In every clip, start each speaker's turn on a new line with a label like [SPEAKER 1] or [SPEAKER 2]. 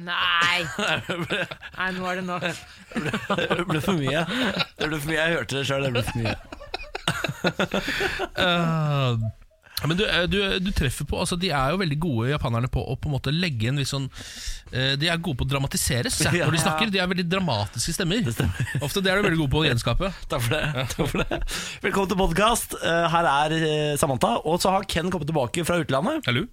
[SPEAKER 1] Nei,
[SPEAKER 2] Det ble,
[SPEAKER 1] nei, nå er det nok.
[SPEAKER 2] det ble for mye. Det ble for mye. Jeg hørte det sjøl, det ble for mye.
[SPEAKER 3] Ja, Men du, eh, du, du treffer på altså, De er jo veldig gode japanerne på å på en måte legge en viss sånn eh, De er gode på å dramatisere synes jeg,
[SPEAKER 2] Ja.
[SPEAKER 3] når de snakker. De er veldig dramatiske stemmer.
[SPEAKER 2] Det stemmer.
[SPEAKER 3] Ofte det er du veldig god på å gjenskape.
[SPEAKER 2] Takk for det. Takk for det. Velkommen til podkast. Her er eh, Samantha. Og så har Ken kommet tilbake fra utlandet.
[SPEAKER 3] Hallo?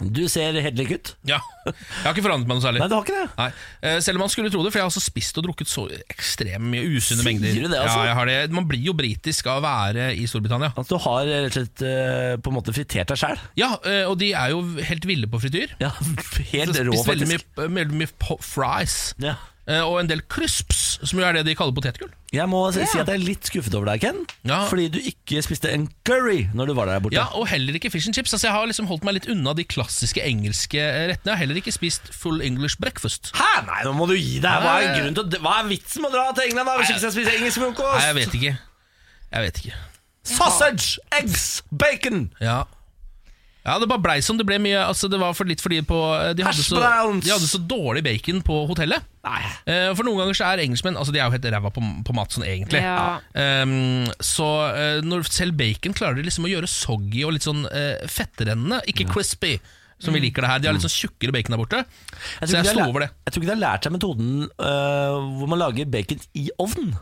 [SPEAKER 2] Du ser helt lik ut.
[SPEAKER 3] Ja. Jeg har ikke forandret meg noe særlig.
[SPEAKER 2] Nei, du har ikke det.
[SPEAKER 3] Nei. Eh, Selv om man skulle tro det, for jeg har også spist og drukket så ekstremt mye usunne
[SPEAKER 2] Sier
[SPEAKER 3] mengder.
[SPEAKER 2] du det, altså?
[SPEAKER 3] Ja, jeg har det. Man blir jo britisk av å være i Storbritannia.
[SPEAKER 2] Altså, du har rett og slett eh, på en måte fritert deg sjæl.
[SPEAKER 3] Ja, eh, og de er jo helt ville på frityr.
[SPEAKER 2] Ja, helt
[SPEAKER 3] Så
[SPEAKER 2] rå,
[SPEAKER 3] spist veldig mye, eh,
[SPEAKER 2] faktisk.
[SPEAKER 3] veldig mye po- fries.
[SPEAKER 2] Ja.
[SPEAKER 3] Eh, Og en del crisps, som jo er det de kaller potetgull.
[SPEAKER 2] Jeg må si si at jeg er litt skuffet over deg, Ken.
[SPEAKER 3] Ja.
[SPEAKER 2] Fordi du ikke spiste en curry når du var der borte.
[SPEAKER 3] Ja, Og heller ikke fish and chips. Altså Jeg har liksom holdt meg litt unna de klassiske engelske eh, rettene. Jeg har heller ikke spist full English breakfast.
[SPEAKER 2] Hæ? Nei, nå må du gi deg. Hva er,
[SPEAKER 3] Nei.
[SPEAKER 2] grunnen til, å- hva er vitsen med å dra til England da, hvis
[SPEAKER 3] Nei.
[SPEAKER 2] ikke skal spise engelsk
[SPEAKER 3] Nei, jeg
[SPEAKER 2] frokost?
[SPEAKER 3] vet ikke. Jeg vet ikke.
[SPEAKER 2] Sausage, eggs, bacon,
[SPEAKER 3] Ja ja, Det bare blei som det ble mye altså Det var for litt fordi på, eh, de, hadde
[SPEAKER 2] Hash
[SPEAKER 3] så,
[SPEAKER 2] browns.
[SPEAKER 3] de hadde så dårlig bacon på hotellet.
[SPEAKER 2] Nei.
[SPEAKER 3] Eh, for noen ganger så er engelskmenn Altså De er jo helt ræva på, på mat sånn egentlig.
[SPEAKER 1] Ja.
[SPEAKER 3] Ehm, så eh, når selv bacon klarer de liksom å gjøre soggy og litt sånn eh, fettrennende, ikke crispy. Som vi liker det her De har litt sånn tjukkere bacon der borte.
[SPEAKER 2] Mm. Jeg
[SPEAKER 3] så
[SPEAKER 2] tror ikke
[SPEAKER 3] jeg
[SPEAKER 2] de
[SPEAKER 3] sto
[SPEAKER 2] har lært-
[SPEAKER 3] over det.
[SPEAKER 2] Jeg tror ikke de har lært seg metoden øh, hvor man lager bacon i ovn.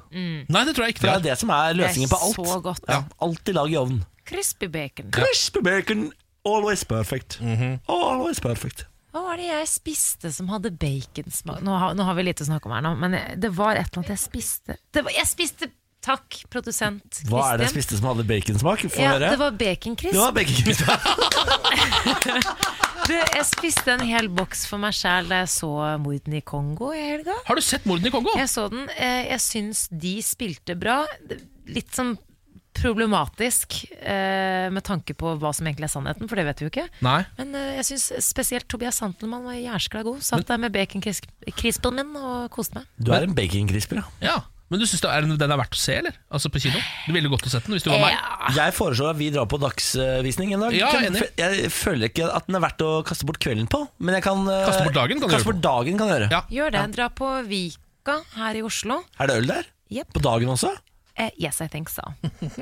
[SPEAKER 3] Nei, det tror jeg ikke.
[SPEAKER 2] For
[SPEAKER 3] de
[SPEAKER 2] det
[SPEAKER 3] har.
[SPEAKER 2] er det som er løsningen
[SPEAKER 1] Det er
[SPEAKER 2] på alt.
[SPEAKER 1] så godt.
[SPEAKER 2] Ja, alltid lag i ovn.
[SPEAKER 1] Crispy bacon.
[SPEAKER 2] Crispy bacon, always perfect.
[SPEAKER 3] Mhm.
[SPEAKER 2] Always perfect.
[SPEAKER 1] Hva var det jeg spiste som hadde baconsmak? Nå, har- nå har vi lite å snakke om her nå, men jeg- det var et eller annet jeg spiste. Det var, jeg spiste Takk, produsent Kristin.
[SPEAKER 2] Hva er det jeg spiste som hadde baconsmak? Få
[SPEAKER 1] Ja,
[SPEAKER 2] høre.
[SPEAKER 1] det var baconcrisp.
[SPEAKER 2] Det var bacon.
[SPEAKER 1] Du, Jeg spiste en hel boks for meg sjæl da jeg så Mordene i Kongo i helga.
[SPEAKER 3] Har du sett mordene i Kongo?
[SPEAKER 1] Jeg så den. Eh, Jeg syns de spilte bra. Litt sånn problematisk eh, med tanke på hva som egentlig er sannheten, for det vet vi jo ikke.
[SPEAKER 3] Nei.
[SPEAKER 1] Men eh, jeg syns spesielt Tobias Santelmann var jæskla god. Satt der med baconcrispen min og koste meg.
[SPEAKER 2] Du er en baconcrisper, ja.
[SPEAKER 3] Ja Men du syns det er, den er verdt å se, eller? Altså på kino? Du ville godt å sett den hvis du var meg.
[SPEAKER 1] Ja.
[SPEAKER 2] Jeg foreslår at vi drar på dagsvisning en dag.
[SPEAKER 3] Ja,
[SPEAKER 2] Kan-
[SPEAKER 3] enig.
[SPEAKER 2] Jeg føler ikke at den er verdt å kaste bort kvelden på, men jeg kan eh,
[SPEAKER 3] Kaste bort dagen kan du
[SPEAKER 2] kaste
[SPEAKER 3] gjøre
[SPEAKER 2] bort dagen kan jeg gjøre.
[SPEAKER 3] Ja.
[SPEAKER 1] Gjør det. Dra på Vika her i Oslo.
[SPEAKER 2] Er det øl der?
[SPEAKER 1] Jepp.
[SPEAKER 2] På dagen også?
[SPEAKER 1] Eh, yes, I think so.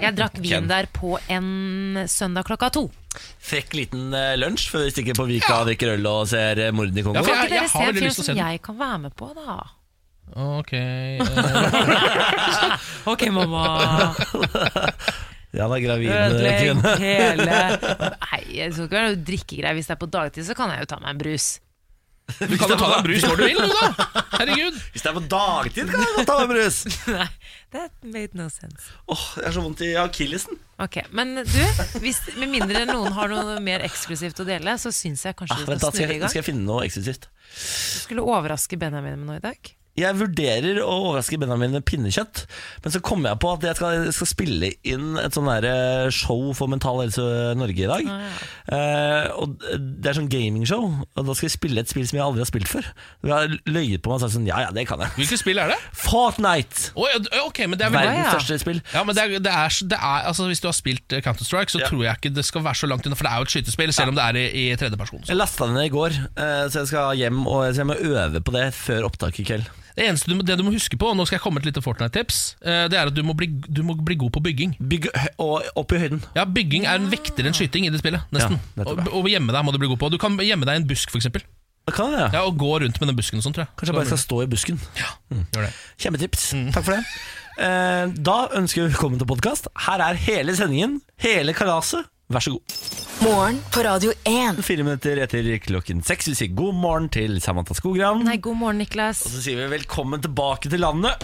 [SPEAKER 1] Jeg drakk vin
[SPEAKER 2] Ken.
[SPEAKER 1] der på en søndag klokka to.
[SPEAKER 2] Frekk liten eh, lunsj før vi stikker på Vika og drikker øl og ser eh, mordene i Kongo.
[SPEAKER 3] Ja, for
[SPEAKER 1] Kan
[SPEAKER 3] jeg-
[SPEAKER 1] ikke dere se
[SPEAKER 3] har
[SPEAKER 1] en
[SPEAKER 3] veldig
[SPEAKER 1] film
[SPEAKER 3] lyst til å se
[SPEAKER 1] som
[SPEAKER 3] den.
[SPEAKER 1] jeg kan være med på, da?
[SPEAKER 3] Ok eh,
[SPEAKER 1] Ok, mamma.
[SPEAKER 2] Ja, da er gravid eh,
[SPEAKER 1] Ødelegg
[SPEAKER 2] kvinne.
[SPEAKER 1] hele Nei, jeg skal ikke være noe drikkegreier. Hvis det er på dagtid, så kan jeg jo ta meg en brus.
[SPEAKER 3] Du kan jo ta deg en brus når du vil, du, da! Herregud.
[SPEAKER 2] Hvis det er på dagtid, kan jeg godt ta meg brus.
[SPEAKER 1] Nei, that made no sense.
[SPEAKER 2] Åh, Jeg har så vondt i akillesen.
[SPEAKER 1] Ok, Men du, hvis, med mindre noen har noe mer eksklusivt å dele, så syns jeg kanskje
[SPEAKER 2] Ah,
[SPEAKER 1] du
[SPEAKER 2] vent, da skal
[SPEAKER 1] skal snurre
[SPEAKER 2] jeg,
[SPEAKER 1] i gang.
[SPEAKER 2] skal jeg finne noe eksklusivt.
[SPEAKER 1] Du skulle overraske Benjamin med noe i dag.
[SPEAKER 2] Jeg vurderer å overraske Benjamin med pinnekjøtt, men så kommer jeg på at jeg skal, skal spille inn et sånn derre show for Mental Helse Norge i dag. Eh, og Det er sånn gamingshow, og da skal jeg spille et spill som jeg aldri har spilt før. Og Jeg har løyet på meg og sagt sånn Ja, ja, det kan jeg.
[SPEAKER 3] Hvilket spill er det?
[SPEAKER 2] Fortnite!
[SPEAKER 3] Å, ja, d- ok, men det er vel
[SPEAKER 2] Verdens
[SPEAKER 1] ja.
[SPEAKER 2] største spill.
[SPEAKER 3] ja, men det er, det er, det er, altså, Hvis du har spilt eh, Counter-Strike, så tror jeg ikke det skal være så langt unna. For det er jo et skytespill, selv om det er i, i tredjeperson.
[SPEAKER 2] Jeg lasta den ned i går, eh, så jeg skal hjem og så jeg må øve på det før opptaket i kveld.
[SPEAKER 3] Det eneste du, må- det du må huske på, og nå skal jeg komme med et lite Fortnite-tips, eh, det er at du må, bli, du må bli god på bygging.
[SPEAKER 2] Bygg hø- og opp i høyden.
[SPEAKER 3] Ja, Bygging er en vektere enn skyting i det spillet. nesten
[SPEAKER 2] Ja, nettopp,
[SPEAKER 3] og, og gjemme deg må du bli god på. Du kan gjemme deg i en busk, f.eks.
[SPEAKER 2] Da kan jeg det.
[SPEAKER 3] Ja, og gå rundt med den busken og sånn, tror jeg.
[SPEAKER 2] Kanskje jeg bare Mm. skal stå i busken.
[SPEAKER 3] Gjør det.
[SPEAKER 2] Kjempetips. Takk for det. Eh, Da ønsker vi velkommen til podkast. Her er hele sendingen, hele kalaset. Vær så god.
[SPEAKER 4] Morgen på Radio 1.
[SPEAKER 2] Fire minutter etter klokken seks. Vi sier god morgen til Samantha Skogran.
[SPEAKER 1] Nei, god morgen, Niklas.
[SPEAKER 2] Så sier vi velkommen tilbake til landet.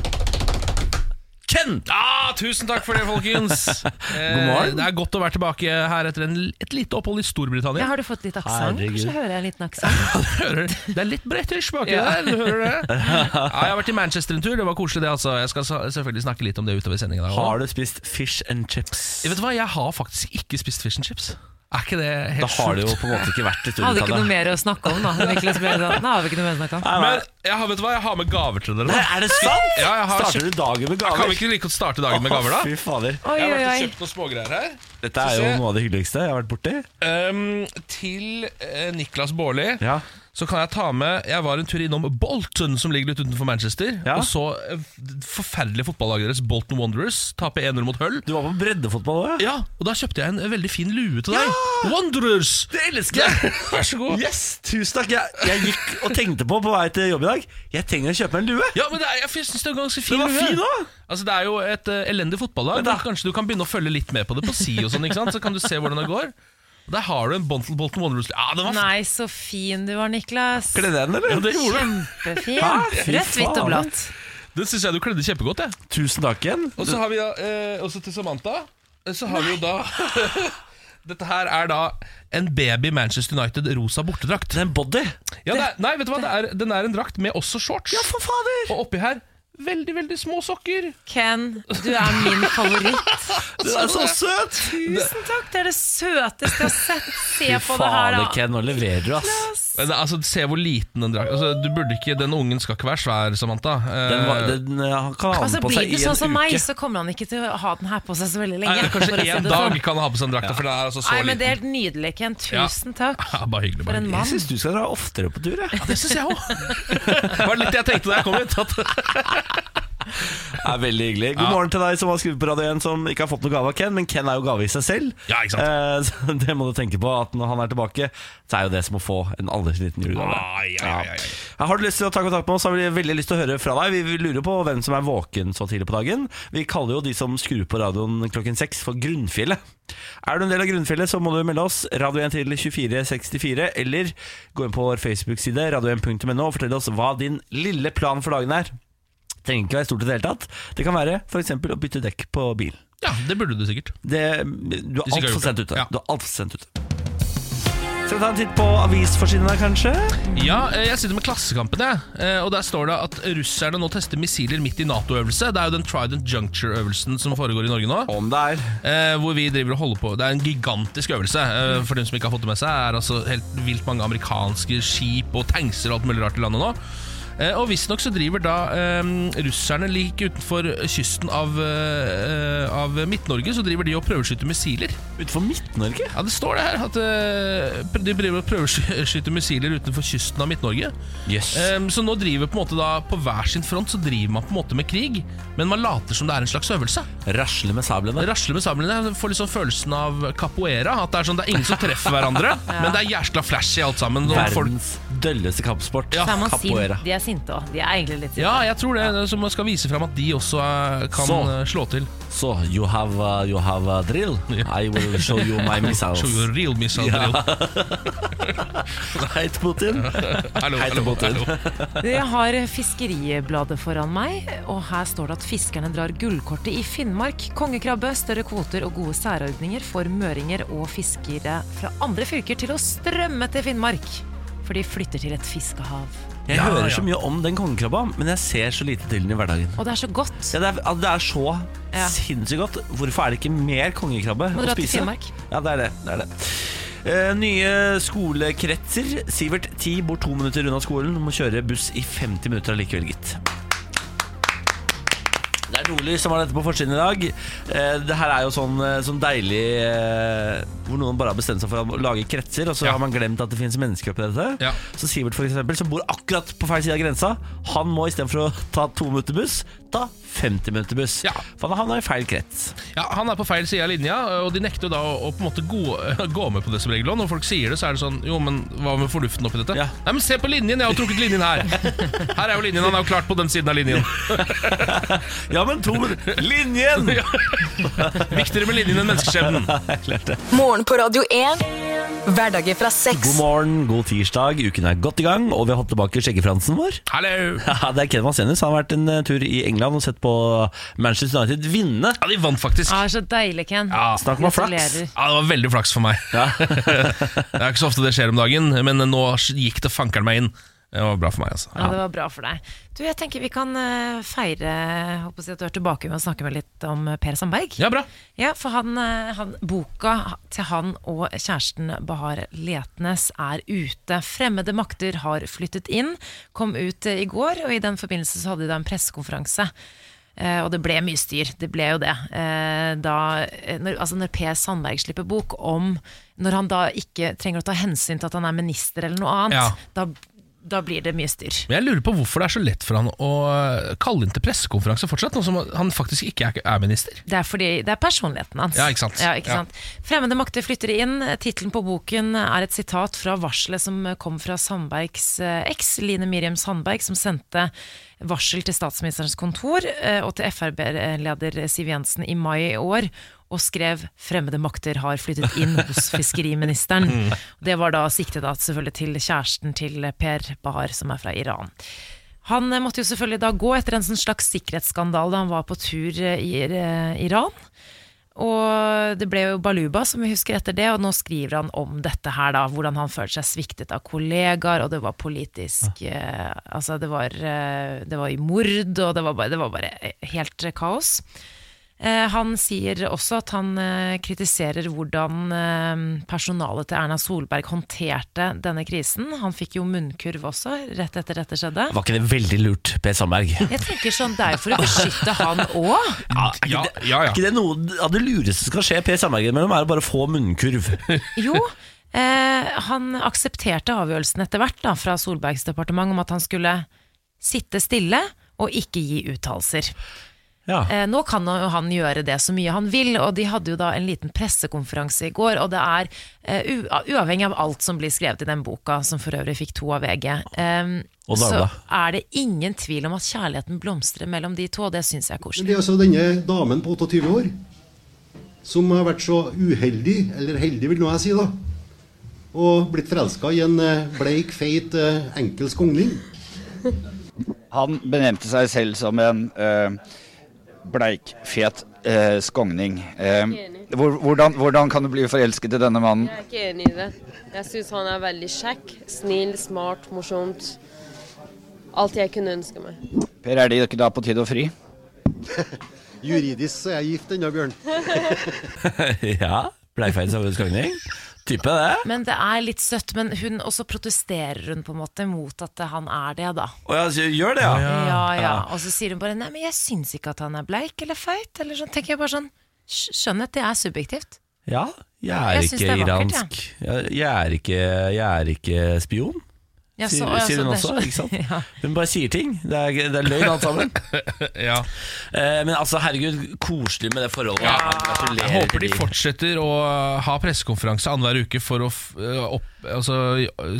[SPEAKER 2] Ken!
[SPEAKER 3] Ah, tusen takk for det, folkens! God
[SPEAKER 2] morgen.
[SPEAKER 3] Det er godt å være tilbake her etter en, et lite opphold i Storbritannia.
[SPEAKER 1] Ja, har du fått litt aksent?
[SPEAKER 2] Herregud.
[SPEAKER 1] Kanskje hører jeg en liten aksent?
[SPEAKER 3] Hører du? Det er litt british baki der, du hører det? Ja, jeg har vært i Manchester en tur, det var koselig det altså. Jeg skal sa- selvfølgelig snakke litt om det utover sendingen. i dag også.
[SPEAKER 2] Har du spist fish and chips?
[SPEAKER 3] Jeg vet du hva, jeg har faktisk ikke spist fish and chips. Er ikke det
[SPEAKER 2] Da
[SPEAKER 3] helt
[SPEAKER 2] har det jo
[SPEAKER 3] sjukt?
[SPEAKER 2] på en måte ikke vært i
[SPEAKER 1] Hadde ikke noe
[SPEAKER 2] Storbritannia.
[SPEAKER 1] mer å snakke om, da. Niklas Bjørndal. Nå har vi ikke noe mer å snakke om.
[SPEAKER 2] Nei,
[SPEAKER 3] Men jeg har, vet du hva, jeg har med gaver til dere.
[SPEAKER 2] nei,
[SPEAKER 3] nå.
[SPEAKER 2] Er det sant?
[SPEAKER 3] Ja, jeg har
[SPEAKER 2] Starter du dagen med gaver?
[SPEAKER 3] Kan vi ikke like godt starte dagen med gaver,
[SPEAKER 2] Å,
[SPEAKER 3] da?
[SPEAKER 2] Fy fader.
[SPEAKER 1] Oi,
[SPEAKER 3] Jeg har
[SPEAKER 1] oi,
[SPEAKER 3] vært og
[SPEAKER 1] oi.
[SPEAKER 3] kjøpt noen smågreier her.
[SPEAKER 2] Dette
[SPEAKER 3] Skal
[SPEAKER 2] er
[SPEAKER 3] vi
[SPEAKER 2] jo
[SPEAKER 3] se.
[SPEAKER 2] noe av det hyggeligste jeg har vært borti.
[SPEAKER 3] Um, til eh, Niklas Baarli
[SPEAKER 2] Ja.
[SPEAKER 3] Så kan jeg ta med Jeg var en tur innom Bolton, som ligger litt utenfor Manchester.
[SPEAKER 2] Ja.
[SPEAKER 3] Og så eh, det forferdelige fotballaget deres, Bolton Wanderers, taper 1-0 mot Hull.
[SPEAKER 2] Du var på breddefotball òg, ja?
[SPEAKER 3] Ja, og da kjøpte jeg en eh, veldig fin lue til deg. Wanderers!
[SPEAKER 2] Det elsker jeg!
[SPEAKER 3] Vær så god.
[SPEAKER 2] Yes, tusen takk. Jeg, jeg gikk og tenkte på på vei til jobb i dag. Jeg trenger å kjøpe meg en lue.
[SPEAKER 3] Ja, men det er, jeg syns det er en ganske fin
[SPEAKER 2] Den var
[SPEAKER 3] lue.
[SPEAKER 2] fin òg!
[SPEAKER 3] Altså, det er jo et eh, elendig fotballag.
[SPEAKER 2] Men da-
[SPEAKER 3] men Kanskje du kan begynne å følge litt med på det på si og sånn, ikke sant? så kan du se hvordan det går. Og Der har du en Bolton, Bolton Wanderers. Ja, den var f-
[SPEAKER 1] Nei, så fin du var, Niklas.
[SPEAKER 2] Kledde jeg den, eller?
[SPEAKER 1] Kjempefin.
[SPEAKER 2] Hæ? Fy
[SPEAKER 1] Rødt, hvitt
[SPEAKER 2] faen.
[SPEAKER 1] og blått.
[SPEAKER 3] Den syns jeg du kledde kjempegodt. jeg
[SPEAKER 2] Tusen takk igjen.
[SPEAKER 3] Og så har vi da, eh, også til Samantha, eh, så har vi jo da Dette her er da en baby Manchester United rosa bortedrakt.
[SPEAKER 2] Den body.
[SPEAKER 3] Ja, det er, nei, vet du hva, det er, Den er en drakt med også shorts.
[SPEAKER 2] Ja, for fader!
[SPEAKER 3] Og oppi her veldig, veldig små sokker.
[SPEAKER 1] Ken, du er min favoritt.
[SPEAKER 2] Den er så søt!
[SPEAKER 1] Tusen takk, det er det søteste jeg har sett. Se
[SPEAKER 2] Fy
[SPEAKER 1] på det her,
[SPEAKER 2] fader,
[SPEAKER 1] da.
[SPEAKER 2] Ken, nå leverer du, ass.
[SPEAKER 3] Men det- Altså, Se hvor liten den drakten altså, du burde ikke, Den ungen skal ikke være svær, Samantha. Eh,
[SPEAKER 2] Den, var, den eh, han kan ha
[SPEAKER 1] Altså,
[SPEAKER 2] den på
[SPEAKER 1] blir
[SPEAKER 2] seg
[SPEAKER 1] du
[SPEAKER 2] i
[SPEAKER 1] sånn som
[SPEAKER 2] en
[SPEAKER 1] meg,
[SPEAKER 2] uke.
[SPEAKER 1] så kommer han ikke til å ha den her på seg så veldig
[SPEAKER 3] Nei,
[SPEAKER 1] lenge. for å
[SPEAKER 3] kanskje
[SPEAKER 1] si
[SPEAKER 3] én
[SPEAKER 1] det sånn.
[SPEAKER 3] dag kan han ha på seg den drakta, for den er altså så
[SPEAKER 1] Nei, men Det er
[SPEAKER 3] liten.
[SPEAKER 1] helt nydelig, Ken.
[SPEAKER 3] Ja. Ah,
[SPEAKER 1] Tusen takk.
[SPEAKER 3] Ja, bare hyggelig,
[SPEAKER 1] For
[SPEAKER 3] bare
[SPEAKER 2] Jeg
[SPEAKER 3] hyggelig.
[SPEAKER 1] en mann.
[SPEAKER 2] syns du skal dra oftere på tur. Jeg.
[SPEAKER 3] Det syns jeg òg. Det var litt det jeg tenkte da jeg kom hit. At
[SPEAKER 2] Det er veldig hyggelig God morgen til deg som har skrevet på radio igjen, som ikke har fått noe gave av Ken. Men Ken er jo gave i seg selv.
[SPEAKER 3] Ja, ikke sant?
[SPEAKER 2] Eh, så det må du tenke på, at når han er tilbake, så er jo det som å få en aldri så liten julegave.
[SPEAKER 3] Ah, ja, ja, ja, ja.
[SPEAKER 2] Ja. Har du lyst til å ta kontakt med oss, har vi veldig lyst til å høre fra deg. Vi lurer på hvem som er våken så tidlig på dagen. Vi kaller jo de som skrur på radioen klokken seks, for Grunnfjellet. Er du en del av Grunnfjellet, så må du melde oss. Radio 1 til 2464, eller gå inn på vår Facebook-side, radio1.no, og fortell oss hva din lille plan for dagen er. Trenger ikke være stort i det hele tatt. Det kan være f.eks. å bytte dekk på bilen.
[SPEAKER 3] Ja, det burde du sikkert.
[SPEAKER 2] Det, du er
[SPEAKER 3] Hvis ikke jeg har
[SPEAKER 2] altfor
[SPEAKER 3] gjort
[SPEAKER 2] sent
[SPEAKER 3] det.
[SPEAKER 2] ute.
[SPEAKER 3] Ja.
[SPEAKER 2] Du er alt for sent ute. Skal vi ta en titt på avisforsidene, kanskje?
[SPEAKER 3] Ja, eh, jeg sitter med Klassekampen, jeg. Eh, Og der står det at russerne nå tester missiler midt i Nato-øvelse. Det er jo den Trident Juncture-øvelsen som foregår i Norge nå.
[SPEAKER 2] Om det er.
[SPEAKER 3] Eh, hvor vi driver og holder på Det er en gigantisk øvelse. Eh, for dem som ikke har fått det med seg, er altså helt vilt mange amerikanske skip og tankser og alt mulig rart i landet nå. Eh, og visstnok så driver da eh, russerne like utenfor kysten av, eh, av Midt-Norge, så driver de og prøveskyter missiler.
[SPEAKER 2] Utenfor Midt-Norge?
[SPEAKER 3] Ja, det står det her at eh, de driver og prøveskyter missiler utenfor kysten av Midt-Norge.
[SPEAKER 2] Yes.
[SPEAKER 3] Ehm, så nå driver på en måte da på hver sin front så driver man på en måte med krig, men man later som det er en slags øvelse.
[SPEAKER 2] Rasle med sablene.
[SPEAKER 3] Rasle med sablene. Får liksom følelsen av capoeira. At det er sånn, det er ingen som treffer hverandre, men det er jæskla flash i alt sammen. og folk-
[SPEAKER 2] Verdens dølleste kampsport.
[SPEAKER 3] Ja.
[SPEAKER 1] Så er man
[SPEAKER 2] Capoeira.
[SPEAKER 1] sint. De er sinte òg. De er egentlig litt sinte.
[SPEAKER 3] Ja, jeg tror det. Så man skal vise fram at de også eh, kan
[SPEAKER 2] Så.
[SPEAKER 3] eh, slå til.
[SPEAKER 2] Så, you have, uh, you have a drill? I will show you my missiles.
[SPEAKER 3] Show you a real missile
[SPEAKER 2] Ja.
[SPEAKER 3] drill.
[SPEAKER 2] Hei til Putin.
[SPEAKER 3] Hallo,
[SPEAKER 2] Hei til
[SPEAKER 3] hallo,
[SPEAKER 2] Putin.
[SPEAKER 3] hallo.
[SPEAKER 1] Jeg har Fiskeribladet foran meg, og her står det at fiskerne drar gullkortet i Finnmark. Kongekrabbe, større kvoter og gode særordninger får møringer og fiskere fra andre fylker til å strømme til Finnmark. For de flytter til et fiskehav.
[SPEAKER 2] Jeg
[SPEAKER 3] Ja,
[SPEAKER 2] hører
[SPEAKER 3] ja.
[SPEAKER 2] så mye om den kongekrabba, men jeg ser så lite til den i hverdagen.
[SPEAKER 1] Og det er så godt.
[SPEAKER 2] Ja, det, er, altså, det er så
[SPEAKER 1] Ja.
[SPEAKER 2] sinnssykt godt. Hvorfor er det ikke mer kongekrabbe
[SPEAKER 1] Må
[SPEAKER 2] å
[SPEAKER 1] dra til
[SPEAKER 2] spise?
[SPEAKER 1] Finnmark.
[SPEAKER 2] Ja, det er det. det, er det. Eh, nye skolekretser. Sivert 10 bor to minutter unna skolen. Må kjøre buss i 50 minutter allikevel, gitt. Det er Nordlys som har dette på forsiden i dag. Eh, det her er jo sånn, eh, sånn deilig eh, Hvor noen bare har bestemt seg for å lage kretser, og så
[SPEAKER 3] Ja.
[SPEAKER 2] har man glemt at det finnes mennesker oppi dette.
[SPEAKER 3] Ja.
[SPEAKER 2] Så Sivert, for eksempel, som bor akkurat på feil side av grensa, han må istedenfor å ta to minutter buss, ta 50 minutter buss.
[SPEAKER 3] Ja.
[SPEAKER 2] For han har havna i feil krets.
[SPEAKER 3] Ja, Han er på feil side av linja, og de nekter jo da å, å på en måte gå, gå med på det som regel. Og når folk sier det, så er det sånn Jo, men hva med fornuften oppi dette?
[SPEAKER 2] Ja.
[SPEAKER 3] Nei, men se på linjen! Jeg har trukket linjen her! Her er jo linjen, han er jo klart på den siden av linjen.
[SPEAKER 2] Ja, men to minutter Linjen!
[SPEAKER 3] Viktigere med linjen enn menneskeskjebnen.
[SPEAKER 4] Morgen på Radio 1. Hverdager fra
[SPEAKER 2] God
[SPEAKER 4] seks.
[SPEAKER 2] morgen, god tirsdag. Uken er godt i gang, og vi har hatt tilbake skjeggefransen vår.
[SPEAKER 3] Hallo!
[SPEAKER 2] Ja, det er Ken Vasenius. Han har vært en eh, tur i England og sett på Manchester United vinne.
[SPEAKER 3] Ja, de vant faktisk.
[SPEAKER 1] Det er så deilig, Ken.
[SPEAKER 3] Ja,
[SPEAKER 2] snakk om flaks.
[SPEAKER 1] Gratulerer.
[SPEAKER 3] Ja, Det var veldig flaks for meg. det er ikke så ofte det skjer om dagen, men nå gikk det fankeren meg inn. Det var bra for meg, altså.
[SPEAKER 1] Ja, det var bra for deg. Du, jeg tenker vi kan eh, feire håper jeg at du er tilbake med å snakke med litt om eh, Per Sandberg.
[SPEAKER 3] Ja, bra.
[SPEAKER 1] Ja, for han, eh, han, boka til han og kjæresten Bahar Letnes er ute. 'Fremmede makter har flyttet inn', kom ut eh, i går, og i den forbindelse så hadde de da en pressekonferanse. Eh, og det ble mye styr, det ble jo det. Eh, da, eh, når, altså når Per Sandberg slipper bok om Når han da ikke trenger å ta hensyn til at han er minister eller noe annet,
[SPEAKER 3] Ja.
[SPEAKER 1] da, da blir det mye styr.
[SPEAKER 3] Men jeg lurer på hvorfor det er så lett for han å kalle inn til pressekonferanse fortsatt, nå som han faktisk ikke er- er minister.
[SPEAKER 1] Det er, fordi, det er personligheten hans.
[SPEAKER 3] Ja, ikke sant. Ja.
[SPEAKER 1] sant? Fremmede makter flytter inn. Tittelen på boken er et sitat fra varselet som kom fra Sandbergs eh, eks, Line Miriam Sandberg, som sendte varsel til statsministerens kontor eh, og til Frp-leder Siv Jensen i mai i år. Og skrev 'Fremmede makter har flyttet inn hos fiskeriministeren'. Det var da siktet da selvfølgelig til kjæresten til Per Bahar, som er fra Iran. Han eh, måtte jo selvfølgelig da gå etter en sånn slags sikkerhetsskandale da han var på tur eh, i eh, Iran. Og det ble jo Baluba som vi husker etter det, og nå skriver han om dette her, da. Hvordan han følte seg sviktet av kollegaer, og det var politisk eh, Altså, det var, eh, det var i mord, og det var bare, det var bare eh, helt eh, kaos. Eh, Han sier også at han eh, kritiserer hvordan eh, personalet til Erna Solberg håndterte denne krisen. Han fikk jo munnkurv også, rett etter dette skjedde.
[SPEAKER 2] Var ikke det veldig lurt, Per Sandberg?
[SPEAKER 1] Jeg tenker sånn, Det er jo for å beskytte han òg.
[SPEAKER 3] Ja, ja, ja.
[SPEAKER 2] Er ikke det noe av det lureste som kan skje Per Sandberg imellom, er å bare få munnkurv?
[SPEAKER 1] Jo, eh, han aksepterte avgjørelsen etter hvert da, fra Solbergs departement om at han skulle sitte stille og ikke gi uttalelser.
[SPEAKER 2] Ja.
[SPEAKER 1] Eh, nå kan jo han gjøre det så mye han vil, og de hadde jo da en liten pressekonferanse i går, og det er eh, u uavhengig av alt som blir skrevet i den boka, som for øvrig fikk to av VG, eh,
[SPEAKER 2] Og
[SPEAKER 1] så
[SPEAKER 2] Dagbladet.
[SPEAKER 1] er det ingen tvil om at kjærligheten blomstrer mellom de to, og det syns jeg er
[SPEAKER 5] Men
[SPEAKER 1] koselig.
[SPEAKER 5] det er altså denne damen på 28 år som har vært så uheldig, eller heldig vil nå jeg si, da, og blitt forelska i en eh, bleik, feit, eh, enkel skogning.
[SPEAKER 6] Han benevnte seg selv som en eh, bleik, fet eh, skogning. Eh, hvor, hvordan, hvordan kan du bli forelsket i denne mannen?
[SPEAKER 7] Jeg er ikke enig i det. Jeg syns han er veldig kjekk, snill, smart, morsomt. Alt jeg kunne ønske meg.
[SPEAKER 6] Per, er det ikke da på tide å fri?
[SPEAKER 5] Juridisk så er jeg gift ennå, Bjørn.
[SPEAKER 2] ja. Bleikfeil samfunnsgagning. Type det.
[SPEAKER 1] Men det er litt søtt, men hun også protesterer hun på en måte mot at eh, han er det, da.
[SPEAKER 2] Å ja, så gjør det, ja.
[SPEAKER 1] Ja, ja. Og så sier hun bare Nei, men jeg syns ikke at han er bleik eller feit. Eller sånn. Tenker jeg bare sånn «Skj- Skjønnhet, det er subjektivt.
[SPEAKER 2] Ja, jeg er
[SPEAKER 1] Jeg synes det
[SPEAKER 2] ikke
[SPEAKER 1] er vakkert,
[SPEAKER 2] iransk. Jeg jeg er ikke, jeg er ikke spion,
[SPEAKER 1] Ja, så-
[SPEAKER 2] sier,
[SPEAKER 1] ja, så
[SPEAKER 2] sier hun
[SPEAKER 1] det er
[SPEAKER 2] også.
[SPEAKER 1] så-
[SPEAKER 2] ikke sant?
[SPEAKER 1] Ja.
[SPEAKER 2] Hun bare sier ting. Det er, det er løgn alt sammen.
[SPEAKER 3] ja.
[SPEAKER 2] Eh, men altså, herregud, koselig med det forholdet. Ja. Gratulerer.
[SPEAKER 3] Jeg håper de fortsetter å ha pressekonferanse annenhver uke for å f- opp, altså,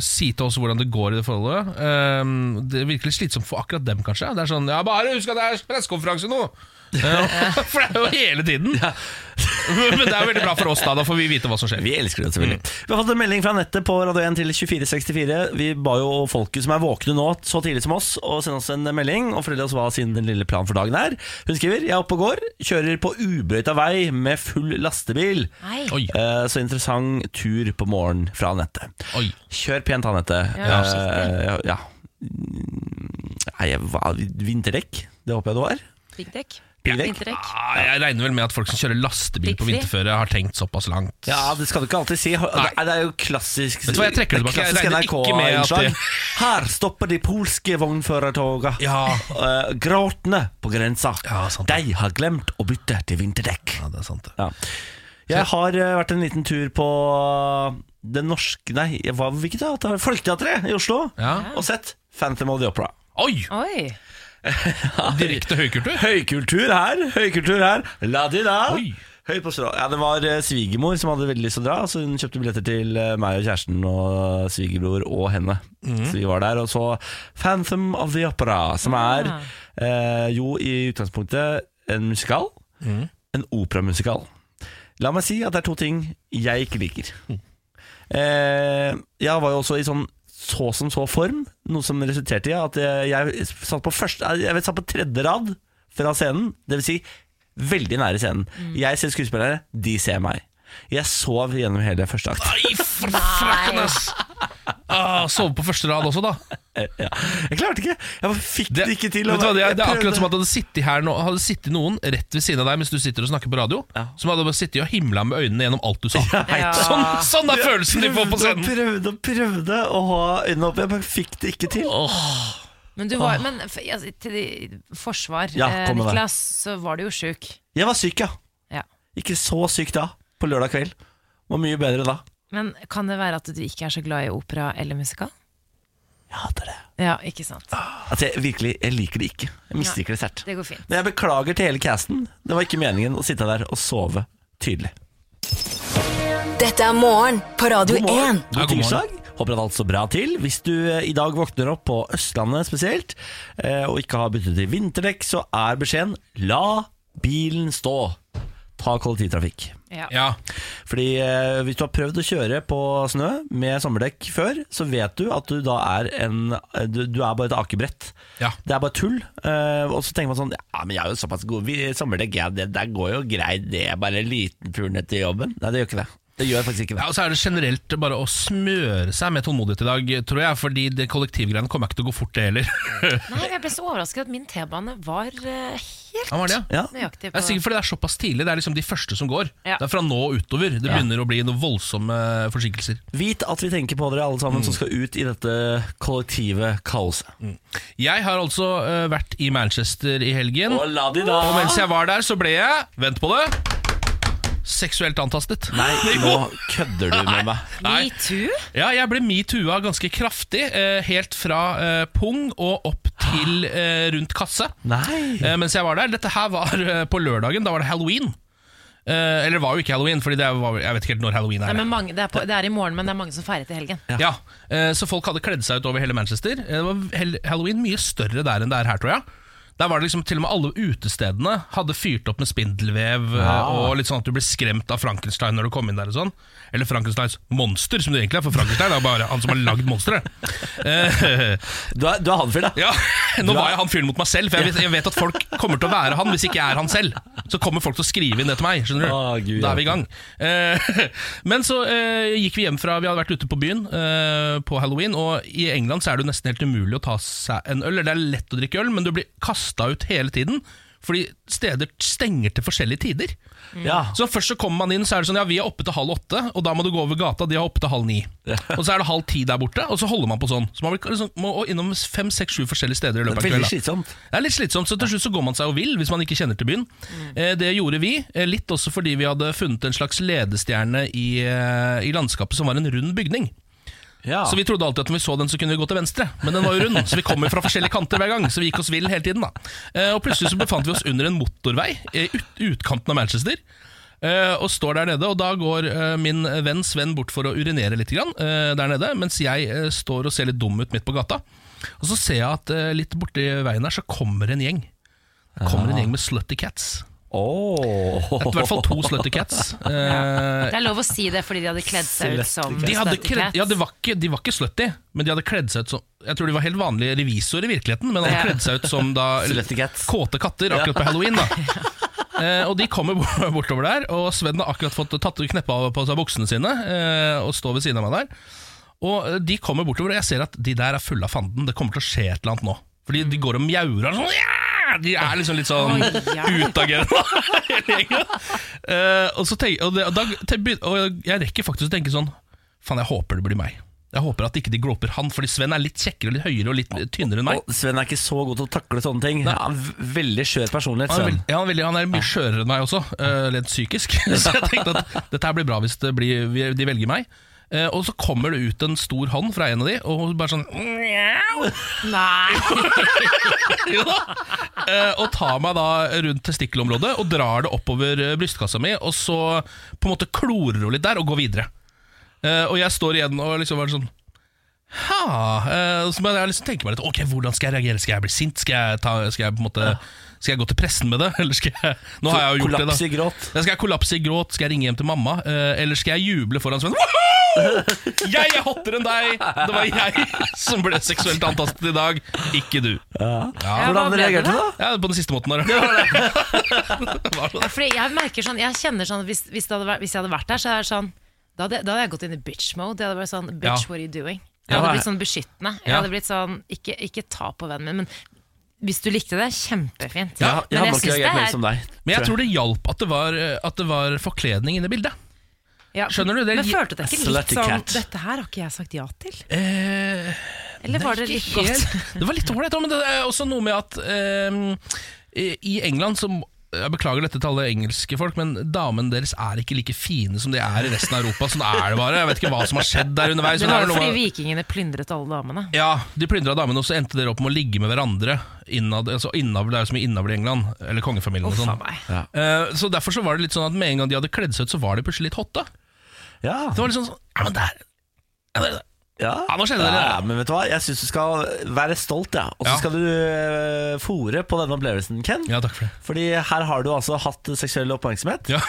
[SPEAKER 3] si til oss hvordan det går i det forholdet. Ehm, det er virkelig slitsomt for akkurat dem, kanskje. Det er sånn Ja, bare husk at det er pressekonferanse nå! Ja, for det er jo hele tiden! Men det er veldig bra for oss, da. Da får vi vite hva som skjer.
[SPEAKER 2] Vi elsker det selvfølgelig.
[SPEAKER 3] Mm.
[SPEAKER 2] Vi har fått en melding fra nettet på Radio 1 til 2464. Vi ba jo folket som er våkne nå, så tidlig som oss, å sende oss en melding og fortelle oss hva sin lille plan for dagen er. Hun skriver Jeg er oppe og går, kjører på ubrøyta vei med full lastebil.
[SPEAKER 1] Nei.
[SPEAKER 3] Oi.
[SPEAKER 2] Eh, Så interessant tur på morgenen fra nettet.
[SPEAKER 3] Oi.
[SPEAKER 2] Kjør pent, Anette.
[SPEAKER 1] Ja,
[SPEAKER 2] Eh, ja. Mm, Nei, jeg var- vinterdekk. Det håper jeg det var.
[SPEAKER 1] Piggdekk.
[SPEAKER 2] Piggdekk.
[SPEAKER 1] Vinterdekk.
[SPEAKER 3] Ah, jeg regner vel med at folk som kjører lastebil på
[SPEAKER 1] Piggfri.
[SPEAKER 3] vinterføre, har tenkt såpass langt.
[SPEAKER 2] Ja, det skal du ikke alltid si. Det er jo klassisk
[SPEAKER 3] Vet du hva, jeg trekker det tilbake. Jeg
[SPEAKER 2] klassisk
[SPEAKER 3] regner ikke med at
[SPEAKER 2] NRK-innslag.
[SPEAKER 3] det-
[SPEAKER 2] Her stopper de polske vognførertoga.
[SPEAKER 3] Ja.
[SPEAKER 2] Eh, gråtende på grensa.
[SPEAKER 3] Ja, sant det.
[SPEAKER 2] de har glemt å bytte til vinterdekk.
[SPEAKER 3] Ja, det er sant, det.
[SPEAKER 2] Ja. Jeg har eh, vært en liten tur på eh, det norske Nei, jeg var, hvilket teater? Folketeatret i Oslo.
[SPEAKER 3] Ja.
[SPEAKER 2] Og sett Phantom of the Opera.
[SPEAKER 3] Oi!
[SPEAKER 1] Oi.
[SPEAKER 3] Direkte høykultur.
[SPEAKER 2] Høykultur her, høykultur her. La di da.
[SPEAKER 3] Oi.
[SPEAKER 2] Høy på strå. Ja, det var eh, svigermor som hadde veldig lyst til å dra, så hun kjøpte billetter til eh, meg og kjæresten og svigerbror og henne.
[SPEAKER 3] Mhm.
[SPEAKER 2] Så vi var der og så Phantom of the Opera, som er
[SPEAKER 3] Ah.
[SPEAKER 2] eh, jo i utgangspunktet en musikal.
[SPEAKER 3] Mhm.
[SPEAKER 2] En operamusikal. La meg si at det er to ting jeg ikke liker. Eh, jeg var jo også i sånn så som så form, noe som resulterte i at eh, jeg satt på, første, eh, jeg satt på tredje rad fra scenen, det vil si veldig nære scenen.
[SPEAKER 3] Mm.
[SPEAKER 2] Jeg ser skuespillere, de ser meg. Jeg sov gjennom hele første akt.
[SPEAKER 3] Nei, for frakken, ass! Ah, Sove på første rad også, da.
[SPEAKER 2] Eh, Ja. Jeg klarte ikke! Jeg bare fikk det, ikke til.
[SPEAKER 3] vet du hva, det, er, det er akkurat som
[SPEAKER 2] at
[SPEAKER 3] at det hadde sittet, her nå, hadde sittet noen rett ved siden av deg mens du sitter og snakker på radio,
[SPEAKER 2] Ja.
[SPEAKER 3] som hadde bare sittet og himla med øynene gjennom alt du sa.
[SPEAKER 1] Ja.
[SPEAKER 3] Sånn, sånn er følelsen de får på
[SPEAKER 2] prøvde og
[SPEAKER 3] scenen!
[SPEAKER 2] prøvde og prøvde å ha øynene oppe, jeg bare fikk det ikke til.
[SPEAKER 1] Men, du var, men f- altså, til de- forsvar,
[SPEAKER 2] Ja,
[SPEAKER 1] eh,
[SPEAKER 2] kom med det.
[SPEAKER 1] Niklas, så var du jo sjuk.
[SPEAKER 2] Jeg var syk, ja.
[SPEAKER 1] Ja.
[SPEAKER 2] Ikke så syk da, på lørdag kveld. Var mye bedre da.
[SPEAKER 1] Men kan det være at du ikke er så glad i opera eller musikal?
[SPEAKER 2] Jeg hater det.
[SPEAKER 1] Ja, ikke sant?
[SPEAKER 2] At jeg virkelig, jeg liker det ikke. Jeg misliker det sterkt.
[SPEAKER 1] Det går fint.
[SPEAKER 2] Men jeg beklager til hele casten. Det var ikke meningen å sitte der og sove tydelig.
[SPEAKER 4] Dette er morgen på Radio
[SPEAKER 2] God morgen.
[SPEAKER 3] Ja,
[SPEAKER 4] 1.
[SPEAKER 2] God
[SPEAKER 3] god morgen.
[SPEAKER 2] tirsdag. Håper at alt står bra til. Hvis du eh, i dag våkner opp på Østlandet spesielt, eh, og ikke har byttet til vinterdekk, så er beskjeden la bilen stå. Ta kollektivtrafikk.
[SPEAKER 1] Ja.
[SPEAKER 3] Ja.
[SPEAKER 2] Fordi eh, hvis du har prøvd å kjøre på snø med sommerdekk før, så vet du at du da er en eh, Du, du er bare et akebrett.
[SPEAKER 3] Ja.
[SPEAKER 2] Det er bare tull. eh, og så tenker man sånn Ja, men jeg er jo såpass god vi, sommerdekk, ja, det der går jo greit, det er bare en liten tur ned til jobben. Nei, det gjør ikke det. Det gjør faktisk ikke det.
[SPEAKER 3] ja, Og så er det generelt bare å smøre seg med tålmodighet i dag, tror jeg. Fordi det kollektivgreiene kommer ikke til å gå fort, det heller.
[SPEAKER 1] Nei, jeg ble så overrasket at min T-bane var eh, helt
[SPEAKER 3] Ja, var det, ja?
[SPEAKER 2] Ja.
[SPEAKER 1] nøyaktig
[SPEAKER 3] Det
[SPEAKER 1] på
[SPEAKER 3] er sikkert fordi det er såpass tidlig. Det er liksom de første som går.
[SPEAKER 1] Ja.
[SPEAKER 3] Det er fra nå og utover. Det begynner å bli noen voldsomme forsinkelser.
[SPEAKER 2] Vit at vi tenker på dere alle sammen
[SPEAKER 3] Mm.
[SPEAKER 2] som skal ut i dette kollektive kaoset.
[SPEAKER 3] Jeg har altså eh, vært i Manchester i helgen.
[SPEAKER 2] Og la de da
[SPEAKER 3] Og mens jeg var der, så ble jeg Vent på det seksuelt antastet.
[SPEAKER 2] Nei, nå kødder du med meg.
[SPEAKER 3] Nei.
[SPEAKER 1] Metoo?
[SPEAKER 3] Ja, jeg ble metoo-a ganske kraftig. eh, helt fra eh, pung og opp til eh, rundt kasse.
[SPEAKER 2] Nei.
[SPEAKER 3] Eh, mens jeg var der. Dette her var eh, på lørdagen. Da var det halloween. Eh, eller det var jo ikke halloween, Fordi det var, jeg vet ikke helt når halloween
[SPEAKER 1] Nei,
[SPEAKER 3] er.
[SPEAKER 1] men mange, det, er på, det er i morgen, men det er mange som feirer til helgen.
[SPEAKER 3] ja. eh, Så folk hadde kledd seg ut over hele Manchester. Eh, Det var hel- halloween mye større der enn det er her, tror jeg. Der var det liksom Til og med alle utestedene hadde fyrt opp med spindelvev. eh, Og litt sånn at du ble skremt av Frankenstein når du kom inn der. og sånn Eller Frankensteins monster, som det egentlig er. For Frankenstein er jo bare han som har lagd monsteret. Eh,
[SPEAKER 2] Du er, du er han fyren, da.
[SPEAKER 3] Ja, Nå var jeg han fyren mot meg selv, for jeg vet, jeg vet at folk kommer til å være han hvis ikke jeg er han selv. Så kommer folk til å skrive inn det til meg. skjønner du?
[SPEAKER 2] Å, Gud,
[SPEAKER 3] da er vi i gang. Eh, men så eh, gikk vi hjem fra Vi hadde vært ute på byen eh, på halloween, og i England så er det jo nesten helt umulig å ta seg en øl. Eller det er lett å drikke øl, men du blir kasta ut hele tiden. Fordi steder stenger til forskjellige tider.
[SPEAKER 2] Ja.
[SPEAKER 3] Så først så kommer man inn, så er det sånn Ja, vi er oppe til halv åtte, og da må du gå over gata. De er oppe til halv ni. Og så er det halv ti der borte, og så holder man på sånn. Så man blir liksom, må innom fem, seks, sju forskjellige steder i løpet av
[SPEAKER 2] Veldig
[SPEAKER 3] kvelden. da.
[SPEAKER 2] slitsomt.
[SPEAKER 3] Det er litt slitsomt, så til slutt så går man seg jo vill hvis man ikke kjenner til byen. Eh, Det gjorde vi, eh, litt også fordi vi hadde funnet en slags ledestjerne i, eh, i landskapet som var en rund bygning.
[SPEAKER 2] Ja.
[SPEAKER 3] Så vi trodde alltid at når vi så den, så kunne vi gå til venstre, men den var jo rund, så vi kom jo fra forskjellige kanter hver gang, så vi gikk oss vill hele tiden, da. Eh, Og plutselig så befant vi oss under en motorvei i ut, utkanten av Manchester. eh, og står der nede, og da går eh, min venn Sven bort for å urinere litt grann, eh, der nede, mens jeg eh, står og ser litt dum ut midt på gata. Og så ser jeg at eh, litt borti veien her så kommer en gjeng. Det kommer en gjeng med slutty cats.
[SPEAKER 2] Åh.
[SPEAKER 3] I hvert fall to slutty cats. Eh,
[SPEAKER 1] Det er lov å si det fordi de hadde kledd seg ut som
[SPEAKER 3] de, hadde
[SPEAKER 1] Slutty
[SPEAKER 3] kledd,
[SPEAKER 1] Cats.
[SPEAKER 3] ja, det var ikke, de var ikke slutty, men de hadde kledd seg ut som Jeg tror de var helt vanlige revisorer i virkeligheten, men hadde
[SPEAKER 1] Ja.
[SPEAKER 3] kledd seg ut som da
[SPEAKER 2] Slutty cats.
[SPEAKER 3] kåte katter akkurat på halloween. da Eh, og De kommer bo- bortover der, og Sven har akkurat fått tatt kneppa av på seg buksene sine eh, og står ved siden av meg der. Og eh, De kommer bortover, og jeg ser at de der er fulle av fanden. Det kommer til å skje et eller annet nå. Fordi de går og mjauer og sånn. «Ja!» De er liksom litt sånn
[SPEAKER 1] Oi, ja.
[SPEAKER 3] utagerende. hele gjengen. Eh, og, så tenk, og, det, og, da, til begyn- og jeg rekker faktisk å tenke sånn Faen, jeg håper det blir meg. Jeg håper at ikke de glåper han, fordi Sven er litt kjekkere, litt høyere og litt tynnere enn meg.
[SPEAKER 2] Og Sven er ikke så god til å takle sånne ting. Ja, veldig skjør personlighet,
[SPEAKER 3] Han er,
[SPEAKER 2] Sven.
[SPEAKER 3] veld, ja, han, er veldig, han er mye skjørere enn meg også, eh, rent psykisk. Så jeg tenkte at dette her blir bra hvis det blir, vi- de velger meg. Eh, og så kommer det ut en stor hånd fra en av de, og hun bare sånn «Mjau!»
[SPEAKER 1] Nei,
[SPEAKER 3] Jo da. Eh, Og tar meg da rundt testikkelområdet og drar det oppover eh, brystkassa mi, og så på en måte klorer hun litt der og går videre. Eh, og jeg står igjen og liksom bare sånn Ha! Eh, Så må jeg liksom tenke meg litt Ok, hvordan skal jeg reagere? Skal jeg bli sint? Skal jeg, ta, skal jeg på en måte Skal jeg gå til pressen med det? Eller skal jeg Nå har jeg jo gjort det, da.
[SPEAKER 2] Kollaps i gråt.
[SPEAKER 3] Jeg skal jeg kollapse i gråt? Skal jeg ringe hjem til mamma? Eh, eller skal jeg juble foran Sven? Woohoo! Jeg er hottere enn deg! Det var jeg som ble seksuelt antastet i dag, ikke du.
[SPEAKER 1] Ja, hva
[SPEAKER 2] Hvordan
[SPEAKER 1] ble det
[SPEAKER 2] reagerte du, da?
[SPEAKER 3] Ja, på den siste måten der. Det var det. var det.
[SPEAKER 1] fordi jeg merker sånn, jeg kjenner sånn Hvis, hvis, det hadde vært, hvis jeg hadde vært der, så er det sånn da hadde, da hadde jeg gått inn i bitch mode. Jeg hadde vært sånn, bitch,
[SPEAKER 3] Ja.
[SPEAKER 1] what are you doing? Jeg
[SPEAKER 2] Ja,
[SPEAKER 1] hadde
[SPEAKER 2] hva er-
[SPEAKER 1] blitt sånn beskyttende. Jeg
[SPEAKER 3] Ja.
[SPEAKER 1] hadde blitt sånn, ikke, ikke ta på vennen min, men hvis du likte det, kjempefint.
[SPEAKER 2] Ja, jeg
[SPEAKER 1] men
[SPEAKER 2] hadde
[SPEAKER 1] jeg
[SPEAKER 2] nok
[SPEAKER 1] syns det
[SPEAKER 2] reagert mer
[SPEAKER 1] er
[SPEAKER 2] som deg.
[SPEAKER 3] Men jeg tror det hjalp at det var, at det var forkledning inne i bildet.
[SPEAKER 1] ja.
[SPEAKER 3] Skjønner du? Det-
[SPEAKER 1] Men følte du deg ikke litt
[SPEAKER 2] Slutty
[SPEAKER 1] sånn
[SPEAKER 2] cat.
[SPEAKER 1] Dette her har ikke jeg sagt ja til.
[SPEAKER 3] Eh,
[SPEAKER 1] Eller var det
[SPEAKER 3] Nei,
[SPEAKER 1] litt
[SPEAKER 3] ikke
[SPEAKER 1] godt?
[SPEAKER 3] helt. Det var litt ålreit, men det er også noe med at ehm, i England så jeg beklager dette til alle engelske folk, men damene deres er ikke like fine som de er i resten av Europa. Sånn er det bare. Jeg vet ikke hva som har skjedd der underveis.
[SPEAKER 1] Det
[SPEAKER 3] men det er
[SPEAKER 1] var
[SPEAKER 3] vel
[SPEAKER 1] jo
[SPEAKER 3] noe
[SPEAKER 1] fordi
[SPEAKER 3] med-
[SPEAKER 1] vikingene plyndret alle damene.
[SPEAKER 3] Ja, de plyndra damene, og så endte dere opp med å ligge med hverandre. Innad, altså innavl, det er jo så mye innavl i England. Eller kongefamilien og
[SPEAKER 1] Uff a
[SPEAKER 3] sånn.
[SPEAKER 1] meg.
[SPEAKER 3] Eh, så derfor så var det litt sånn at med en gang de hadde kledd seg ut, så var de plutselig litt hotte.
[SPEAKER 2] Ja,
[SPEAKER 3] Det var litt sånn sånn, Ja, men der ja, der-
[SPEAKER 2] ja.
[SPEAKER 3] Ja, nå skjedde det.
[SPEAKER 2] Ja, men vet du hva? Jeg syns du skal være stolt, ja. og så
[SPEAKER 3] Ja.
[SPEAKER 2] skal du uh, fore på denne opplevelsen, Ken.
[SPEAKER 3] Ja, takk for det.
[SPEAKER 2] Fordi her har du altså hatt seksuell oppmerksomhet.
[SPEAKER 3] Ja.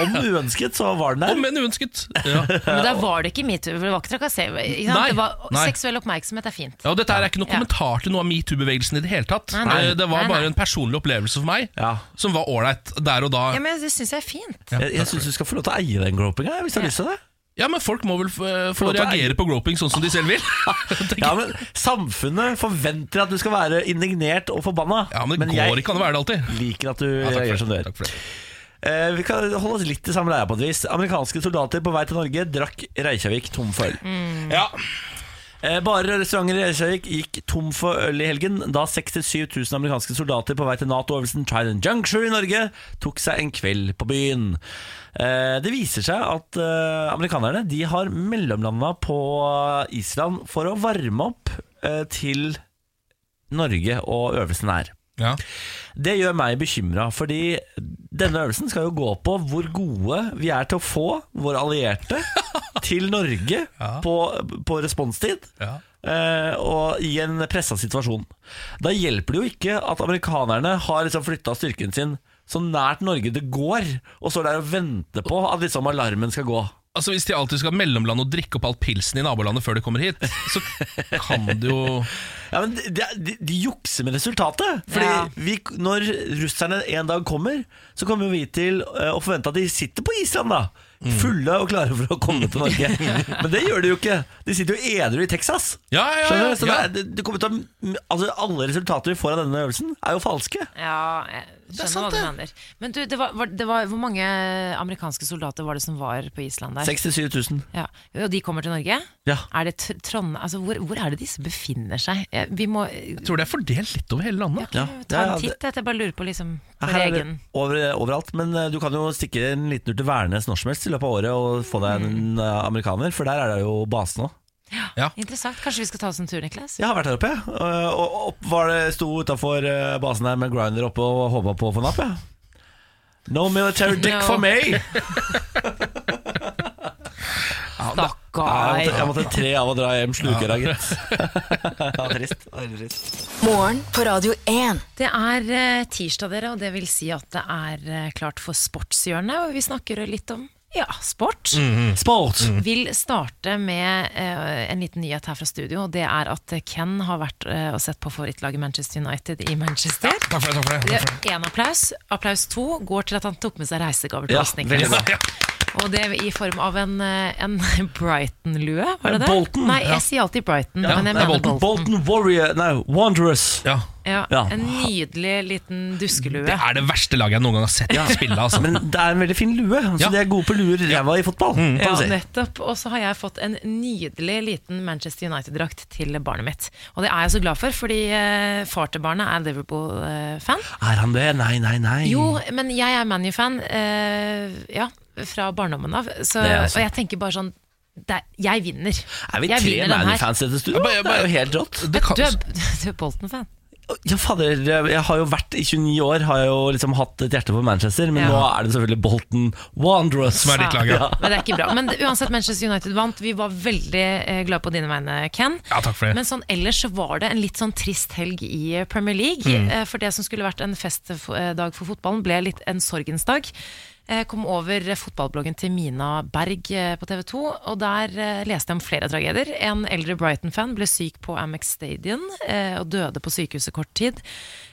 [SPEAKER 2] Om uønsket, så var den der.
[SPEAKER 3] Og men uønsket. Ja.
[SPEAKER 1] Men der var det ikke metoo. for Det var ikke trakassering. ikke sant?
[SPEAKER 3] Nei,
[SPEAKER 1] Det var
[SPEAKER 3] nei.
[SPEAKER 1] Seksuell oppmerksomhet er fint.
[SPEAKER 3] Ja, og Dette her er ikke noen
[SPEAKER 1] Ja.
[SPEAKER 3] kommentar til noe av metoo-bevegelsen i det hele tatt.
[SPEAKER 1] Nei, nei.
[SPEAKER 3] Eh, Det var
[SPEAKER 1] Nei, nei.
[SPEAKER 3] bare en personlig opplevelse for meg
[SPEAKER 2] Ja.
[SPEAKER 3] som var ålreit der og da.
[SPEAKER 1] Ja, men Det syns jeg er fint.
[SPEAKER 2] Jeg, jeg syns du skal få lov til å eie den gropinga, jeg, hvis du har
[SPEAKER 1] Ja.
[SPEAKER 2] lyst til det.
[SPEAKER 3] Ja, men folk må vel eh, få
[SPEAKER 2] lov til å
[SPEAKER 3] reagere på groping sånn som de selv vil. Tenker-
[SPEAKER 2] Ja, men Samfunnet forventer at du skal være indignert og forbanna.
[SPEAKER 3] ja, men det går
[SPEAKER 2] jeg
[SPEAKER 3] ikke an å være det alltid.
[SPEAKER 2] liker at du
[SPEAKER 3] Ja, takk,
[SPEAKER 2] gjør
[SPEAKER 3] for
[SPEAKER 2] som du gjør.
[SPEAKER 3] det. takk for det.
[SPEAKER 2] Eh, vi kan holde oss litt i samme leia på et vis. Amerikanske soldater på vei til Norge drakk Reykjavik tom for øl.
[SPEAKER 3] Ja.
[SPEAKER 2] Eh, Barer og restauranter i Reykjavik gikk tom for øl i helgen da 67 000 amerikanske soldater på vei til Nato-øvelsen Trident Juncture i Norge tok seg en kveld på byen. Eh, Det viser seg at eh, amerikanerne de har mellomlanda på Island for å varme opp eh, til Norge og øvelsen her.
[SPEAKER 3] Ja.
[SPEAKER 2] Det gjør meg bekymra, fordi denne øvelsen skal jo gå på hvor gode vi er til å få våre allierte til Norge
[SPEAKER 3] Ja.
[SPEAKER 2] på, på responstid.
[SPEAKER 3] Ja.
[SPEAKER 2] eh, og i en pressa situasjon. Da hjelper det jo ikke at amerikanerne har liksom flytta styrken sin så nært Norge det går, og står der og venter på at liksom alarmen skal gå.
[SPEAKER 3] Altså Hvis de alltid skal mellomlande og drikke opp all pilsen i nabolandet før de kommer hit, så kan det jo
[SPEAKER 2] Ja, men de, de, de jukser med resultatet. Fordi
[SPEAKER 1] Ja.
[SPEAKER 2] vi, når russerne en dag kommer, så kommer jo vi til eh, å forvente at de sitter på Island, da. Fulle og klare for å komme til Norge. Men det gjør de jo ikke. De sitter jo edru i Texas.
[SPEAKER 3] Ja, ja, ja,
[SPEAKER 2] Skjønner du? Så
[SPEAKER 3] ja.
[SPEAKER 2] det er- det, det kommer til å, altså, alle resultater vi får av denne øvelsen, er jo falske.
[SPEAKER 1] Ja, jeg skjønner hva
[SPEAKER 3] sant,
[SPEAKER 1] du
[SPEAKER 3] det.
[SPEAKER 1] mener. Men du, det var, var, det var, hvor mange amerikanske soldater var det som var på Island der?
[SPEAKER 2] 67 000.
[SPEAKER 1] Ja. Og de kommer til Norge?
[SPEAKER 2] Ja.
[SPEAKER 1] Er det Tr- Trondheim altså, hvor, hvor er det disse befinner seg? Eh, Vi må
[SPEAKER 3] Jeg tror det er fordelt litt over hele landet.
[SPEAKER 2] Ja.
[SPEAKER 1] ta
[SPEAKER 2] Ja,
[SPEAKER 1] en
[SPEAKER 2] det-
[SPEAKER 1] titt. Jeg bare lurer på liksom vår
[SPEAKER 2] Her er det
[SPEAKER 1] egen
[SPEAKER 2] over, overalt, men eh, du kan jo stikke en liten tur til Værnes når som helst i løpet av året og få deg en eh, amerikaner, for der er det jo base nå.
[SPEAKER 1] Interessant. Kanskje vi skal ta oss en tur, Niklas?
[SPEAKER 2] Jeg har vært her oppe, jeg. Eh, Og opp var det, sto utafor basen her med grinder oppe og håpa på å få napp, jeg. No military dick
[SPEAKER 1] No.
[SPEAKER 2] for me! Jeg måtte, jeg
[SPEAKER 1] Stakkar.
[SPEAKER 2] måtte tre av å dra hjem slukøra, gitt. Ja, trist. Det var veldig trist.
[SPEAKER 4] Morgen på Radio 1.
[SPEAKER 1] Det er eh, tirsdag, dere, og det vil si at det er eh, klart for sportshjørnet. Og vi snakker litt om ja, sport.
[SPEAKER 2] Mm. Sport!
[SPEAKER 1] Vil starte med eh, en liten nyhet her fra studio. og Det er at Ken har vært eh, og sett på favorittlaget Manchester United i Manchester.
[SPEAKER 3] Takk for det, takk for det,
[SPEAKER 1] Det
[SPEAKER 3] takk for det.
[SPEAKER 1] er Én applaus. Applaus to går til at han tok med seg reisegaver til
[SPEAKER 2] Ja,
[SPEAKER 1] oss,
[SPEAKER 2] veldig
[SPEAKER 1] Niklas.
[SPEAKER 2] bra.
[SPEAKER 3] Ja.
[SPEAKER 1] Og det i form av en, eh, en Brighton-lue, var det det?
[SPEAKER 2] Bolton,
[SPEAKER 1] Nei,
[SPEAKER 2] ja.
[SPEAKER 1] jeg sier alltid Brighton,
[SPEAKER 3] Ja,
[SPEAKER 1] men
[SPEAKER 3] det
[SPEAKER 1] jeg
[SPEAKER 3] er
[SPEAKER 1] mener
[SPEAKER 3] Bolton.
[SPEAKER 1] Bolton.
[SPEAKER 2] Bolton Warrior Nei, Wanderers.
[SPEAKER 3] Ja.
[SPEAKER 1] Ja,
[SPEAKER 2] Ja.
[SPEAKER 1] En nydelig liten duskelue.
[SPEAKER 3] Det er det verste laget jeg noen gang har sett spille. Altså.
[SPEAKER 2] Men det er en veldig fin lue, så
[SPEAKER 3] Ja.
[SPEAKER 2] de er gode på luer ræva i fotball.
[SPEAKER 1] Ja,
[SPEAKER 2] kan du si.
[SPEAKER 1] nettopp. Og så har jeg fått en nydelig liten Manchester United-drakt til barnet mitt. Og det er jeg så glad for, fordi eh, far til barnet er Liverpool-fan.
[SPEAKER 2] Er han det? Nei, nei, nei.
[SPEAKER 1] Jo, men jeg er ManU-fan, eh, ja, fra barndommen av. Så,
[SPEAKER 2] Det er jeg også.
[SPEAKER 1] og jeg tenker bare sånn det er, Jeg vinner.
[SPEAKER 2] Er vi
[SPEAKER 1] jeg
[SPEAKER 2] tre
[SPEAKER 1] vinner den her.
[SPEAKER 2] ManU-fans i dette
[SPEAKER 3] Jeg
[SPEAKER 2] studioet?
[SPEAKER 3] bare- jeg
[SPEAKER 2] Det
[SPEAKER 3] bare-
[SPEAKER 2] er jo helt rått.
[SPEAKER 3] Det kan-
[SPEAKER 1] Du er, du er Bolton-fan.
[SPEAKER 2] Ja, fader, jeg har jo vært i 29 år, har jeg jo liksom hatt et hjerte for Manchester, men
[SPEAKER 1] Ja.
[SPEAKER 2] nå er det selvfølgelig Bolton Wanderers.
[SPEAKER 3] Som er ditt lag, ja.
[SPEAKER 1] Men det er ikke bra. Men uansett, Manchester United vant. Vi var veldig eh, glade på dine vegne, Ken.
[SPEAKER 3] Ja, takk for det.
[SPEAKER 1] Men sånn, ellers så var det en litt sånn trist helg i Premier League. Eh, For det som skulle vært en festdag for fotballen, ble litt en sorgens dag. Jeg kom over fotballbloggen til Mina Berg eh, på TV 2, og der eh, leste jeg om flere tragedier. En eldre Brighton-fan ble syk på Amex Stadium eh, og døde på sykehuset kort tid.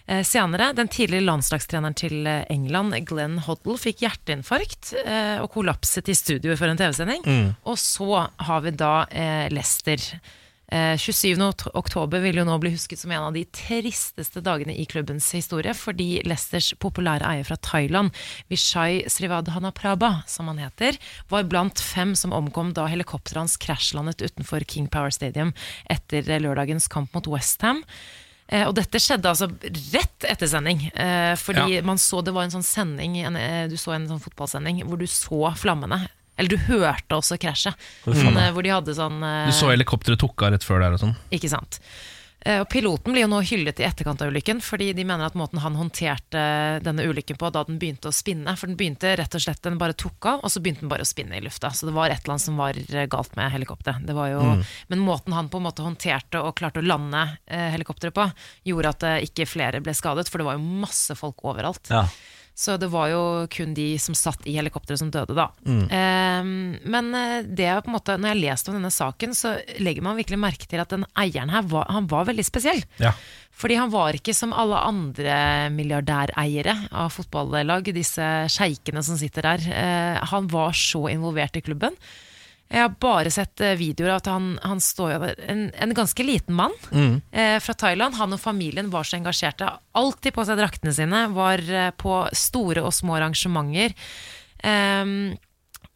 [SPEAKER 1] Eh, Senere, den tidligere landslagstreneren til eh, England, Glenn Hoddle, fikk hjerteinfarkt eh, og kollapset i studio for en TV-sending. Og så har vi da eh, Leicester. Eh, 27. okt- oktober vil jo nå bli husket som en av de tristeste dagene i klubbens historie, fordi Leicesters populære eier fra Thailand, Vishay Srivadhanaprabha, som han heter, var blant fem som omkom da helikopteret hans krasjlandet utenfor King Power Stadium etter eh, lørdagens kamp mot Westham. Eh, og dette skjedde altså rett etter sending. Eh, fordi
[SPEAKER 3] Ja.
[SPEAKER 1] man så det var en sånn sending en, eh, Du så en sånn fotballsending hvor du så flammene. Eller du hørte også krasjet. Sånn, eh, hvor de hadde sånn eh,
[SPEAKER 3] Du så helikopteret tok av rett før der og sånn.
[SPEAKER 1] Ikke sant. Eh, Og piloten blir jo nå hyllet i etterkant av ulykken, fordi de mener at måten han håndterte denne ulykken på da den begynte å spinne For den begynte rett og slett, den bare tok av, og så begynte den bare å spinne i lufta. Så det var et eller annet som var eh, galt med helikopteret. Det var jo, Men måten han på en måte håndterte og klarte å lande eh, helikopteret på, gjorde at eh, ikke flere ble skadet, for det var jo masse folk overalt.
[SPEAKER 2] Ja.
[SPEAKER 1] Så det var jo kun de som satt i helikopteret som døde, da. Eh, men eh, det er på en måte, når jeg har lest om denne saken, så legger man virkelig merke til at den eieren her var, han var veldig spesiell.
[SPEAKER 3] Ja.
[SPEAKER 1] Fordi han var ikke som alle andre milliardæreiere av fotballag, disse sjeikene som sitter der. Eh, han var så involvert i klubben. Jeg har bare sett eh, videoer av at han, han står jo der. En, en ganske liten mann eh, fra Thailand. Han og familien var så engasjerte. Alltid på seg draktene sine. Var eh, på store og små arrangementer. Ehm,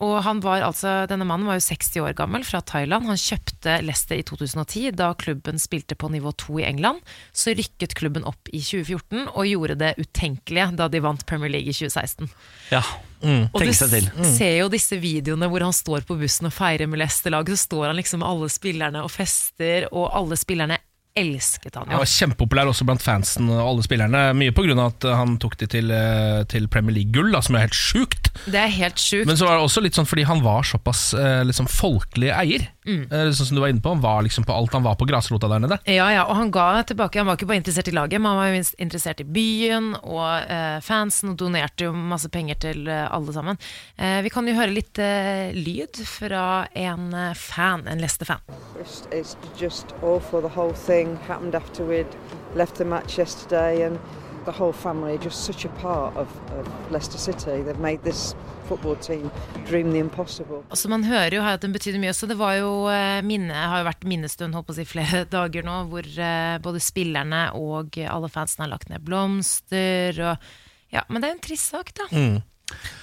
[SPEAKER 1] og han var altså, Denne mannen var jo 60 år gammel, fra Thailand. Han kjøpte Leicester i 2010, da klubben spilte på nivå 2 i England. Så rykket klubben opp i 2014 og gjorde det utenkelige da de vant Premier League i 2016.
[SPEAKER 2] ja.
[SPEAKER 3] Mm.
[SPEAKER 1] Og du
[SPEAKER 2] Tenke seg til.
[SPEAKER 1] s- ser jo disse videoene hvor han står på bussen og feirer med Leicester-laget. Så står han liksom med alle spillerne og fester, og alle spillerne elsket han
[SPEAKER 3] Han
[SPEAKER 1] jo.
[SPEAKER 3] var kjempepopulær også blant fansen og alle spillerne. Mye pga. at eh, han tok de til, eh, til Premier League-gull, da, som er helt sjukt.
[SPEAKER 1] Det er helt sjukt.
[SPEAKER 3] Men så var det også litt sånn fordi han var såpass eh, liksom folkelig eier.
[SPEAKER 1] Mm.
[SPEAKER 3] Eh, sånn som du var inne på Han var liksom på alt. Han var på grasrota der nede.
[SPEAKER 1] Ja, ja, og han ga tilbake. Han var ikke bare interessert i laget, men han var jo minst interessert i byen og eh, fansen, og donerte jo masse penger til eh, alle sammen. Eh, vi kan jo høre litt eh, lyd fra en eh, fan, en Leicester-fan.
[SPEAKER 8] It's, it's just awful. The whole thing happened after we'd left the match yesterday, and the whole family are just such a part of, of Leicester City. They've made this football team dream the impossible.
[SPEAKER 1] Altså Man hører jo her at den betydde mye. Så det var jo eh, minne, har jo vært minnestund holdt på å si, flere dager nå, hvor eh, både spillerne og alle fansen har lagt ned blomster. Og, ja, Men det er jo en trist sak, da.
[SPEAKER 3] Den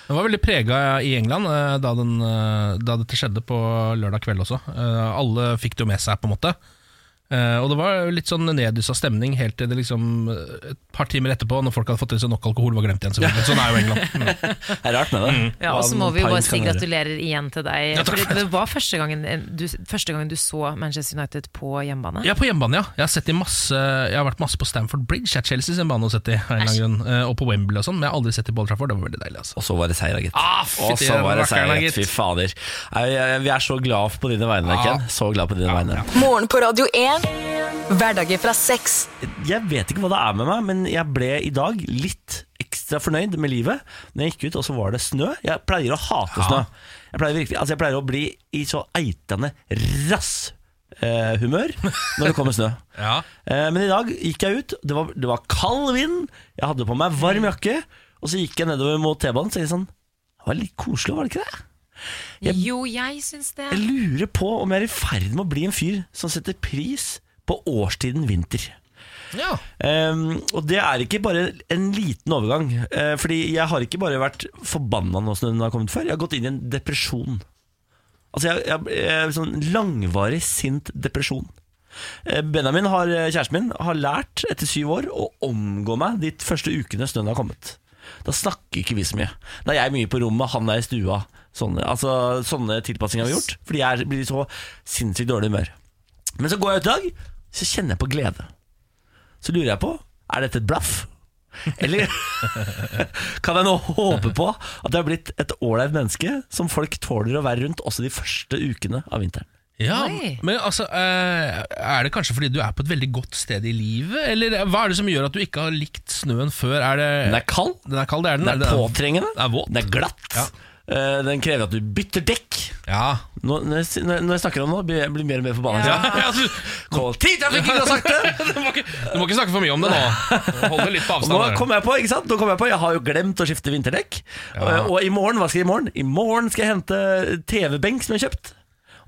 [SPEAKER 3] var veldig prega i England eh, da, den, eh, da dette skjedde på lørdag kveld også. Eh, Alle fikk det jo med seg, på en måte. Eh, Og det var litt sånn neddyssa stemning helt til det liksom eh, et par timer etterpå, når folk hadde fått i seg nok alkohol, var glemt igjen. selvfølgelig. Sånn er jo England. Mm.
[SPEAKER 2] Det er rart med det.
[SPEAKER 1] Ja, og så må
[SPEAKER 2] Hva
[SPEAKER 1] vi jo
[SPEAKER 2] en
[SPEAKER 1] bare
[SPEAKER 2] pint
[SPEAKER 1] si
[SPEAKER 2] kan gjøre.
[SPEAKER 1] gratulerer igjen til deg.
[SPEAKER 3] Ja, takk.
[SPEAKER 1] Fordi det var første gangen eh, du, første gangen du så Manchester United på hjemmebane.
[SPEAKER 3] Ja, på hjemmebane, ja. Jeg har, sett de masse, jeg har vært masse på Stamford Bridge. Jeg har Chelsea sin bane å sette i, av en eller annen grunn. Eh, og på Wembley og sånn, men jeg har aldri sett i Bold Trafford. Det var veldig deilig, altså.
[SPEAKER 2] Og så var det seier, da, gitt.
[SPEAKER 3] Ah, fy,
[SPEAKER 2] og så var det seier,
[SPEAKER 3] rakkeren, da,
[SPEAKER 2] gitt. Fy
[SPEAKER 3] gitt. Ah.
[SPEAKER 2] fader. Nei, jeg- Vi er så glad på dine vegne,
[SPEAKER 3] Ja.
[SPEAKER 2] Ken. Så glad på dine vegne.
[SPEAKER 4] Morgen på Radio 1. Hverdager fra seks.
[SPEAKER 2] Jeg vet ikke hva det er med meg, men jeg ble i dag litt ekstra fornøyd med livet. Når jeg gikk ut, og så var det snø. Jeg pleier å hate snø. Jeg pleier, virkelig, altså jeg pleier å bli i så eitende rass eh, humør når det kommer snø.
[SPEAKER 3] Ja.
[SPEAKER 2] Eh, Men i dag gikk jeg ut, det var, det var kald vind, jeg hadde på meg varm jakke, og så gikk jeg nedover mot T-banen og tenkte jeg sånn Det var litt koselig, var det ikke det? jeg-
[SPEAKER 1] Jo, jeg syns det.
[SPEAKER 2] Jeg lurer på om jeg er i ferd med å bli en fyr som setter pris på årstiden vinter.
[SPEAKER 3] ja.
[SPEAKER 2] Ehm, og det er ikke bare en liten overgang. eh, fordi jeg har ikke bare vært forbanna nå som den har kommet før. Jeg har gått inn i en depresjon. Altså jeg, jeg, jeg Sånn langvarig sint depresjon. Eh, Benjamin, har, eh, kjæresten min, har lært etter syv år å omgå meg de første ukene snøen har kommet. Da snakker ikke vi så mye. Da er jeg mye på rommet, han er i stua. Sånne, altså, sånne tilpassinger har vi gjort. Fordi jeg er- blir i så sinnssykt dårlig humør. Men så går jeg ut i dag, så kjenner jeg på glede så lurer jeg på Er dette et blaff? Eller kan jeg nå håpe på at jeg har blitt et ålreit menneske som folk tåler å være rundt også de første ukene av vinteren?
[SPEAKER 3] Ja,
[SPEAKER 1] Oi.
[SPEAKER 3] men altså, eh, er det kanskje fordi du er på et veldig godt sted i livet? Eller hva er det som gjør at du ikke har likt snøen før? Er det,
[SPEAKER 2] Den er kald,
[SPEAKER 3] den er kald, det er den.
[SPEAKER 2] den er påtrengende,
[SPEAKER 3] Den er våt.
[SPEAKER 2] den er glatt.
[SPEAKER 3] Ja.
[SPEAKER 2] eh, Den krever at du bytter dekk.
[SPEAKER 3] Ja.
[SPEAKER 2] Nå, når, jeg, når jeg snakker om det, nå, blir jeg blir jeg mer og mer forbanna.
[SPEAKER 3] ja. du,
[SPEAKER 2] Kollektivtrafikken har sagt det!
[SPEAKER 3] du, må ikke, du må ikke snakke for mye om det nå. Hold det litt på
[SPEAKER 2] Og Nå
[SPEAKER 3] avstand. her.
[SPEAKER 2] kom jeg på, ikke sant? Nå kom jeg på, jeg har jo glemt å skifte vinterdekk. Og, og i morgen, hva skal jeg i morgen? I morgen skal jeg hente TV-benk som jeg har kjøpt.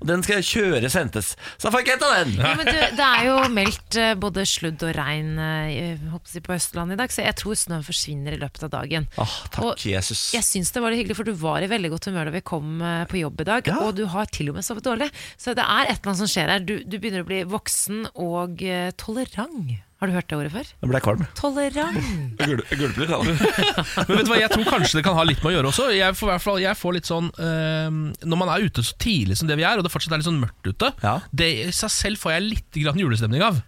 [SPEAKER 2] Og den skal kjøres hentes. Så da får jeg ikke henta den!
[SPEAKER 1] Ja, men du, det er jo meldt eh, både sludd og regn eh, i- håper jeg, på Østlandet i dag, så jeg tror snøen forsvinner i løpet av dagen.
[SPEAKER 2] Åh, Ah, takk,
[SPEAKER 1] Og
[SPEAKER 2] Jesus.
[SPEAKER 1] Jeg syns det var litt hyggelig, for du var i veldig godt humør da vi kom eh, på jobb i dag.
[SPEAKER 2] Ja.
[SPEAKER 1] Og du har til og med sovet dårlig. Så det er et eller annet som skjer her. Du, du begynner å bli voksen og eh, tolerant. Har du hørt det ordet før?
[SPEAKER 2] Da ble jeg kvalm.
[SPEAKER 1] Tolerant.
[SPEAKER 2] Gulper litt, da.
[SPEAKER 3] Men vet du hva, jeg tror kanskje det kan ha litt med å gjøre også. Jeg får, i hvert fall, jeg får litt sånn eh, Når man er ute så tidlig som det vi er, og det fortsatt er litt sånn mørkt ute,
[SPEAKER 2] Ja.
[SPEAKER 3] det i seg selv får jeg litt grann julestemning av.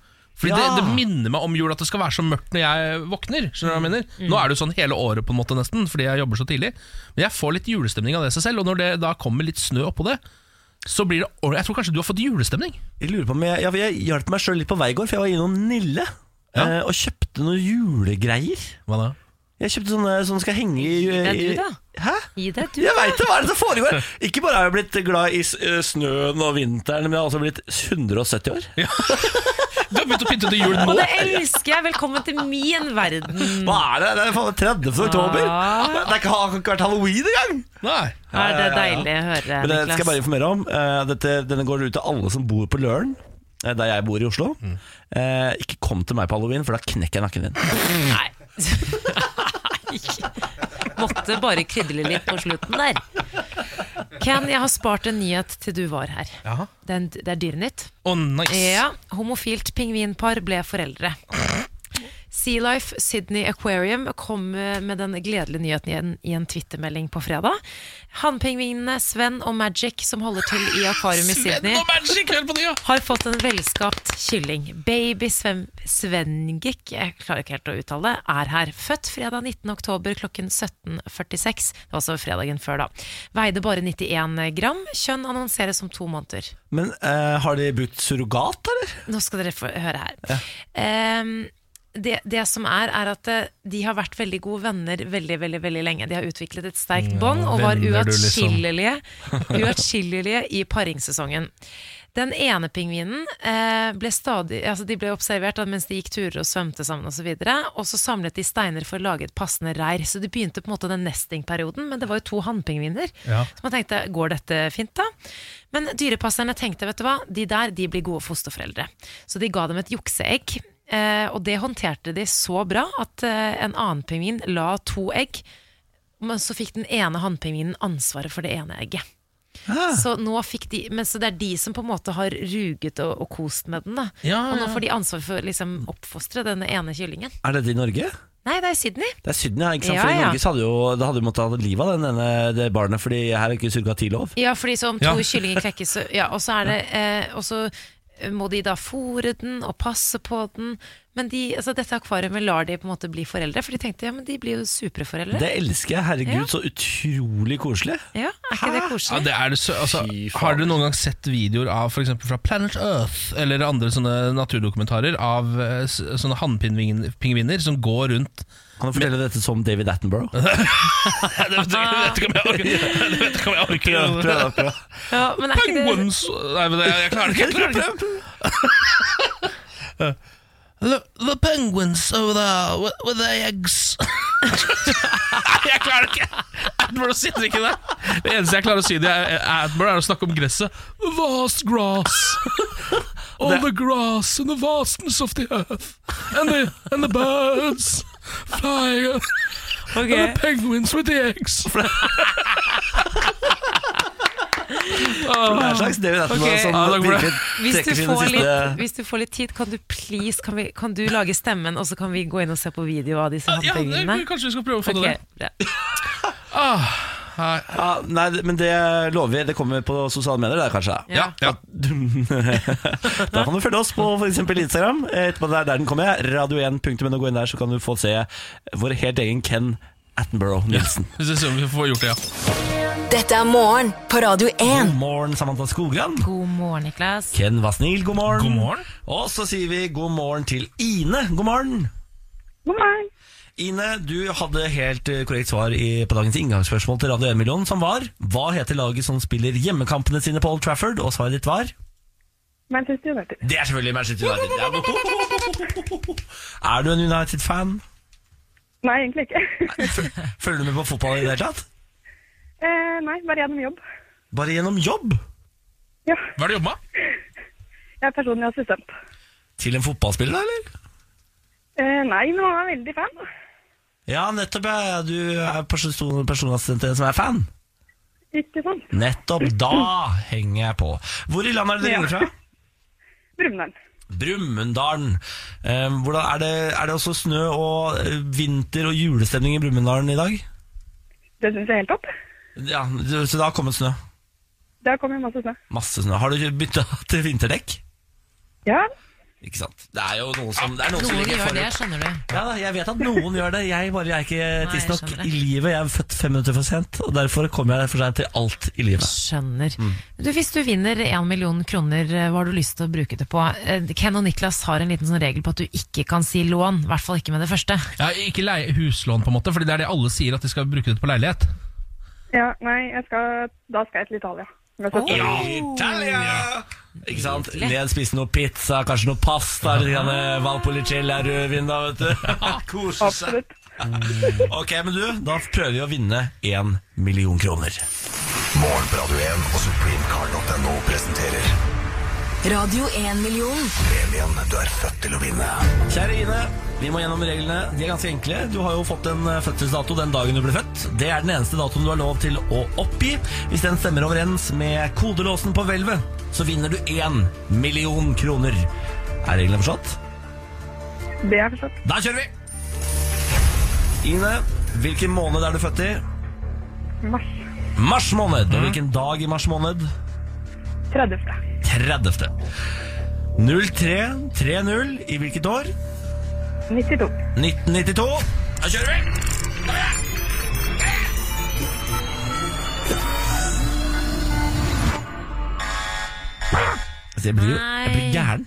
[SPEAKER 3] Fordi
[SPEAKER 2] Ja.
[SPEAKER 3] det, det minner meg om jul at det skal være så mørkt når jeg våkner. Skjønner du hva jeg mener? Nå er det jo sånn hele året på en måte nesten, fordi jeg jobber så tidlig. Men jeg får litt julestemning av det i seg selv, og når det da kommer litt snø oppå det, så blir det ordentlig- Jeg tror kanskje du har fått julestemning.
[SPEAKER 2] Jeg lurer på om jeg, ja, for jeg hjalp meg sjøl litt på vei i går, for jeg var innom Nille
[SPEAKER 3] Ja.
[SPEAKER 2] eh, og kjøpte noen julegreier.
[SPEAKER 3] Hva da?
[SPEAKER 2] Jeg kjøpte sånne som skal henge i,
[SPEAKER 1] Det er
[SPEAKER 2] i
[SPEAKER 1] du, da.
[SPEAKER 2] Hæ?
[SPEAKER 1] Gi deg, du.
[SPEAKER 2] Jeg veit det! Hva er det som foregår? Ikke bare har jeg blitt glad i s- eh, snøen og vinteren, men jeg har også blitt 170 år.
[SPEAKER 3] Du har begynt å pynte til jul nå!
[SPEAKER 1] Og det elsker jeg! Velkommen til min verden.
[SPEAKER 2] Hva er det? Det er faen 30. oktober!
[SPEAKER 1] Ah.
[SPEAKER 2] Det er ikke, har ikke vært halloween engang!
[SPEAKER 3] Nei.
[SPEAKER 1] Er
[SPEAKER 2] ja,
[SPEAKER 1] det
[SPEAKER 2] ja, ja.
[SPEAKER 1] deilig å høre,
[SPEAKER 2] Men det skal jeg
[SPEAKER 1] Niklas?
[SPEAKER 2] bare informere om. Eh, Dette, denne går ut til alle som bor på Løren, eh, der jeg bor i Oslo. Eh, Ikke kom til meg på halloween, for da knekker jeg nakken din.
[SPEAKER 1] Nei. Nei. Måtte bare krydre litt på slutten der. Ken, jeg har spart en nyhet til du var her.
[SPEAKER 3] Jaha.
[SPEAKER 1] Det er, en- det er Dyrenytt.
[SPEAKER 3] Å, nice.
[SPEAKER 1] Ja, homofilt pingvinpar ble foreldre. Sea Life Sydney Aquarium kom eh, med den gledelige nyheten i en, i en twittermelding på fredag. Hannpingvinene Sven og Magic, som holder til i akvariet i Sydney
[SPEAKER 3] Sven og Magic, hør på det, ja!
[SPEAKER 1] har fått en velskapt kylling. Baby Sven Svengik, jeg klarer ikke helt å uttale det, er her. Født fredag 19. oktober klokken 17.46. Det var altså fredagen før, da. Veide bare 91 gram. Kjønn annonseres om to måneder.
[SPEAKER 2] Men eh, har de brukt surrogat, eller?
[SPEAKER 1] Nå skal dere få høre her. Ehm, det, det som er, er at eh, de har vært veldig gode venner veldig veldig, veldig lenge. De har utviklet et sterkt bånd og var
[SPEAKER 3] venner du liksom.
[SPEAKER 1] uatskillelige uatskillelige i paringssesongen. Den ene pingvinen eh, ble stadig altså De ble observert da, mens de gikk turer og svømte sammen osv. Og, så og så samlet de steiner for å lage et passende reir. Så det begynte på en måte den nestingperioden, men det var jo to hannpingviner.
[SPEAKER 3] Ja.
[SPEAKER 1] Så man tenkte, går dette fint da? Men dyrepasserne tenkte, vet du hva, de der, de blir gode fosterforeldre. Så de ga dem et jukseegg, eh, og det håndterte de så bra at eh, en annen pingvin la to egg, men så fikk den ene hannpingvinen ansvaret for det ene egget.
[SPEAKER 3] Ah.
[SPEAKER 1] Så, nå fikk de, men så det er de som på en måte har ruget og, og kost med den da.
[SPEAKER 3] Ja,
[SPEAKER 1] Og nå
[SPEAKER 3] ja.
[SPEAKER 1] får de ansvar for å liksom, oppfostre denne ene kyllingen
[SPEAKER 2] Er dette i Norge?
[SPEAKER 1] Nei, det er Sydney
[SPEAKER 2] Det er Syden, ja. ikke sant?
[SPEAKER 1] Ja,
[SPEAKER 2] For I
[SPEAKER 1] ja.
[SPEAKER 2] Norge så hadde jo, da hadde du måttet ha livet av den ene, det barnet, Fordi her er ikke surrogati lov.
[SPEAKER 1] Ja, fordi så om to
[SPEAKER 3] Ja.
[SPEAKER 1] kyllinger klekkes så- ja, Og så er det eh, Og så må de da fôre den og passe på den Men de, altså, dette akvariet lar de på en måte bli foreldre For de tenkte, ja, men de blir jo superforeldre
[SPEAKER 2] Det elsker jeg. Herregud,
[SPEAKER 1] Ja.
[SPEAKER 2] så utrolig koselig.
[SPEAKER 1] Ja, er ikke det
[SPEAKER 3] Ja,
[SPEAKER 1] koselig?
[SPEAKER 3] det er det, sø- altså,
[SPEAKER 2] Fy faen.
[SPEAKER 3] har dere noen gang sett videoer av for eksempel fra Planet Earth eller andre sånne naturdokumentarer av eh, s- sånne hannpingviner som går rundt
[SPEAKER 2] Kan du fortelle dette som David Attenborough?
[SPEAKER 3] Jeg vet ikke jeg vet ikke om jeg orker! Jeg vet ikke om jeg
[SPEAKER 2] Prøv,
[SPEAKER 3] orker.
[SPEAKER 2] prøv, prøv.
[SPEAKER 1] Ja, men er ikke det
[SPEAKER 3] Penguins Nei, men jeg, jeg klarer det ikke. Jeg klarer det ikke. Look, the penguins over there with, with their eggs. Nei, jeg klarer det ikke! Attenborough sitter ikke der. Det eneste jeg klarer å si det er, er Attenborough, er å snakke om gresset. The vast grass. All the grass and the vastness of the earth. And the, and the birds flying.
[SPEAKER 1] Eh.
[SPEAKER 3] And the penguins with the eggs.
[SPEAKER 2] Det er en slags David Attenborough
[SPEAKER 1] Ok.
[SPEAKER 3] Ja,
[SPEAKER 2] som
[SPEAKER 3] takk for det.
[SPEAKER 2] virkelig
[SPEAKER 1] Hvis du,
[SPEAKER 2] trekker sine
[SPEAKER 1] får
[SPEAKER 2] siste
[SPEAKER 1] litt, hvis du får litt tid, kan du please kan, vi, kan du lage stemmen, og så kan vi gå inn og se på video av disse
[SPEAKER 3] Ja, det,
[SPEAKER 1] hannpingvinene?
[SPEAKER 3] kanskje vi skal prøve å få
[SPEAKER 1] Ok,
[SPEAKER 3] det Ah, der.
[SPEAKER 1] bra.
[SPEAKER 3] Nei.
[SPEAKER 2] ja, Nei, det- men det lover vi. Det kommer på sosiale medier, det er kanskje.
[SPEAKER 3] Ja, ja.
[SPEAKER 2] Da kan du følge oss på f.eks. Instagram. Etterpå der, der den kommer jeg. Radio1.no. Gå inn der, så kan du få se vår helt egen Ken Attenborough Nilsen.
[SPEAKER 3] Hvis vi ser om vi får gjort det, ja.
[SPEAKER 4] Dette er morgen på Radio 1.
[SPEAKER 2] God morgen, Samantha Skogran.
[SPEAKER 1] God morgen, Niklas.
[SPEAKER 2] Ken var snill, god morgen.
[SPEAKER 3] God morgen.
[SPEAKER 2] Og så sier vi god morgen til Ine. God morgen.
[SPEAKER 9] God morgen.
[SPEAKER 2] Ine, du hadde helt eh, korrekt svar i, på dagens inngangsspørsmål til Radio 1-millionen, som var Hva heter laget som spiller hjemmekampene sine på Old Trafford? Og svaret ditt var
[SPEAKER 9] Manchester United.
[SPEAKER 2] Det er selvfølgelig Manchester United. Ja, men- Er du en United-fan?
[SPEAKER 9] Nei, egentlig ikke.
[SPEAKER 2] Følger du med på fotball i det hele tatt?
[SPEAKER 9] eh, nei, bare gjennom jobb.
[SPEAKER 2] Bare gjennom jobb?
[SPEAKER 9] Ja,
[SPEAKER 3] Hva er det du jobber med?
[SPEAKER 9] jeg er personlig assistent.
[SPEAKER 2] Til en fotballspiller, da, eller?
[SPEAKER 9] Eh, nei, men han er veldig fan.
[SPEAKER 2] Ja, nettopp, ja. Du er person, personassistent til en som er fan.
[SPEAKER 9] Ikke sant?
[SPEAKER 2] Nettopp. Da henger jeg på. Hvor i landet er det dere
[SPEAKER 9] Ja.
[SPEAKER 2] ringer fra?
[SPEAKER 9] Brumunddal.
[SPEAKER 2] Brumunddal. Eh, hvordan- er, det- er det også snø og eh, vinter- og julestemning i Brumunddal i dag?
[SPEAKER 9] Det syns jeg er helt topp.
[SPEAKER 2] Ja, Så det har kommet snø?
[SPEAKER 9] Der kommer masse snø.
[SPEAKER 2] Masse snø. Har du bytta til vinterdekk?
[SPEAKER 9] Ja,
[SPEAKER 2] Ikke sant. Det er jo noen som, det er noen som
[SPEAKER 1] Noen
[SPEAKER 2] ligger
[SPEAKER 1] gjør det,
[SPEAKER 2] forut.
[SPEAKER 1] skjønner du.
[SPEAKER 2] Ja, da, jeg vet at noen gjør det. Jeg bare jeg er ikke
[SPEAKER 1] Nei, jeg
[SPEAKER 2] tidsnok
[SPEAKER 1] skjønner
[SPEAKER 2] i
[SPEAKER 1] det.
[SPEAKER 2] livet. Jeg er født fem minutter for sent, og derfor kommer jeg for seint til alt i livet.
[SPEAKER 1] Skjønner.
[SPEAKER 3] Mm.
[SPEAKER 1] Du, hvis du vinner én million kroner, eh, hva har du lyst til å bruke det på? Eh, Ken og Niklas har en liten sånn regel på at du ikke kan si lån, i hvert fall ikke med det første.
[SPEAKER 3] Ja, ikke leie, huslån, på en måte, Fordi det er det alle sier at de skal bruke det på leilighet.
[SPEAKER 9] ja nei, jeg skal, da skal jeg til Italia. Med søsteren.
[SPEAKER 2] Italia! Ikke sant? Len spiste noe pizza, kanskje noe pasta, litt grann, eh, Valpolicella rødvin da, vet du. Kose
[SPEAKER 9] Absolutt.
[SPEAKER 2] Ok, men du, da prøver vi å vinne én million kroner.
[SPEAKER 10] Morgen på Radio 1 og supremecard.no presenterer
[SPEAKER 4] Radio 1 million.
[SPEAKER 10] premien du er født til å vinne.
[SPEAKER 2] Kjære Ine, vi må gjennom reglene. De er ganske enkle. Du har jo fått en eh, fødselsdato den dagen du ble født. Det er den eneste datoen du har lov til å oppgi. Hvis den stemmer overens med kodelåsen på hvelvet, så vinner du én million kroner. Er reglene forstått?
[SPEAKER 9] Det er forstått.
[SPEAKER 2] Da kjører vi! Ine, hvilken måned er du født i?
[SPEAKER 9] Mars Mm.
[SPEAKER 2] Mars måned. Og hvilken dag i mars måned?
[SPEAKER 9] 30.
[SPEAKER 2] 30. 0330 i hvilket år?
[SPEAKER 9] 92.
[SPEAKER 2] 1992. Da kjører vi! Altså, jeg blir jo jeg blir
[SPEAKER 1] Nei.
[SPEAKER 2] gæren.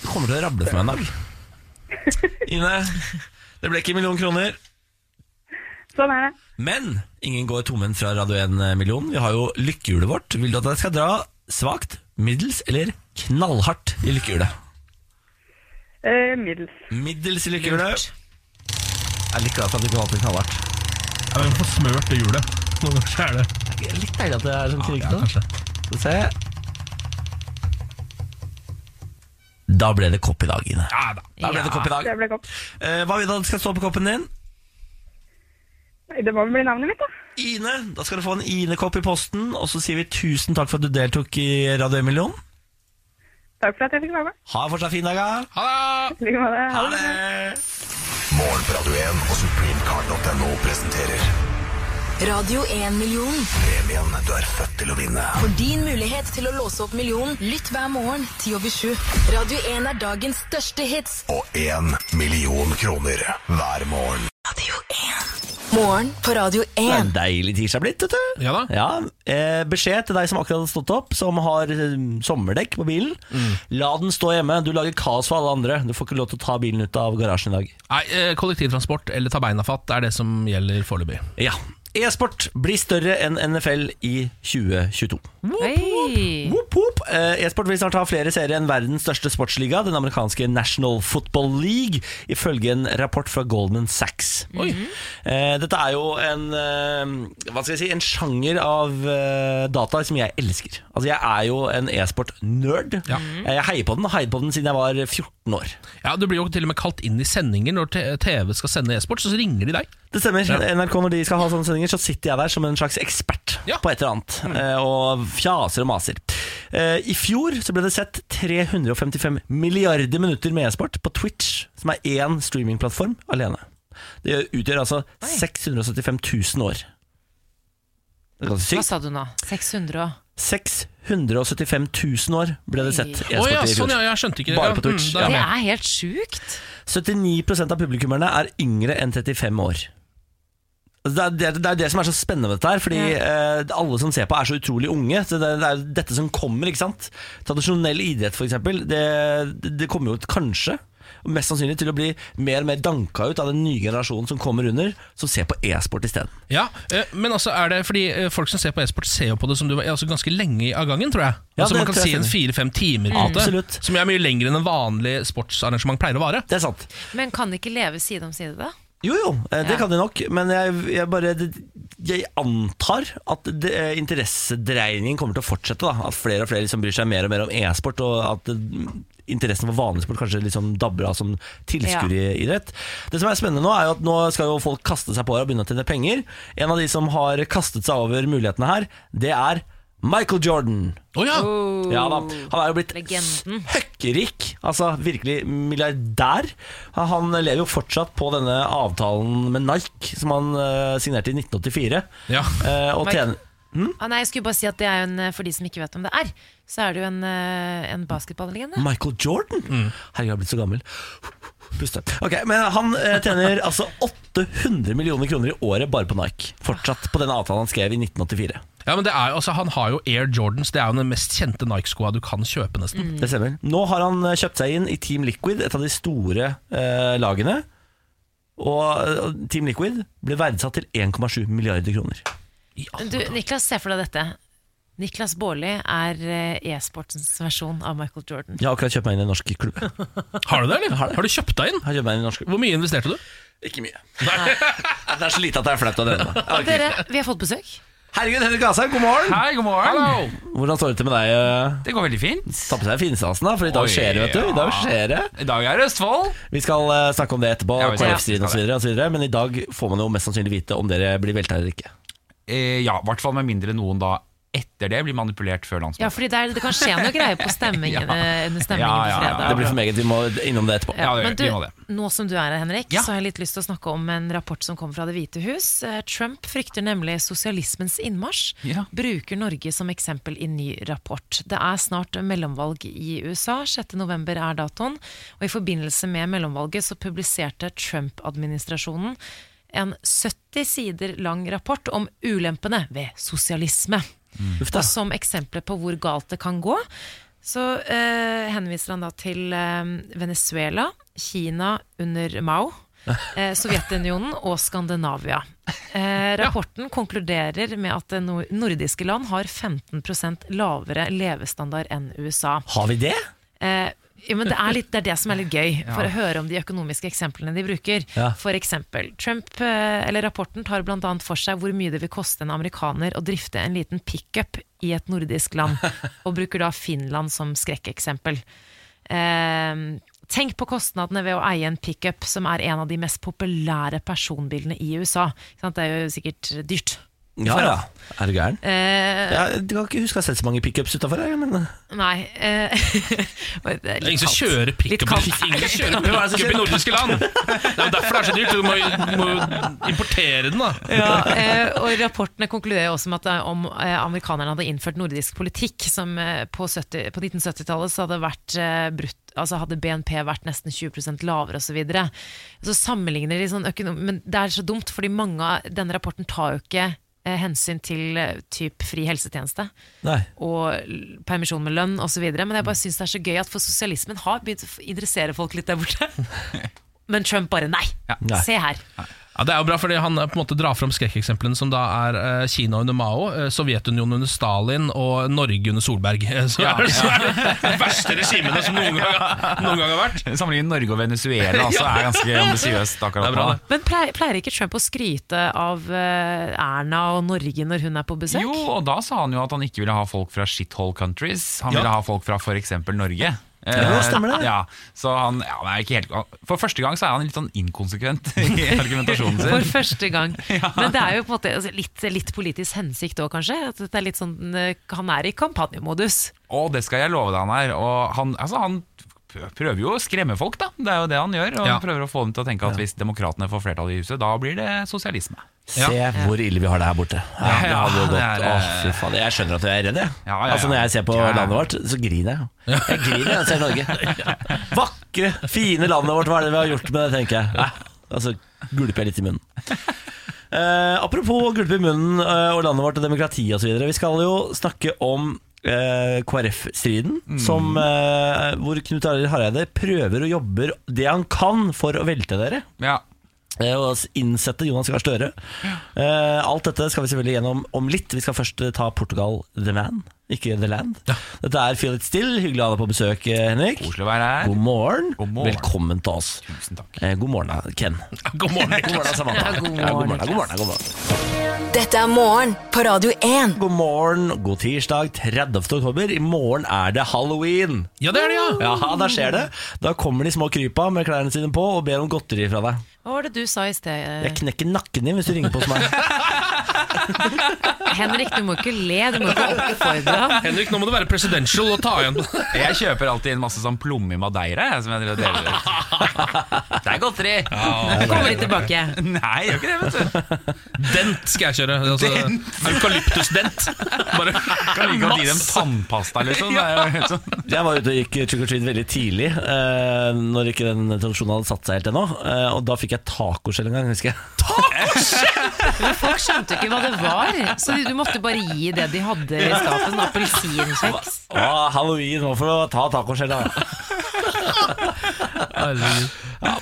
[SPEAKER 2] Det kommer til å rable for meg en dag. Ine, det ble ikke en million kroner.
[SPEAKER 9] Sånn er det.
[SPEAKER 2] Men ingen går tomhendt fra Radio 1-millionen. Vi har jo lykkehjulet vårt. Vil du at jeg skal dra svakt, middels eller knallhardt i lykkehjulet?
[SPEAKER 9] Eh, middels.
[SPEAKER 2] Middels i lykkehjulet. Jeg liker at du ikke valgte knallhardt.
[SPEAKER 3] Ja, men Få smørt det hjulet. Noen ganger så er det
[SPEAKER 2] Det er Litt deilig at det er sånn
[SPEAKER 3] ja,
[SPEAKER 2] knirkete.
[SPEAKER 3] kanskje.
[SPEAKER 2] Skal vi se. Da ble det kopp i dag, Ine.
[SPEAKER 3] Ja, da.
[SPEAKER 2] Da ble det kopp i dag.
[SPEAKER 9] Det ble godt.
[SPEAKER 2] Eh, Hva vil du at det skal stå på koppen din?
[SPEAKER 9] Nei, det må vel bli navnet mitt, da.
[SPEAKER 2] Ine. Da skal du få en Ine-kopp i posten, og så sier vi tusen takk for at du deltok i Radio 1-millionen.
[SPEAKER 9] Takk for at jeg fikk være med.
[SPEAKER 2] Ha en fortsatt fin dag, da.
[SPEAKER 3] Ha det!
[SPEAKER 9] I like måte.
[SPEAKER 2] Ha det!
[SPEAKER 10] Morgen på Radio 1 og supremecard.no presenterer
[SPEAKER 4] Radio 1 million.
[SPEAKER 10] premien du er født til å vinne.
[SPEAKER 4] For din mulighet til å låse opp millionen, lytt hver morgen 10 over 7. Radio 1 er dagens største hits.
[SPEAKER 10] Og én million kroner hver morgen.
[SPEAKER 4] Radio 1. Morgen på Radio
[SPEAKER 2] Det er
[SPEAKER 4] 1.
[SPEAKER 2] en deilig tirsdag blitt, vet du.
[SPEAKER 3] Ja da.
[SPEAKER 2] eh, beskjed til deg som akkurat har stått opp, som har eh, sommerdekk på bilen.
[SPEAKER 3] Mm.
[SPEAKER 2] La den stå hjemme. Du lager kaos for alle andre. Du får ikke lov til å ta bilen ut av garasjen i dag.
[SPEAKER 3] Nei, eh, kollektivtransport eller ta beina fatt er det som gjelder foreløpig.
[SPEAKER 2] Ja. E-sport blir større enn NFL i 2022.
[SPEAKER 1] Oi.
[SPEAKER 2] Whoop, whoop. Eh, E-sport vil snart ha flere serier enn verdens største sportsliga, den amerikanske National Football League, ifølge en rapport fra Goldman Sachs. Eh, Dette er jo en eh, Hva skal jeg si En sjanger av eh, data som jeg elsker. Altså Jeg er jo en e-sport-nerd.
[SPEAKER 3] Ja.
[SPEAKER 2] Eh, Jeg heier på den, og heier på den siden jeg var 14 år.
[SPEAKER 3] Ja, Du blir jo til og med kalt inn i sendinger når te- TV skal sende e-sport, så ringer de deg.
[SPEAKER 2] Det stemmer.
[SPEAKER 3] Ja.
[SPEAKER 2] NRK Når de skal ha sånne sendinger, så sitter jeg der som en slags ekspert
[SPEAKER 3] Ja. Mm.
[SPEAKER 2] på et eller annet. eh, Og fjaser og maser. Eh, I fjor så ble det sett 355 milliarder minutter med e-sport på Twitch, som er én streamingplattform alene. Det utgjør altså 675 000 år. Det er ganske
[SPEAKER 1] Hva
[SPEAKER 2] sykt.
[SPEAKER 1] sa du nå? 600 og
[SPEAKER 2] 675 000 år ble det sett
[SPEAKER 1] Oi.
[SPEAKER 2] e-sport
[SPEAKER 3] Å ja,
[SPEAKER 2] i fjor.
[SPEAKER 3] sånn ja, jeg skjønte ikke det.
[SPEAKER 2] Bare
[SPEAKER 3] Ja,
[SPEAKER 2] på Twitch,
[SPEAKER 3] da er
[SPEAKER 2] ja.
[SPEAKER 1] Det
[SPEAKER 3] jeg med.
[SPEAKER 1] er helt sjukt.
[SPEAKER 2] 79 av publikummerne er yngre enn 35 år. Altså, Det er det, det er det som er så spennende med dette her, fordi eh, alle som ser på, er så utrolig unge. Så det, det er jo dette som kommer, ikke sant. Tradisjonell idrett, f.eks., det, det- det kommer jo ut kanskje, og mest sannsynlig, til å bli mer og mer danka ut av den nye generasjonen som kommer under, som ser på e-sport isteden.
[SPEAKER 3] Ja, eh, men altså er det fordi eh, folk som ser på e-sport, ser jo på det som du var altså ganske lenge av gangen, tror jeg.
[SPEAKER 2] Ja,
[SPEAKER 3] altså
[SPEAKER 2] det
[SPEAKER 3] Man kan
[SPEAKER 2] tror
[SPEAKER 3] si
[SPEAKER 2] jeg
[SPEAKER 3] en fire-fem timer, på en måte,
[SPEAKER 2] Absolutt.
[SPEAKER 3] som er mye lenger enn en vanlig sportsarrangement pleier å vare.
[SPEAKER 2] Det er sant.
[SPEAKER 1] Men kan de ikke leve side om side, da?
[SPEAKER 2] Jo jo, eh, det
[SPEAKER 1] Ja.
[SPEAKER 2] kan de nok, men jeg, jeg bare det, jeg antar at det, eh, interessedreiningen kommer til å fortsette. Da. At flere og flere liksom bryr seg mer og mer om e-sport, og at eh, interessen for vanlig sport kanskje liksom dabber av som tilskueridrett. Det som er spennende nå, er jo at nå skal jo folk kaste seg på her og begynne å tjene penger. En av de som har kastet seg over mulighetene her, det er Michael Jordan.
[SPEAKER 3] Oh, ja.
[SPEAKER 2] da. Han er jo blitt
[SPEAKER 1] Oh, Legenden.
[SPEAKER 2] høkkerik, altså virkelig milliardær. Han lever jo fortsatt på denne avtalen med Nike, som han eh, signerte i 1984.
[SPEAKER 3] Ja.
[SPEAKER 2] Eh, og
[SPEAKER 1] Mike-
[SPEAKER 2] tjener
[SPEAKER 1] Ah, nei, jeg skulle bare si at det er jo en, eh, For de som ikke vet om det er, så er det jo en, eh, en basketballlegende.
[SPEAKER 11] Mm.
[SPEAKER 2] Michael Jordan? Herregud, jeg har blitt så gammel. Puste. Ok, men Han eh, tjener altså 800 millioner kroner i året bare på Nike. Fortsatt på den avtalen han skrev i 1984.
[SPEAKER 3] Ja, men det er jo, altså, Han har jo Air Jordans, det er jo den mest kjente Nike-skoa du kan kjøpe.
[SPEAKER 11] Mm.
[SPEAKER 3] nesten
[SPEAKER 2] Det stemmer. Nå har han eh, kjøpt seg inn i Team Liquid, et av de store eh, lagene. Og eh, Team Liquid ble verdsatt til 1,7 milliarder kroner.
[SPEAKER 1] Du, Niklas, se for deg dette. Niklas Baarli er eh, e-sportens versjon av Michael Jordan.
[SPEAKER 2] Jeg har akkurat kjøpt meg inn i en norsk klubb. Jeg
[SPEAKER 3] Har du det, eller? Har, du kjøpt deg inn?
[SPEAKER 2] har kjøpt meg inn i en norsk klubb.
[SPEAKER 3] Hvor mye investerte du?
[SPEAKER 2] Ikke mye. Det er så lite at det er flaut å drømme.
[SPEAKER 1] Og dere, vi har fått besøk.
[SPEAKER 2] Herregud, Henrik Asheim, god morgen!
[SPEAKER 11] Hei, god morgen.
[SPEAKER 2] Hvordan står det til med deg? eh?
[SPEAKER 11] Det går veldig fint.
[SPEAKER 2] Ta på seg finstasen, da, for i dag
[SPEAKER 11] Oi,
[SPEAKER 2] skjer det, vet du. I dag
[SPEAKER 11] ja.
[SPEAKER 2] skjer det.
[SPEAKER 11] I dag er det Østfold.
[SPEAKER 2] Vi skal eh, snakke om det etterpå,
[SPEAKER 11] Ja, vi skal det.
[SPEAKER 2] KrF-striden og så videre, og så videre, men i dag får man jo mest sannsynlig vite om dere blir velta eller ikke.
[SPEAKER 11] Eh, ja, i hvert fall med mindre noen da etter det blir manipulert før landsmøtet.
[SPEAKER 1] Ja, fordi det, er, det kan skje noe greier på stemmingen, eh, under stemmingen
[SPEAKER 11] Ja,
[SPEAKER 1] på
[SPEAKER 11] ja, ja.
[SPEAKER 1] fredag.
[SPEAKER 2] Det blir for meget, vi må innom det etterpå.
[SPEAKER 11] Ja, det-
[SPEAKER 1] Men du,
[SPEAKER 11] vi må det.
[SPEAKER 1] nå som du er her, Henrik,
[SPEAKER 11] Ja.
[SPEAKER 1] så har jeg litt lyst til å snakke om en rapport som kom fra Det hvite hus. Eh, Trump frykter nemlig sosialismens innmarsj.
[SPEAKER 11] Ja.
[SPEAKER 1] Bruker Norge som eksempel i ny rapport. Det er snart mellomvalg i USA. 6.11 er datoen. Og i forbindelse med mellomvalget så publiserte Trump-administrasjonen en 70 sider lang rapport om ulempene ved sosialisme.
[SPEAKER 2] Uff da.
[SPEAKER 1] Og som eksempler på hvor galt det kan gå, så eh, henviser han da til eh, Venezuela, Kina under Mao, eh, Sovjetunionen og Skandinavia. Eh, rapporten konkluderer med at det nor- nordiske land har 15 lavere levestandard enn USA.
[SPEAKER 2] Har vi det?
[SPEAKER 1] Eh, ja, men det er, litt, det er det som er litt gøy, for å høre om de økonomiske eksemplene de bruker.
[SPEAKER 2] Ja.
[SPEAKER 1] For eksempel, Trump, eh, eller rapporten tar bl.a. for seg hvor mye det vil koste en amerikaner å drifte en liten pickup i et nordisk land, og bruker da Finland som skrekkeksempel. Eh, tenk på kostnadene ved å eie en pickup, som er en av de mest populære personbilene i USA. Ikke sant? Det er jo sikkert dyrt.
[SPEAKER 2] Ja ja. Er du gæren?
[SPEAKER 1] Eh,
[SPEAKER 2] Jeg kan ikke huske å ha sett så mange pickups utafor her, men
[SPEAKER 1] Nei eh, det er
[SPEAKER 3] Det er
[SPEAKER 1] litt
[SPEAKER 3] ingen som
[SPEAKER 1] kaldt.
[SPEAKER 3] kjører
[SPEAKER 1] Litt
[SPEAKER 3] pickup
[SPEAKER 1] kaldt.
[SPEAKER 3] i- ingen kjører pickup i nordiske land! Det er jo derfor det er så dyrt. Du må jo må jo importere den, da.
[SPEAKER 1] Ja, eh, og rapportene konkluderer også med at eh, om eh, amerikanerne hadde innført nordisk politikk, som eh, på, 70, på 1970-tallet så hadde, vært, eh, brutt, altså hadde BNP vært nesten 20 lavere osv. Så, videre. så sammenligner de sånn økonom... Men det er så dumt, fordi mange av denne rapporten tar jo ikke eh, hensyn til eh, typ fri helsetjeneste
[SPEAKER 2] Nei.
[SPEAKER 1] og l- permisjon med lønn osv. Men jeg bare syns det er så gøy at for sosialismen har begynt å f- interessere folk litt der borte. Men Trump bare nei!
[SPEAKER 2] Nei.
[SPEAKER 1] Se her.
[SPEAKER 3] Ja, Det er jo bra, fordi han eh, på en måte drar fram skrekkeksemplene som da er eh, Kina under Mao, eh, Sovjetunionen under Stalin og Norge under Solberg. Eh, Så,
[SPEAKER 11] Ja,
[SPEAKER 3] er det- så er det de verste regimene som noen gang, har- noen gang har vært.
[SPEAKER 11] Sammenlignet Norge og Venezuela altså, er ganske ambisiøst
[SPEAKER 3] Det
[SPEAKER 11] akkurat
[SPEAKER 3] er bra,
[SPEAKER 11] nå.
[SPEAKER 3] det.
[SPEAKER 1] Men pleier, pleier ikke Trump å skryte av eh, Erna og Norge når hun er på besøk?
[SPEAKER 11] Jo, og da sa han jo at han ikke ville ha folk fra shithole countries. Han
[SPEAKER 3] Ja.
[SPEAKER 11] ville ha folk fra f.eks. Norge.
[SPEAKER 2] Ja,
[SPEAKER 11] Eh,
[SPEAKER 2] stemmer det.
[SPEAKER 11] Ja, så han, ja, det er ikke helt, for første gang så er han litt sånn inkonsekvent i argumentasjonen
[SPEAKER 1] For
[SPEAKER 11] sin.
[SPEAKER 1] første gang. Men det er jo på en måte altså, litt, litt politisk hensikt òg, kanskje? At det er litt sånn, eh, han er i kampanjemodus.
[SPEAKER 11] Og det skal jeg love deg han er. Og han, altså, han prøver jo å skremme folk, da. Det er jo det han gjør. Og
[SPEAKER 3] Ja.
[SPEAKER 11] han prøver å få dem til å tenke at hvis demokratene får flertall i huset, da blir det sosialisme.
[SPEAKER 2] Se hvor ille vi har det her borte. Ja, det
[SPEAKER 11] Ja,
[SPEAKER 2] hadde jo
[SPEAKER 11] det
[SPEAKER 2] gått.
[SPEAKER 11] er, eh,
[SPEAKER 2] Å, fy faen. Jeg skjønner at jeg er redd, jeg.
[SPEAKER 11] Ja, ja, ja.
[SPEAKER 2] Altså, når jeg ser på
[SPEAKER 11] Ja.
[SPEAKER 2] landet vårt, så griner jeg. Jeg griner når jeg ser Norge. Vakre, fine landet vårt, hva er det vi har gjort med det, tenker jeg. Nei, altså, gulper jeg litt i munnen. Eh, apropos gulpe i munnen eh, og landet vårt og demokrati osv. Vi skal jo snakke om eh, KrF-striden,
[SPEAKER 11] Mm.
[SPEAKER 2] som, eh, hvor Knut Arild Hareide prøver og jobber det han kan for å velte dere.
[SPEAKER 11] Ja.
[SPEAKER 2] eh, og innsette Jonas Gahr Støre. Eh, Alt dette skal vi selvfølgelig gjennom om litt. Vi skal først eh, ta Portugal The Man, ikke The Land. Dette er Feel It Still. Hyggelig å ha deg på besøk, eh, Henrik. Koselig å være her. God morgen. Velkommen til oss. Tusen takk. God morgen, da, Ken.
[SPEAKER 3] God morgen,
[SPEAKER 2] God morgen, da, Samantha. Ja,
[SPEAKER 4] Ja, god
[SPEAKER 2] god
[SPEAKER 4] morgen,
[SPEAKER 2] morgen, da, god morgen, da, god morgen.
[SPEAKER 4] Dette er morgen på Radio 1.
[SPEAKER 2] God morgen, god tirsdag 30. oktober. I morgen er det halloween.
[SPEAKER 3] Ja, det er det, ja.
[SPEAKER 2] Ja, Da skjer det. Da kommer de små krypa med klærne sine på og ber om godteri fra deg.
[SPEAKER 1] Hva var det du sa i sted? eh?
[SPEAKER 2] Jeg knekker nakken din hvis du ringer på hos meg.
[SPEAKER 1] Henrik, du må ikke le, du må ikke oppfordre ham.
[SPEAKER 3] Henrik, nå må du være presidential og ta igjen.
[SPEAKER 11] Jeg kjøper alltid inn masse sånn plomme i madeira. jeg, Som jeg driver og deler ut. Det er godteri!
[SPEAKER 3] Ja. Kommer de tilbake?
[SPEAKER 11] Nei, jeg gjør ikke det, vet du.
[SPEAKER 3] Dent skal jeg kjøre. Altså, Eukalyptusdent. Bare
[SPEAKER 11] Kan like godt gi dem tannpasta, liksom. Det er jo helt sånn.
[SPEAKER 2] Jeg var ute og gikk trick or treat veldig tidlig, eh, når ikke den tradisjonen hadde satt seg helt ennå. Eh, og da fikk jeg tacoskjell en gang, husker jeg.
[SPEAKER 1] Men folk skjønte ikke hva det var, så du måtte bare gi det de hadde i skapet. Sånn appelsinkjeks.
[SPEAKER 2] Å, halloween, nå får du ta tacoskjell, da. Ja.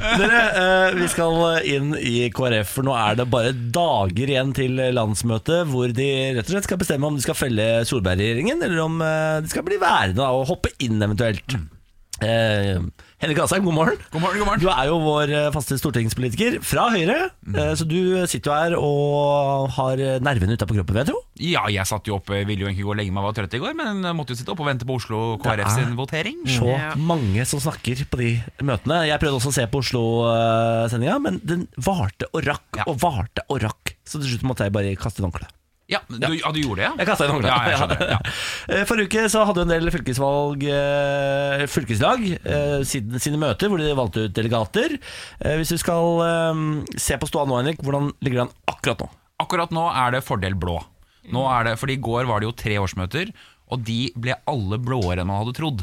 [SPEAKER 2] Dere, eh, vi skal inn i KrF, for nå er det bare dager igjen til landsmøtet, hvor de rett og slett skal bestemme om de skal felle Solberg-regjeringen, eller om eh, de skal bli værende da, og hoppe inn eventuelt. Eh, Henrik Asheim, god morgen.
[SPEAKER 11] God morgen, god morgen.
[SPEAKER 2] Du er jo vår eh, faste stortingspolitiker fra Høyre,
[SPEAKER 11] Mhm.
[SPEAKER 2] eh, så du sitter jo her og har nervene ute på kroppen, vil jeg tro.
[SPEAKER 11] Ja, jeg satt jo oppe, ville jo egentlig gå og legge meg, var trøtt i går, men eh, måtte jo sitte oppe og vente på Oslo
[SPEAKER 2] Det
[SPEAKER 11] KrF
[SPEAKER 2] er
[SPEAKER 11] sin votering.
[SPEAKER 2] Så mange som snakker på de møtene. Jeg prøvde også å se på Oslo-sendinga, men den varte og rakk og varte og rakk. Så til slutt måtte jeg bare kaste inn håndkleet.
[SPEAKER 11] Ja, du, ja, du gjorde det, ja?
[SPEAKER 2] Jeg kastet inn håndkleet.
[SPEAKER 11] Ja, jeg skjønner. Ja.
[SPEAKER 2] Eh, Forrige uke så hadde jo en del fylkesvalg, eh, fylkeslag eh, siden- sine møter, hvor de valgte ut delegater. Eh, Hvis du skal eh, se på ståa nå, Henrik, hvordan ligger det an akkurat nå?
[SPEAKER 11] Akkurat nå er det fordel blå. Nå er det, fordi I går var det jo tre årsmøter, og de ble alle blåere enn man hadde trodd.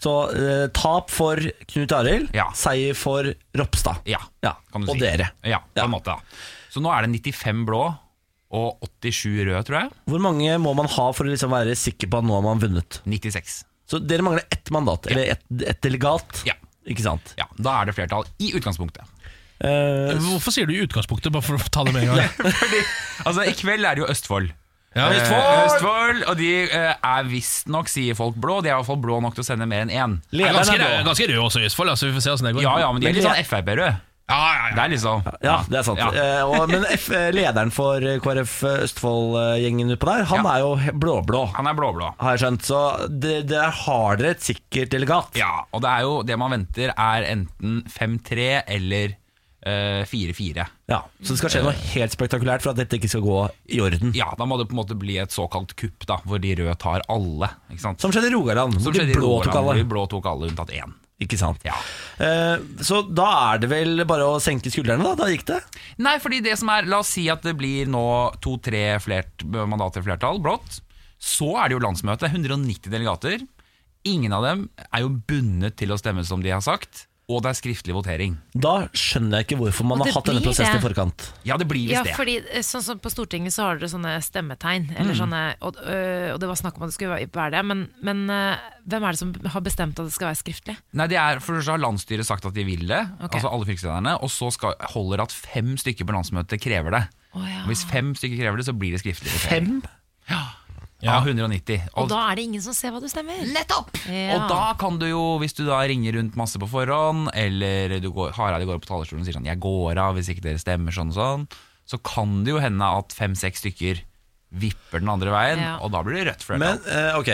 [SPEAKER 2] Så eh, tap for Knut Arild, seier for Ropstad.
[SPEAKER 11] Ja, kan du
[SPEAKER 2] og
[SPEAKER 11] si.
[SPEAKER 2] dere.
[SPEAKER 11] Ja, på en måte. da. Så nå er det 95 blå og 87 røde, tror jeg.
[SPEAKER 2] Hvor mange må man ha for å liksom være sikker på at nå har man vunnet?
[SPEAKER 11] 96.
[SPEAKER 2] Så dere mangler ett mandat, eller ett et delegat.
[SPEAKER 11] Ja.
[SPEAKER 2] Ikke sant? Eh,
[SPEAKER 11] Ja, Da er det flertall i utgangspunktet.
[SPEAKER 3] Hvorfor sier du i utgangspunktet, bare for å ta det med en gang?
[SPEAKER 11] Altså, I kveld er det jo Østfold.
[SPEAKER 3] Ja,
[SPEAKER 11] Eh,
[SPEAKER 3] Østfold!
[SPEAKER 11] Østfold og de eh, er visstnok, sier folk, blå. De er iallfall blå nok til å sende mer enn én.
[SPEAKER 3] Det er ganske, rød- ganske rød også i Østfold, altså, vi får se åssen det går.
[SPEAKER 11] Ja, ja, men de er litt sånn Frp-røde.
[SPEAKER 3] Ja, ja, ja.
[SPEAKER 11] Det er liksom
[SPEAKER 2] Ja, det er sant.
[SPEAKER 11] Ja.
[SPEAKER 2] Eh, og, men F, eh, lederen for eh, KrF Østfold-gjengen utpå der, han er jo he- blå-blå,
[SPEAKER 11] Han er blå-blå.
[SPEAKER 2] har jeg skjønt. Så det- der har dere et sikkert delegat.
[SPEAKER 11] Ja, og det er jo det man venter er enten 5-3 eller eh, 4-4.
[SPEAKER 2] Ja, Så det skal skje noe helt spektakulært for at dette ikke skal gå i orden.
[SPEAKER 11] Eh. Ja, da må det på en måte bli et såkalt kupp, da, hvor de røde tar alle. Ikke sant?
[SPEAKER 2] Som skjedde i Rogaland, hvor
[SPEAKER 11] Som
[SPEAKER 2] de
[SPEAKER 11] skjedde i
[SPEAKER 2] blå tok
[SPEAKER 11] Rogaland, hvor
[SPEAKER 2] alle.
[SPEAKER 11] De blå tok alle unntatt én.
[SPEAKER 2] Ikke sant.
[SPEAKER 11] Ja.
[SPEAKER 2] Eh, så da er det vel bare å senke skuldrene, da. Da gikk det.
[SPEAKER 11] Nei, fordi det som er La oss si at det blir nå to-tre flert, mandater flertall, blått. Så er det jo landsmøte. 190 delegater. Ingen av dem er jo bundet til å stemme som de har sagt. Og det er skriftlig votering.
[SPEAKER 2] Da skjønner jeg ikke hvorfor man
[SPEAKER 1] Og
[SPEAKER 2] har
[SPEAKER 1] det
[SPEAKER 2] hatt denne
[SPEAKER 1] blir
[SPEAKER 2] prosessen i
[SPEAKER 1] det.
[SPEAKER 2] forkant.
[SPEAKER 11] Ja, det blir
[SPEAKER 1] Ja,
[SPEAKER 11] visst det.
[SPEAKER 1] fordi eh, sånn som På Stortinget så har dere sånne stemmetegn,
[SPEAKER 11] Mm.
[SPEAKER 1] eller sånne, og, øh, og det var snakk om at det skulle være det. Men, men eh, hvem er det som har bestemt at det skal være skriftlig?
[SPEAKER 11] Nei, det er, for så har landsstyret sagt at de vil det,
[SPEAKER 1] Ok.
[SPEAKER 11] altså alle fylkeslederne, og så skal, holder at fem stykker på landsmøtet krever det.
[SPEAKER 1] Å ja.
[SPEAKER 11] Og Hvis fem stykker krever det, så blir det skriftlig.
[SPEAKER 2] Fem?
[SPEAKER 11] votering. Ja, 190.
[SPEAKER 1] Og da er det ingen som ser hva du stemmer.
[SPEAKER 11] Nettopp!
[SPEAKER 1] Ja.
[SPEAKER 11] og da kan du jo, hvis du da ringer rundt masse på forhånd, eller du går, Hareide går opp på talerstolen og sier sånn 'jeg går av hvis ikke dere stemmer', sånn og sånn, så kan det jo hende at fem-seks stykker vipper den andre veien,
[SPEAKER 1] Ja.
[SPEAKER 11] og da blir det rødt
[SPEAKER 2] Men
[SPEAKER 11] flertall.
[SPEAKER 2] eh, ok,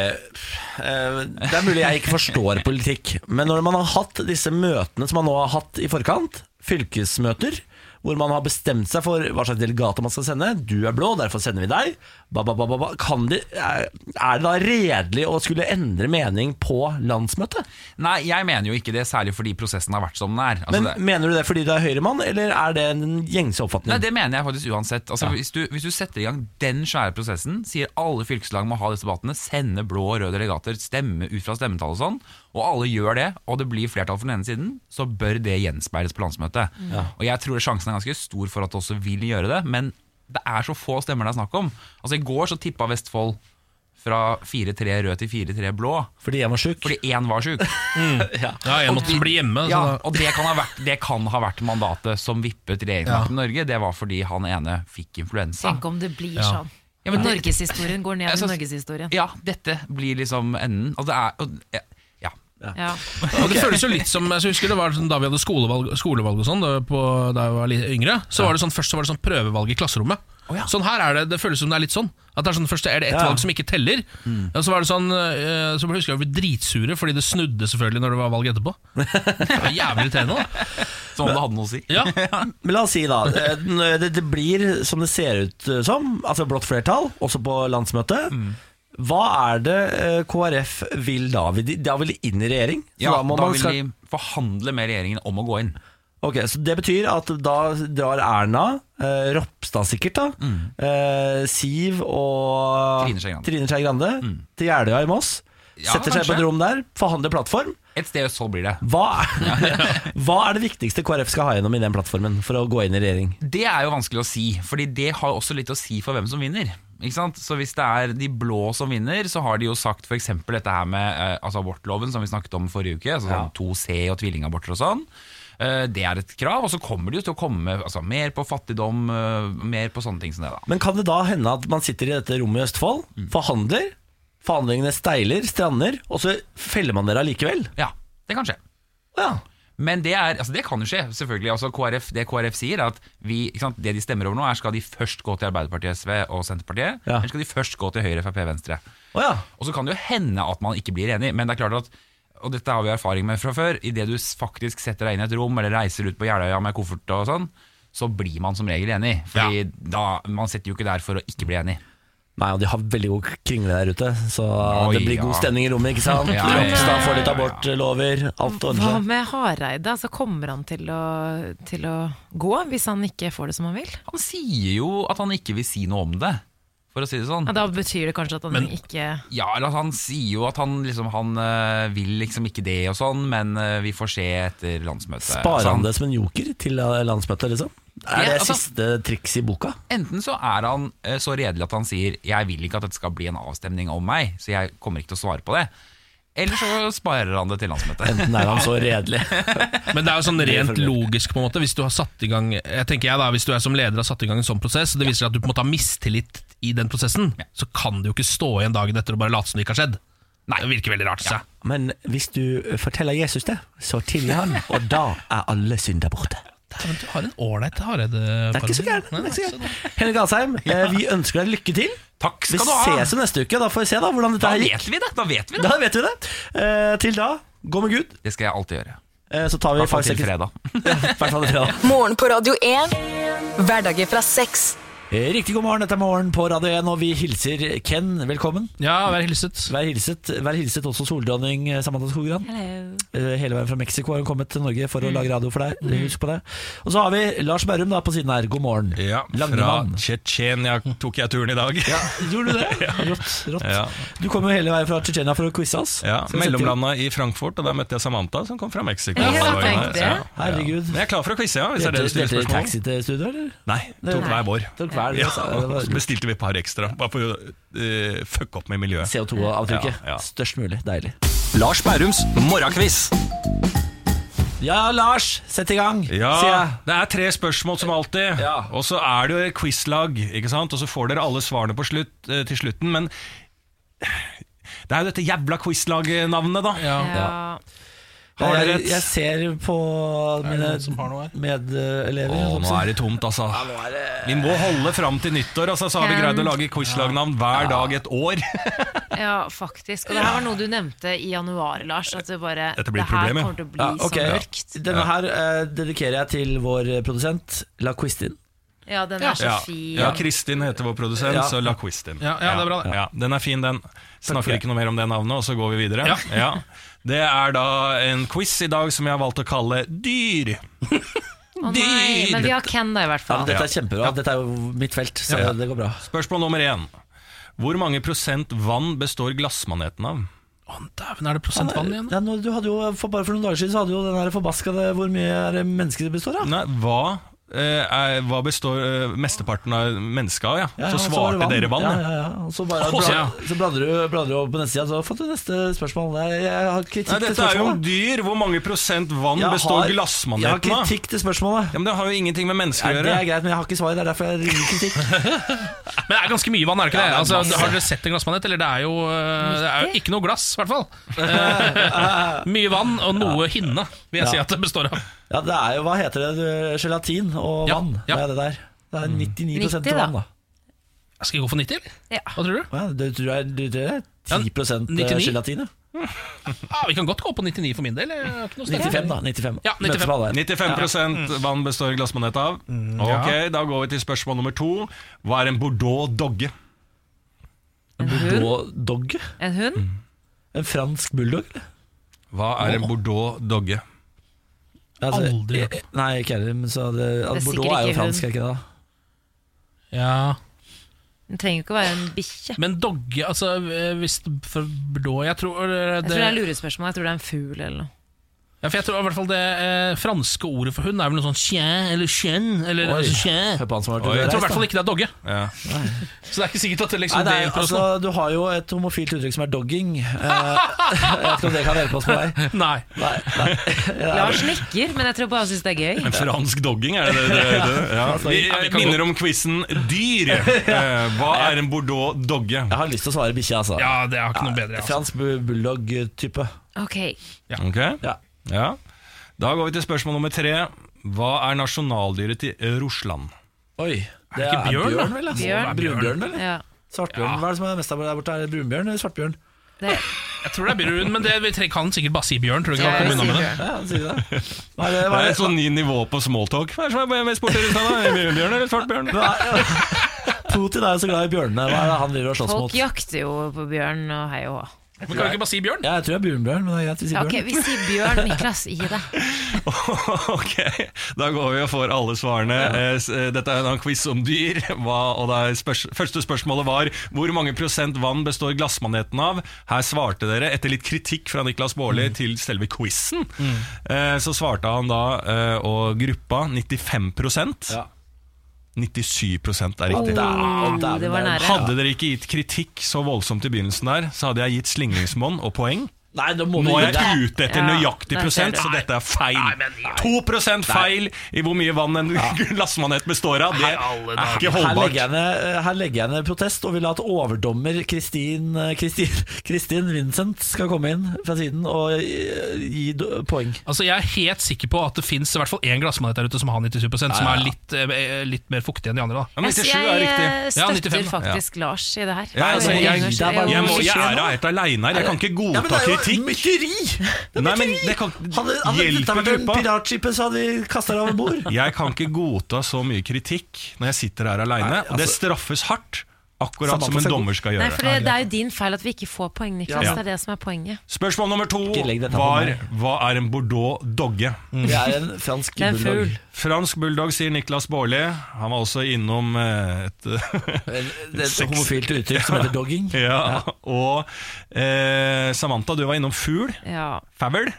[SPEAKER 2] Eh, det er mulig jeg ikke forstår politikk, men når man har hatt disse møtene som man nå har hatt i forkant, fylkesmøter, hvor man har bestemt seg for hva slags delegater man skal sende, du er blå, derfor sender vi deg, ba, ba, ba, ba, ba. Kan de, er er det da redelig å skulle endre mening på landsmøtet?
[SPEAKER 11] Nei, jeg mener jo ikke det, særlig fordi prosessen har vært som den er. Altså,
[SPEAKER 2] Men
[SPEAKER 11] det,
[SPEAKER 2] mener du det fordi du er høyremann, eller er det en gjengse
[SPEAKER 11] Nei,
[SPEAKER 2] oppfatning?
[SPEAKER 11] Det mener jeg faktisk uansett. Altså, hvis, du, hvis du setter i gang den svære prosessen, sier alle fylkeslag må ha disse debattene, sende blå og røde delegater, stemme ut fra stemmetall og sånn, og alle gjør det, og det blir flertall for den ene siden, så bør det gjenspeiles på landsmøtet.
[SPEAKER 2] Ja.
[SPEAKER 11] Og jeg tror sjansen er ganske stor for at det også vil gjøre det, men det er så få stemmer det er snakk om. Altså I går så tippa Vestfold fra 4-3 rød til 4-3 blå.
[SPEAKER 2] Fordi én var sjuk?
[SPEAKER 11] Fordi én var sjuk.
[SPEAKER 3] Ja. Ja, en
[SPEAKER 11] Og
[SPEAKER 3] måtte
[SPEAKER 11] vi-
[SPEAKER 3] bli hjemme, så
[SPEAKER 11] Ja,
[SPEAKER 3] da-
[SPEAKER 11] og det kan, ha vært, det kan ha vært mandatet som vippet regjeringsmakten i Norge. Det var fordi han ene fikk influensa.
[SPEAKER 1] Tenk om det blir
[SPEAKER 11] Ja.
[SPEAKER 1] sånn.
[SPEAKER 11] Ja, men det-
[SPEAKER 1] Norgeshistorien går ned
[SPEAKER 11] Jeg
[SPEAKER 1] i
[SPEAKER 11] synes-
[SPEAKER 1] norgeshistorien.
[SPEAKER 11] Ja, dette blir liksom enden. Og det er, og, ja, ja.
[SPEAKER 1] Ja.
[SPEAKER 3] Og det føles jo litt som jeg husker det var sånn, Da vi hadde skolevalg, skolevalg og sånn da, på- da jeg var litt yngre, så var det sånn, først så var det sånn prøvevalg i klasserommet. Sånn her er det, det føles som det er litt sånn. At det er sånn, Først er det ett
[SPEAKER 2] Ja.
[SPEAKER 3] valg som ikke teller.
[SPEAKER 11] Mm.
[SPEAKER 3] Og så var det sånn eh, Så husker jeg vi ble dritsure fordi det snudde selvfølgelig når det var valg etterpå. Det var jævlig irriterende, da.
[SPEAKER 11] Som om det hadde noe å si.
[SPEAKER 3] Ja.
[SPEAKER 2] Men la oss si da eh, det, det blir som det ser ut eh, som, altså blått flertall, også på landsmøtet.
[SPEAKER 11] Mm.
[SPEAKER 2] Hva er det eh, KrF vil da? Vil de, da vil de inn i regjering? Så
[SPEAKER 11] Ja,
[SPEAKER 2] må
[SPEAKER 11] da
[SPEAKER 2] man
[SPEAKER 11] vil
[SPEAKER 2] skal-
[SPEAKER 11] de forhandle med regjeringen om å gå inn.
[SPEAKER 2] Ok, Så det betyr at da drar Erna, eh, Ropstad sikkert, da eh, Siv og
[SPEAKER 11] Mm. Trine Skei Grande. Mm.
[SPEAKER 2] Skei Grande til Jeløya i Moss.
[SPEAKER 11] Ja,
[SPEAKER 2] setter seg på et
[SPEAKER 11] kanskje.
[SPEAKER 2] rom der, forhandler plattform.
[SPEAKER 11] Et sted, så blir det.
[SPEAKER 2] Hva er, hva er det viktigste KrF skal ha gjennom i den plattformen for å gå inn i regjering?
[SPEAKER 11] Det er jo vanskelig å si, fordi det har også litt å si for hvem som vinner. Ikke sant? Så hvis det er de blå som vinner, så har de jo sagt f.eks. dette her med eh, altså abortloven som vi snakket om forrige uke, altså sånn 2C og tvillingaborter og sånn. Eh, det er et krav, og så kommer det jo til å komme altså, mer på fattigdom, eh, mer på sånne ting som det, da.
[SPEAKER 2] Men kan det da hende at man sitter i dette rommet i Østfold,
[SPEAKER 11] Mm.
[SPEAKER 2] forhandler, forhandlingene steiler, strander, og så feller man dere allikevel?
[SPEAKER 11] Ja, det kan skje. Men det, er, altså det kan jo skje, selvfølgelig. Altså KrF, det KrF sier, er at vi, ikke sant, det de stemmer over nå, er skal de først gå til Arbeiderpartiet, SV og Senterpartiet,
[SPEAKER 2] Ja.
[SPEAKER 11] eller skal de først gå til Høyre, Frp, Venstre?
[SPEAKER 2] Å ja.
[SPEAKER 11] Og så kan det jo hende at man ikke blir enig, men det er klart at og dette har vi erfaring med fra før. Idet du s- faktisk setter deg inn i et rom eller reiser ut på Jeløya med koffert og sånn, så blir man som regel enig. Fordi da, man sitter jo ikke der for å ikke bli enig.
[SPEAKER 2] Nei, og de har veldig god kringle der ute, så
[SPEAKER 11] Oi,
[SPEAKER 2] det blir god
[SPEAKER 11] ja.
[SPEAKER 2] stemning i rommet, ikke sant?
[SPEAKER 11] Ja, ja, ja,
[SPEAKER 2] Ropstad får litt
[SPEAKER 11] ja, ja.
[SPEAKER 2] abortlover, alt ordner
[SPEAKER 1] Hva
[SPEAKER 2] seg.
[SPEAKER 1] med Hareide? Altså, kommer han til å, til å gå hvis han ikke får det som han vil?
[SPEAKER 11] Han sier jo at han ikke vil si noe om det, for å si det sånn.
[SPEAKER 1] Ja, da betyr det kanskje at han
[SPEAKER 11] Men-
[SPEAKER 1] ikke
[SPEAKER 11] Ja, eller altså, Han sier jo at han, liksom, han eh, vil liksom ikke det og sånn, men eh, vi får se etter landsmøtet.
[SPEAKER 2] Sparer
[SPEAKER 11] Så
[SPEAKER 2] han det som en joker til eh, landsmøtet, liksom?
[SPEAKER 11] Ja,
[SPEAKER 2] Er det
[SPEAKER 11] altså-
[SPEAKER 2] siste triks i boka?
[SPEAKER 11] Enten så er han eh, så redelig at han sier 'jeg vil ikke at dette skal bli en avstemning om meg', så jeg kommer ikke til å svare på det. Eller så sparer han det til landsmøtet.
[SPEAKER 2] Enten er han så redelig.
[SPEAKER 3] Men det er jo sånn
[SPEAKER 2] Det er
[SPEAKER 3] rent
[SPEAKER 2] formelt.
[SPEAKER 3] logisk, på en måte. Hvis du har satt i gang Jeg tenker jeg da, hvis du er som leder har satt i gang en sånn prosess, og det viser seg at du på en måte har mistillit i den prosessen, så kan det jo ikke stå igjen dagen etter og bare late som det ikke har skjedd. Nei, Det virker veldig rart. Ja.
[SPEAKER 2] Men hvis du forteller Jesus det, så tilgir han, og da er alle synder borte.
[SPEAKER 3] Men du har en ålreit Hareide.
[SPEAKER 2] Det er ikke så gærent. det er ikke så gærent. Henrik Asheim, eh, vi ønsker deg lykke til.
[SPEAKER 11] Takk
[SPEAKER 2] vi
[SPEAKER 11] skal du ha.
[SPEAKER 2] ses jo neste uke, da får vi se da hvordan dette
[SPEAKER 11] Da
[SPEAKER 2] her
[SPEAKER 11] vet
[SPEAKER 2] gikk.
[SPEAKER 11] vi det! Da vet vi det.
[SPEAKER 2] Da vet vi det. Eh, til da, gå med Gud.
[SPEAKER 11] Det skal jeg alltid gjøre.
[SPEAKER 2] Eh, så tar vi
[SPEAKER 11] Hvertfall til
[SPEAKER 2] faktisk-
[SPEAKER 11] fredag.
[SPEAKER 2] Ja, hvertfall til fredag.
[SPEAKER 4] Morgen på Radio 1. Hverdager fra seks.
[SPEAKER 2] Eh, Riktig god morgen, dette er Morgen på Radio 1, og vi hilser Ken velkommen.
[SPEAKER 3] Ja, vær hilset.
[SPEAKER 2] Vær hilset, vær hilset også soldronning eh, Samantha Skogran. Eh, Hele veien fra Mexico har hun kommet til Norge
[SPEAKER 12] Mm.
[SPEAKER 2] for å lage radio for deg. Husk på det. Og så har vi Lars Berrum da på siden her. God morgen.
[SPEAKER 12] Ja, fra
[SPEAKER 2] Langemann.
[SPEAKER 12] Tsjetsjenia tok jeg turen i dag. Ja,
[SPEAKER 2] Gjorde du det? Rått. rått.
[SPEAKER 12] ja.
[SPEAKER 2] Du kom jo hele veien fra Tsjetsjenia for å quize oss. Skal vi sette i gang?
[SPEAKER 12] Mellomlanda i Frankfurt, og der møtte jeg Samantha, som kom fra Mexico.
[SPEAKER 2] Ja,
[SPEAKER 12] Så det var jo
[SPEAKER 2] tenk
[SPEAKER 12] nice,
[SPEAKER 2] det.
[SPEAKER 12] ja.
[SPEAKER 2] Herregud.
[SPEAKER 12] Men jeg er klar for å quize, ja. Hvis det er det du
[SPEAKER 2] Delte
[SPEAKER 12] stiller
[SPEAKER 2] dere
[SPEAKER 12] spørsmål
[SPEAKER 2] taxi
[SPEAKER 12] om.
[SPEAKER 2] til studio, eller?
[SPEAKER 12] Nei, tok
[SPEAKER 2] Nei.
[SPEAKER 12] hver vår.
[SPEAKER 2] Tok hver vår,
[SPEAKER 12] Ja,
[SPEAKER 2] så det var-
[SPEAKER 12] så bestilte vi et par ekstra, bare for å eh, fucke opp med miljøet.
[SPEAKER 2] CO2-avtrykket.
[SPEAKER 12] Ja, ja.
[SPEAKER 2] Størst mulig. Deilig.
[SPEAKER 12] Lars Bærums morgenkviss.
[SPEAKER 2] Ja, Lars, sett i gang, sier jeg.
[SPEAKER 12] Ja, det er tre spørsmål som alltid. Og så er det jo et quizlag, ikke sant? og så får dere alle svarene på slutt, eh, til slutten. Men det er jo dette jævla quizlag-navnet, da.
[SPEAKER 1] Ja.
[SPEAKER 12] Har
[SPEAKER 2] Jeg,
[SPEAKER 12] dere
[SPEAKER 2] jeg,
[SPEAKER 12] et-
[SPEAKER 2] ser på mine eh, medelever.
[SPEAKER 12] Å, nå er det tomt, altså. Vi må holde fram til nyttår, altså, så har vi
[SPEAKER 1] Kent.
[SPEAKER 12] greid å lage quizlagnavn hver dag et år.
[SPEAKER 1] Ja, faktisk. Og det her var noe du nevnte i januar, Lars. At du bare
[SPEAKER 12] Dette blir
[SPEAKER 1] Det her
[SPEAKER 12] problemet.
[SPEAKER 1] kommer til å bli
[SPEAKER 2] Ja, ok.
[SPEAKER 1] så mørkt.
[SPEAKER 2] Denne her eh, dedikerer jeg til vår eh, produsent, La Quistin.
[SPEAKER 1] Ja, den er så
[SPEAKER 12] Ja.
[SPEAKER 1] fin.
[SPEAKER 12] ja, Kristin heter vår produsent,
[SPEAKER 2] Ja.
[SPEAKER 12] så la Quistin.
[SPEAKER 3] Ja, ja, det er bra, det.
[SPEAKER 12] Ja, den er fin, den.
[SPEAKER 2] for
[SPEAKER 12] Snakker
[SPEAKER 2] det.
[SPEAKER 12] ikke noe mer om det navnet, og så går vi videre.
[SPEAKER 3] Ja.
[SPEAKER 12] Ja. Det er da en quiz i dag som jeg har valgt å kalle Dyr.
[SPEAKER 1] Å nei, men vi har Ken da, i hvert
[SPEAKER 2] Ja, men
[SPEAKER 1] fall.
[SPEAKER 2] dette er kjempebra. Dette er jo mitt felt, så
[SPEAKER 12] Ja.
[SPEAKER 2] det går bra.
[SPEAKER 12] Spørsmål nummer én. Hvor mange prosent vann består glassmaneten av?
[SPEAKER 3] Dæven, er det prosentvann igjen?
[SPEAKER 2] Ja,
[SPEAKER 12] Mm.
[SPEAKER 2] nå, du hadde jo, for bare for noen dager siden så hadde jo den her forbaskede hvor mye er det mennesker det består av.
[SPEAKER 12] Nei, hva eh, er, hva består eh, mesteparten av mennesket av? Ja.
[SPEAKER 2] Ja,
[SPEAKER 12] så
[SPEAKER 2] og var det
[SPEAKER 12] svarte dere vann.
[SPEAKER 2] Ja,
[SPEAKER 12] ja.
[SPEAKER 2] ja, ja. Og så,
[SPEAKER 12] Å,
[SPEAKER 2] bare, bla,
[SPEAKER 12] ja.
[SPEAKER 2] så bladrer du, bladrer du over på neste side, så har du fått du neste spørsmål. Nei, Jeg har kritikk
[SPEAKER 12] Nei,
[SPEAKER 2] til
[SPEAKER 12] dette er jo
[SPEAKER 2] spørsmålet.
[SPEAKER 12] dyr. Hvor mange prosent vann
[SPEAKER 2] Jeg
[SPEAKER 12] består
[SPEAKER 2] har-
[SPEAKER 12] glassmaneten
[SPEAKER 2] jeg
[SPEAKER 12] av?
[SPEAKER 2] har kritikk til spørsmålet.
[SPEAKER 12] Ja, men Det har jo ingenting med mennesker å
[SPEAKER 2] Nei,
[SPEAKER 12] gjøre.
[SPEAKER 2] det er greit, men jeg har ikke svaret. Det er derfor jeg ringer kritikk.
[SPEAKER 3] Men det er ganske mye vann, er det
[SPEAKER 2] Ja,
[SPEAKER 3] ikke det?
[SPEAKER 2] det er
[SPEAKER 3] Altså,
[SPEAKER 2] masse.
[SPEAKER 3] har dere sett en glassmanet? Eller det er jo, eh, det er jo ikke noe glass, i hvert fall. Eh, mye vann og noe hinne, vil jeg
[SPEAKER 2] Ja.
[SPEAKER 3] si at det består av.
[SPEAKER 2] Ja, det er jo, hva heter det, du, gelatin og
[SPEAKER 3] Ja,
[SPEAKER 2] vann.
[SPEAKER 3] ja. Mm.
[SPEAKER 2] Det er det der. Det er 99
[SPEAKER 3] 90 da.
[SPEAKER 2] vann, da.
[SPEAKER 3] Skal jeg gå for 90, eller?
[SPEAKER 1] Ja.
[SPEAKER 3] Hva tror du?
[SPEAKER 2] Ja, du tror jeg- du tror det er 10
[SPEAKER 3] 99?
[SPEAKER 2] gelatin, ja.
[SPEAKER 3] Ja, Ah, vi kan godt gå på 99 for min del. jeg har ikke noe sterkt.
[SPEAKER 2] 95, da. 95.
[SPEAKER 3] Ja, 95.
[SPEAKER 2] Møtes på alle.
[SPEAKER 12] 95
[SPEAKER 3] Mm.
[SPEAKER 12] vann består glassmanet av. Ok, Da går vi til spørsmål nummer to. Hva er en bordeaux dogge?
[SPEAKER 1] En
[SPEAKER 2] Bordeaux dogge?
[SPEAKER 1] En hund?
[SPEAKER 2] En fransk bulldog, eller?
[SPEAKER 12] Hva er en bordeaux dogge?
[SPEAKER 2] Aldri hørt om. Altså, eh, Nei, ikke heller. Men så det,
[SPEAKER 1] Det er
[SPEAKER 2] altså,
[SPEAKER 1] sikkert
[SPEAKER 2] Bordeaux er jo
[SPEAKER 1] ikke hund.
[SPEAKER 2] fransk, er ikke det? da?
[SPEAKER 3] Ja.
[SPEAKER 1] Den trenger jo ikke å være en bikkje.
[SPEAKER 3] Men dogge, altså eh, hvis det- for da, Jeg tror eh,
[SPEAKER 1] Jeg
[SPEAKER 3] det
[SPEAKER 1] tror det er lurespørsmål. Jeg tror det er en fugl eller noe.
[SPEAKER 3] ja, for jeg tror i hvert fall det eh, franske ordet for hund er vel noe sånn chien eller chien. Eller,
[SPEAKER 2] Oi,
[SPEAKER 3] altså, chien.
[SPEAKER 2] hør på han som har vært ute
[SPEAKER 3] Oi,
[SPEAKER 2] og
[SPEAKER 3] jeg tror i
[SPEAKER 2] reist,
[SPEAKER 3] hvert fall ikke det er dogge.
[SPEAKER 12] Ja.
[SPEAKER 3] Så det er ikke sikkert at det
[SPEAKER 2] Nei,
[SPEAKER 3] liksom
[SPEAKER 2] det er,
[SPEAKER 3] hjelper oss
[SPEAKER 2] altså, du har jo et homofilt uttrykk som er dogging. Eh, jeg vet ikke om det kan hjelpe oss på vei.
[SPEAKER 3] nå. sånn. Nei.
[SPEAKER 2] Nei, nei.
[SPEAKER 1] Lars nikker, men jeg tror bare han syns det er gøy.
[SPEAKER 12] En fransk dogging, er det det? det, det, Ja.
[SPEAKER 3] altså,
[SPEAKER 12] Vi
[SPEAKER 2] Ja, vi
[SPEAKER 12] eh,
[SPEAKER 2] kan
[SPEAKER 12] minner om quizen Dyr. Eh, Hva er en bordeaux dogge?
[SPEAKER 2] Jeg har lyst til å svare bikkje, altså.
[SPEAKER 3] Ja, det har ikke noe bedre. Altså.
[SPEAKER 2] Fransk bu- bulldog-type.
[SPEAKER 1] Ok,
[SPEAKER 12] Ok?
[SPEAKER 2] Ja.
[SPEAKER 12] Ja. Da går vi til spørsmål nummer tre. Hva er nasjonaldyret til eh, Russland?
[SPEAKER 2] Oi,
[SPEAKER 3] det ikke bjørn, da?
[SPEAKER 2] vel? altså?
[SPEAKER 1] Bjørn.
[SPEAKER 2] Brunbjørn, eller?
[SPEAKER 1] ja.
[SPEAKER 2] Svartbjørn, Hva er det som er mest der borte? Er det brunbjørn eller svartbjørn?
[SPEAKER 1] Det,
[SPEAKER 3] Jeg tror det er brun, men det, vi tre- kan sikkert bare si bjørn. Tror du ikke
[SPEAKER 1] Ja,
[SPEAKER 3] han
[SPEAKER 1] vi
[SPEAKER 3] kom unna med
[SPEAKER 1] sier
[SPEAKER 3] det?
[SPEAKER 2] Ja, sier du det? Hva er det,
[SPEAKER 12] Det
[SPEAKER 2] hva
[SPEAKER 12] er
[SPEAKER 2] er
[SPEAKER 12] et
[SPEAKER 2] det?
[SPEAKER 12] sånn ny nivå på smalltalk. Hva er det som er mest borte i Russland? da? Brunbjørn eller svartbjørn?
[SPEAKER 2] Hva er Putin er jo så glad i bjørnene. Hva er det han driver og slåss
[SPEAKER 1] folk
[SPEAKER 2] mot?
[SPEAKER 1] jakter jo på bjørn og hei og hå.
[SPEAKER 3] Men kan vi ikke bare si bjørn?
[SPEAKER 2] Ja, jeg tror det er brunbjørn, men det er greit vi sier
[SPEAKER 1] Ja, ok,
[SPEAKER 2] bjørn.
[SPEAKER 1] vi sier bjørn, Niklas. Gi deg.
[SPEAKER 12] Ok, da går vi og får alle svarene. Eh, s- eh, Dette er en quiz om dyr. Hva, og det er spørs første spørsmålet var hvor mange prosent vann består glassmaneten av? Her svarte dere, etter litt kritikk fra Niklas Baarli til selve quizen, eh, så svarte han da eh, og gruppa 95
[SPEAKER 2] Ja.
[SPEAKER 12] 97 er
[SPEAKER 2] Og
[SPEAKER 12] riktig.
[SPEAKER 2] da- og da-
[SPEAKER 1] det var nære.
[SPEAKER 12] Hadde dere ikke gitt kritikk så voldsomt i begynnelsen der, så hadde jeg gitt slingringsmonn og poeng.
[SPEAKER 2] Nei, da må
[SPEAKER 12] Nå
[SPEAKER 2] du
[SPEAKER 12] er
[SPEAKER 2] gi deg.
[SPEAKER 12] jeg ute etter
[SPEAKER 1] Ja,
[SPEAKER 12] nøyaktig
[SPEAKER 1] der ser
[SPEAKER 12] prosent,
[SPEAKER 1] du.
[SPEAKER 12] så dette er feil.
[SPEAKER 3] Nei, men i-
[SPEAKER 12] 2 feil i hvor mye vann en glassmanet består av. Det
[SPEAKER 3] Nei, alle
[SPEAKER 12] er ikke
[SPEAKER 2] Her legger,
[SPEAKER 12] holdbart.
[SPEAKER 2] jeg ned, her legger jeg ned protest og vil at overdommer Kristin, eh, Kristin, Kristin Vincent skal komme inn fra siden og gi, gi d- poeng.
[SPEAKER 3] Altså, Jeg er helt sikker på at det fins én glassmanet der ute som har 97 som er litt, eh, litt mer fuktig enn de andre. da
[SPEAKER 12] Ja, men
[SPEAKER 1] Jeg,
[SPEAKER 12] 97 er
[SPEAKER 1] jeg eh,
[SPEAKER 12] riktig.
[SPEAKER 3] Ja, 95,
[SPEAKER 1] støtter faktisk Lars i det her.
[SPEAKER 12] Ja, altså, jeg-
[SPEAKER 1] Jonas,
[SPEAKER 2] det er bare-
[SPEAKER 1] jo,
[SPEAKER 12] Jeg, må, jeg er
[SPEAKER 1] Jonas.
[SPEAKER 12] helt aleine her. Jeg kan ikke
[SPEAKER 2] Ja, men
[SPEAKER 12] godta
[SPEAKER 2] det er jo
[SPEAKER 12] kritikk.
[SPEAKER 2] mytteri! Det er
[SPEAKER 12] Nei, men
[SPEAKER 2] mytteri!
[SPEAKER 12] det kan-
[SPEAKER 2] hadde hadde dette
[SPEAKER 12] hjelper
[SPEAKER 2] vært en
[SPEAKER 12] gruppa.
[SPEAKER 2] piratskip, så hadde vi kasta det over bord.
[SPEAKER 12] Jeg kan ikke godta så mye kritikk når jeg sitter her aleine, og det
[SPEAKER 2] altså-
[SPEAKER 12] straffes hardt. Akkurat
[SPEAKER 2] Samantha
[SPEAKER 12] som en
[SPEAKER 2] skal gå.
[SPEAKER 12] dommer skal
[SPEAKER 1] Nei,
[SPEAKER 12] gjøre.
[SPEAKER 1] for det, det er jo din feil at vi ikke får poeng, Niklas.
[SPEAKER 12] Ja.
[SPEAKER 1] Det er det som er poenget.
[SPEAKER 12] Spørsmål nummer to
[SPEAKER 2] Ikke legg dette på
[SPEAKER 12] var
[SPEAKER 2] meg.
[SPEAKER 12] hva er en bordeaux dogge?
[SPEAKER 2] Det er en fransk
[SPEAKER 1] Det er en
[SPEAKER 2] bulldog.
[SPEAKER 1] fugl.
[SPEAKER 12] Fransk bulldog, sier Niklas Baarli. Han var også innom eh, et
[SPEAKER 2] Det er et
[SPEAKER 12] Sex.
[SPEAKER 2] homofilt uttrykk som heter dogging.
[SPEAKER 12] Ja, og eh, Samantha, du var innom fugl.
[SPEAKER 1] Ja.
[SPEAKER 12] Favel.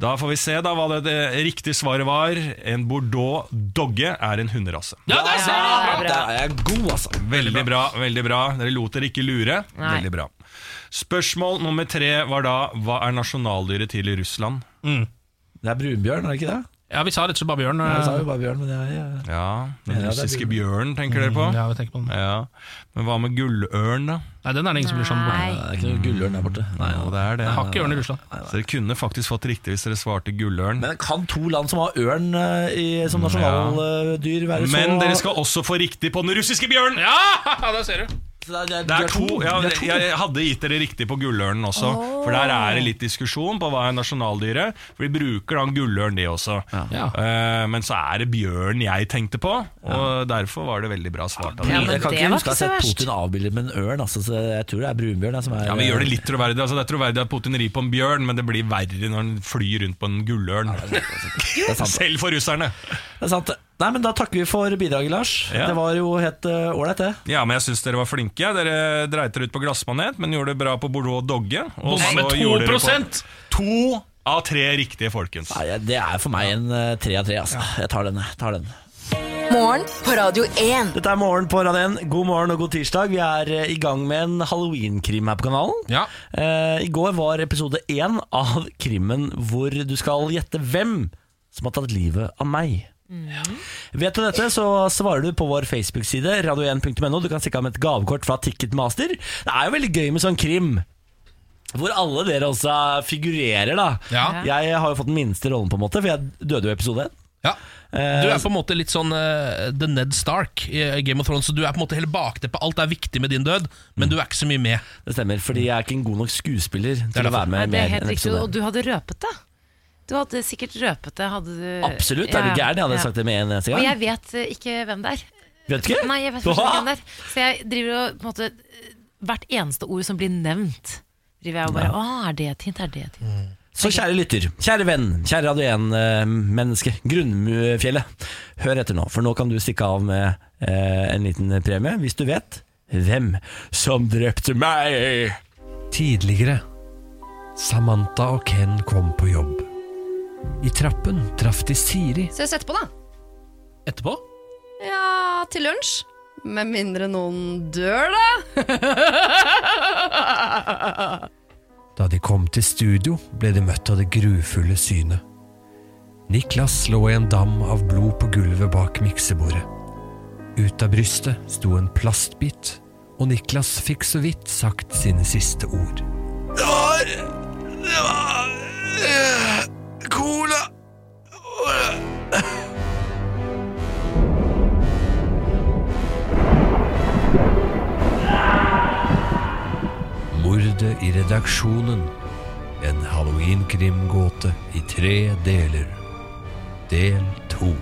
[SPEAKER 12] Da får vi se da hva det, det riktige svaret var. En bordeaux dogge er en hunderase.
[SPEAKER 3] Ja, der ser du!
[SPEAKER 1] Ja,
[SPEAKER 2] Der er jeg god, altså.
[SPEAKER 12] Veldig bra, veldig bra. Dere lot dere ikke lure.
[SPEAKER 1] Nei.
[SPEAKER 12] Veldig bra. Spørsmål nummer tre var da hva er nasjonaldyret til i Russland?
[SPEAKER 2] Det er brunbjørn, er det ikke det?
[SPEAKER 3] Ja, Vi sa rett og slett bare bjørn.
[SPEAKER 2] Jeg sa
[SPEAKER 3] eh,
[SPEAKER 2] jo bare bjørn, men jeg jeg-
[SPEAKER 12] Ja,
[SPEAKER 2] Ja,
[SPEAKER 12] Den
[SPEAKER 2] det er
[SPEAKER 12] russiske
[SPEAKER 2] brun.
[SPEAKER 12] bjørnen, tenker dere på?
[SPEAKER 3] Ja, vi tenker på den.
[SPEAKER 12] Mm, Ja. Men hva med gullørn, da?
[SPEAKER 3] Nei, den er det ingen som blir sånn borte.
[SPEAKER 1] Nei.
[SPEAKER 2] Det er ikke noe gullørn der borte. Nei,
[SPEAKER 12] Jo, det er det.
[SPEAKER 3] Jeg har ikke ørn i Russland.
[SPEAKER 12] Så dere kunne faktisk fått riktig hvis dere svarte gullørn.
[SPEAKER 2] Men kan to land som har ørn eh, i, som nasjonaldyr, være så
[SPEAKER 12] Men dere skal også få riktig på den russiske bjørnen!
[SPEAKER 3] Ja, der ser du!
[SPEAKER 2] Så Det er, det er,
[SPEAKER 12] Det er
[SPEAKER 2] de
[SPEAKER 12] to, ja,
[SPEAKER 2] de er to.
[SPEAKER 12] Jeg hadde gitt dere riktig på gullørnen også, for der er det litt diskusjon på hva er nasjonaldyret. For de bruker da en gullørn, de også.
[SPEAKER 3] Ja.
[SPEAKER 12] Eh, men så er det bjørn jeg tenkte på, og derfor var det veldig bra svart av
[SPEAKER 1] Ja,
[SPEAKER 12] dere.
[SPEAKER 1] men
[SPEAKER 2] jeg kan
[SPEAKER 1] det
[SPEAKER 2] ikke
[SPEAKER 1] var
[SPEAKER 2] huske å ha
[SPEAKER 1] ikke så
[SPEAKER 2] sett
[SPEAKER 1] verst.
[SPEAKER 2] Putin avbildet med en ørn, altså, så jeg tror det er brunbjørn. jeg, Som er,
[SPEAKER 12] Ja, vi gjør det litt troverdig. Altså, det er troverdig at Putin rir på en bjørn, men det blir verre når han flyr rundt på en gullørn.
[SPEAKER 2] Det er sant.
[SPEAKER 12] Selv for russerne!
[SPEAKER 2] Det er sant. Nei, men Da takker vi for bidraget, Lars.
[SPEAKER 12] Ja.
[SPEAKER 2] Det var jo helt eh, ålreit, det.
[SPEAKER 12] Ja, men jeg syns dere var flinke. Dere dreit dere ut på glassmanet, men gjorde det bra på Bordeaux Dogge. Og
[SPEAKER 3] Bomma med
[SPEAKER 12] så
[SPEAKER 3] 2%.
[SPEAKER 12] gjorde dere på- To av tre riktige, folkens.
[SPEAKER 2] Nei, det er for meg en eh, tre av tre. Altså. Jeg tar den. jeg Tar den.
[SPEAKER 4] Morgen på Radio 1.
[SPEAKER 2] Dette er Morgen på Radio 1. God morgen og god tirsdag. Vi er eh, i gang med en halloween-krim her på kanalen. Eh, I går var episode én av krimmen hvor du skal gjette hvem som har tatt livet av meg.
[SPEAKER 3] Mm.
[SPEAKER 2] Vet du dette, så svarer du på vår Facebook-side, radio1.no. Du kan stikke av med et gavekort fra Ticketmaster. Det er jo veldig gøy med sånn krim. Hvor alle dere også figurerer, da.
[SPEAKER 3] Ja.
[SPEAKER 2] Jeg har jo fått den minste rollen, på en måte, for jeg døde jo i episode én.
[SPEAKER 3] Du er på en måte litt sånn eh, The Ned Stark i Game of Thrones. Så du er på en måte hele bakteppet. Alt er viktig med din død, men du er ikke så mye med.
[SPEAKER 2] Det stemmer, fordi jeg er ikke en god nok skuespiller til å være
[SPEAKER 1] Nei,
[SPEAKER 2] med
[SPEAKER 1] det
[SPEAKER 2] mer
[SPEAKER 1] er
[SPEAKER 2] enn
[SPEAKER 1] helt riktig.
[SPEAKER 2] episode.
[SPEAKER 1] Og du hadde røpet det. Du hadde sikkert røpet det. Hadde du...
[SPEAKER 2] Absolutt, er du gæren? Jeg hadde sagt det med en eneste
[SPEAKER 1] Og jeg
[SPEAKER 2] gang.
[SPEAKER 1] vet eh, ikke hvem det er.
[SPEAKER 2] Vet du ikke?
[SPEAKER 1] Nei, jeg vet
[SPEAKER 2] Hva?
[SPEAKER 1] fortsatt ikke hvem det er. Så jeg driver og på en måte eh, Hvert eneste ord som blir nevnt, driver jeg og bare
[SPEAKER 2] Ja.
[SPEAKER 1] Å, er det et hint? Er det et hint?
[SPEAKER 2] Så kjære lytter, kjære venn, kjære Radio 1-menneske, Grunnfjellet. Hør etter nå, for nå kan du stikke av med eh, en liten premie, hvis du vet hvem som drepte meg.
[SPEAKER 13] Tidligere. Samantha og Ken kom på jobb. I trappen traff de Siri.
[SPEAKER 14] Ses etterpå, da.
[SPEAKER 3] Etterpå?
[SPEAKER 14] Ja, til lunsj. Med mindre noen dør, da.
[SPEAKER 13] Da de kom til studio, ble de møtt av det grufulle synet. Niklas lå i en dam av blod på gulvet bak miksebordet. Ut av brystet sto en plastbit, og Niklas fikk så vidt sagt sine siste ord.
[SPEAKER 10] Det var Det var eh, Cola
[SPEAKER 13] Mordet i redaksjonen. En halloween-krimgåte i tre deler. Del to.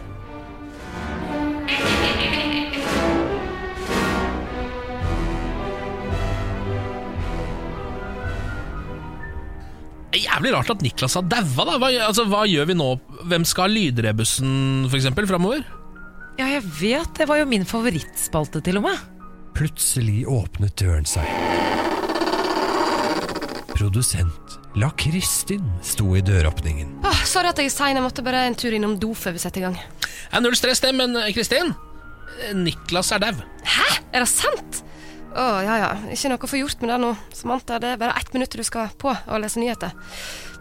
[SPEAKER 3] Det er Jævlig rart at Niklas har daua, da. Hva, altså, hva gjør vi nå? Hvem skal ha lydrebussen, for eksempel, framover?
[SPEAKER 1] Ja, jeg vet. Det var jo min favorittspalte, til og med.
[SPEAKER 13] Plutselig åpnet døren seg. Produsent La Kristin sto i døråpningen.
[SPEAKER 14] Åh, Ah, sorry at jeg er sein. Jeg måtte bare en tur innom do før vi setter i gang.
[SPEAKER 3] Ja, null stress, det, men eh, Kristin? eh, Niklas er dau.
[SPEAKER 14] Hæ? Er det sant? Å, ja ja. Ikke noe å få gjort med det nå. Samantha, det er bare ett minutt til du skal på og lese nyheter.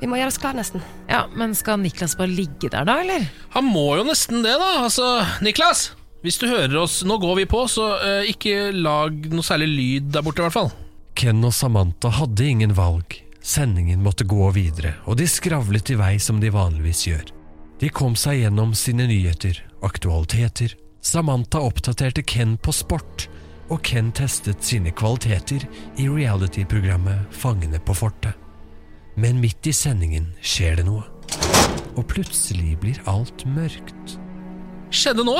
[SPEAKER 14] Vi må gjøre oss klar, nesten.
[SPEAKER 1] Ja, Men skal Niklas bare ligge der, da, eller?
[SPEAKER 3] Han må jo nesten det, da. Altså, Niklas, hvis du hører oss, nå går vi på, så eh, ikke lag noe særlig lyd der borte, i hvert fall.
[SPEAKER 13] Ken og Samantha hadde ingen valg. Sendingen måtte gå videre, og de skravlet i vei som de vanligvis gjør. De kom seg gjennom sine nyheter, aktualiteter. Samantha oppdaterte Ken på sport, og Ken testet sine kvaliteter i reality-programmet Fangene på fortet. Men midt i sendingen skjer det noe, og plutselig blir alt mørkt.
[SPEAKER 3] Skjedde nå?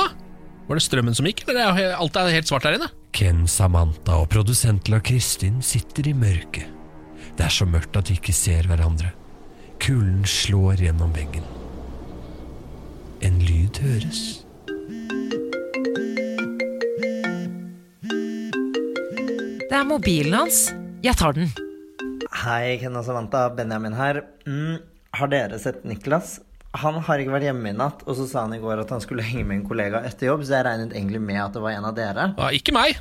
[SPEAKER 3] Var det strømmen som gikk, eller er he- alt er helt svart der inne?
[SPEAKER 13] Ken, Samantha og produsenten La Kristin sitter i mørket. Det er så mørkt at de ikke ser hverandre. Kulen slår gjennom veggen. En lyd høres.
[SPEAKER 1] Det er mobilen hans. Jeg tar den.
[SPEAKER 15] Hei, Ken og Samantha. Benjamin her. Mm, har dere sett Niklas? Han har ikke vært hjemme i natt, og så sa han i går at han skulle henge med en kollega etter jobb, så jeg regnet egentlig med at det var en av dere.
[SPEAKER 3] ikke meg.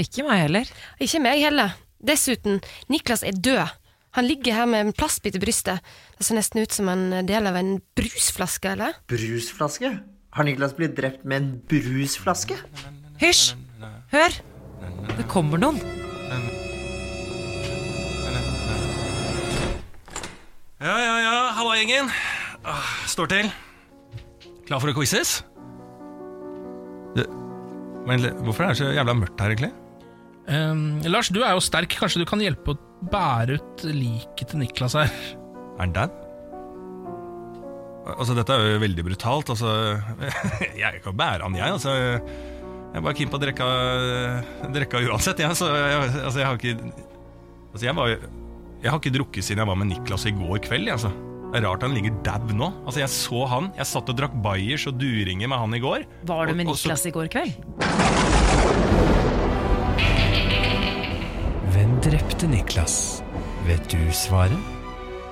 [SPEAKER 1] Ikke meg heller.
[SPEAKER 14] Ikke meg heller. Dessuten, Niklas er død. Han ligger her med en plastbit i brystet. Det ser nesten ut som en del av en brusflaske, eller?
[SPEAKER 15] Brusflaske? Har Niklas blitt drept med en brusflaske?
[SPEAKER 1] Hysj! Hør! Det kommer noen.
[SPEAKER 12] Ja, ja, ja, halla gjengen. Ah, Står til. Klar for å quizes? Det- Men le- hvorfor er det så jævla mørkt her, egentlig?
[SPEAKER 3] Ehm, Lars, du er jo sterk. Kanskje du kan hjelpe å bære ut liket til Niklas her?
[SPEAKER 12] Er han dau? Altså, dette er jo veldig brutalt. Altså, jeg kan bære han, jeg. Altså, jeg er bare keen på å drikke drikke uansett, jeg. Så jeg, altså, jeg har ikke Altså, jeg var Jeg har ikke drukket siden jeg var med Niklas i går kveld, jeg, altså. Det er rart han ligger dau nå. Altså, jeg så han. Jeg satt og drakk bayers og duringer med han i går.
[SPEAKER 1] Var du med
[SPEAKER 12] Og- og så-
[SPEAKER 1] Niklas i går kveld?
[SPEAKER 13] Hvem drepte Niklas? Vet du svaret?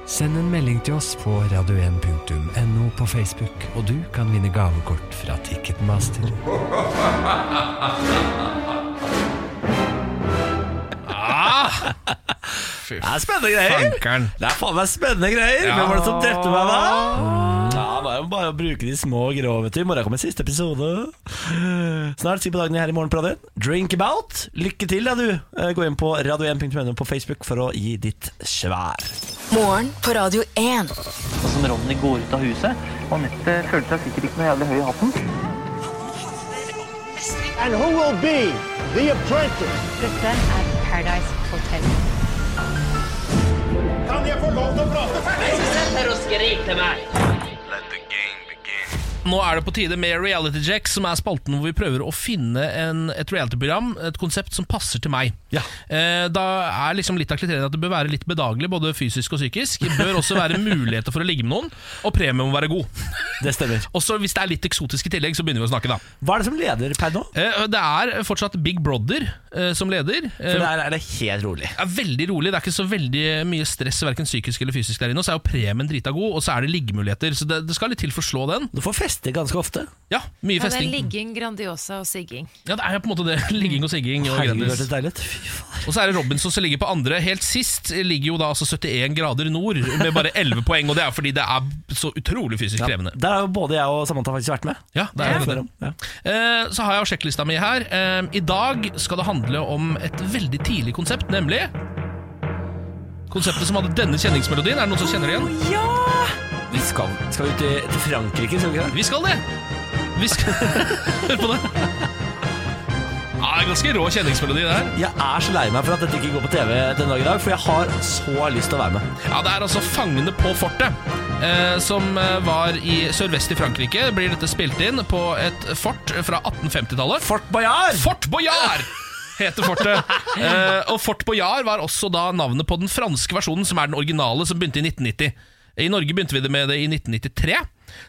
[SPEAKER 13] Send en melding til oss på radio1.no på Facebook, og du kan vinne gavekort fra Ticketmaster.
[SPEAKER 2] Det er spennende greier! Det er faen meg spennende greier! Hvem var det som drepte meg, da? Ja, Det er jo bare å bruke de små grå, vet du. I morgen kommer siste episode. Snart si på dagen her i morgen, Pradin. Drink about. Lykke til, da, du. Eh, Gå inn på radio1.no på Facebook for å gi ditt svær.
[SPEAKER 4] Morgen på Radio 1.
[SPEAKER 16] Og som Ronny går ut av huset. Anette følte seg sikkert ikke noe jævlig høy i hatten.
[SPEAKER 17] And who will be the apprentice? Dette er Paradise Hotel. Kan jeg få lov til å prate
[SPEAKER 3] Nå er det på tide med Reality Jack, som er spalten hvor vi prøver å finne en, et reality-program, et konsept som passer til meg. Eh, da er liksom litt av kriteriet at det bør være litt bedagelig, både fysisk og psykisk. Det bør også være muligheter for å ligge med noen, og premien må være god.
[SPEAKER 2] Det stemmer.
[SPEAKER 3] Også hvis det er litt eksotisk i tillegg, så begynner vi å snakke, da.
[SPEAKER 2] Hva er det som leder per nå?
[SPEAKER 3] Eh, det er fortsatt Big Brother eh, som leder.
[SPEAKER 2] For der er det helt rolig.
[SPEAKER 3] er veldig rolig. Det er ikke så veldig mye stress, verken psykisk eller fysisk der inne. Og så er jo premien drita god, og så er det liggemuligheter. Så det, det skal litt til for å slå den.
[SPEAKER 2] Du får feste ganske ofte.
[SPEAKER 3] Ja, mye
[SPEAKER 1] Ja, det er
[SPEAKER 3] festing.
[SPEAKER 1] ligging, Grandiosa og sigging.
[SPEAKER 3] Ja, det er jo på en måte det. Ligging og sigging. Og
[SPEAKER 2] Herregud,
[SPEAKER 3] Grandis.
[SPEAKER 2] det er deilig.
[SPEAKER 3] Og så er det Robinson som ligger på andre. Helt sist ligger jo da altså 71 grader nord med bare 11 poeng, og det er fordi det er så utrolig fysisk krevende.
[SPEAKER 2] Der har jo både jeg og Samantha faktisk vært med.
[SPEAKER 3] Ja, det er jo
[SPEAKER 2] Før
[SPEAKER 3] det.
[SPEAKER 2] om, ja.
[SPEAKER 3] Eh, Så har jeg jo sjekklista mi her. Eh, I dag skal det handle om et veldig tidlig konsept, nemlig Konseptet som hadde denne kjenningsmelodien. Er sånn det noen som kjenner det igjen?
[SPEAKER 2] Vi skal, skal ut til, til Frankrike, skal vi ikke det?
[SPEAKER 3] Vi skal det! Vi skal Hør på det. Ja, det er ganske rå kjenningsmelodi, det her.
[SPEAKER 2] Jeg er så lei meg for at dette ikke går på TV den dag i dag, for jeg har så lyst til å være med.
[SPEAKER 3] Ja, det er altså Fangene på fortet, eh, som eh, var i sørvest i Frankrike. Blir dette spilt inn på et fort fra 1850-tallet.
[SPEAKER 2] Fort Boyard!
[SPEAKER 3] Fort Boyard! Heter fortet. Eh, og Fort Boyard var også da navnet på den franske versjonen, som er den originale, som begynte i 1990. I Norge begynte vi det med det i 1993.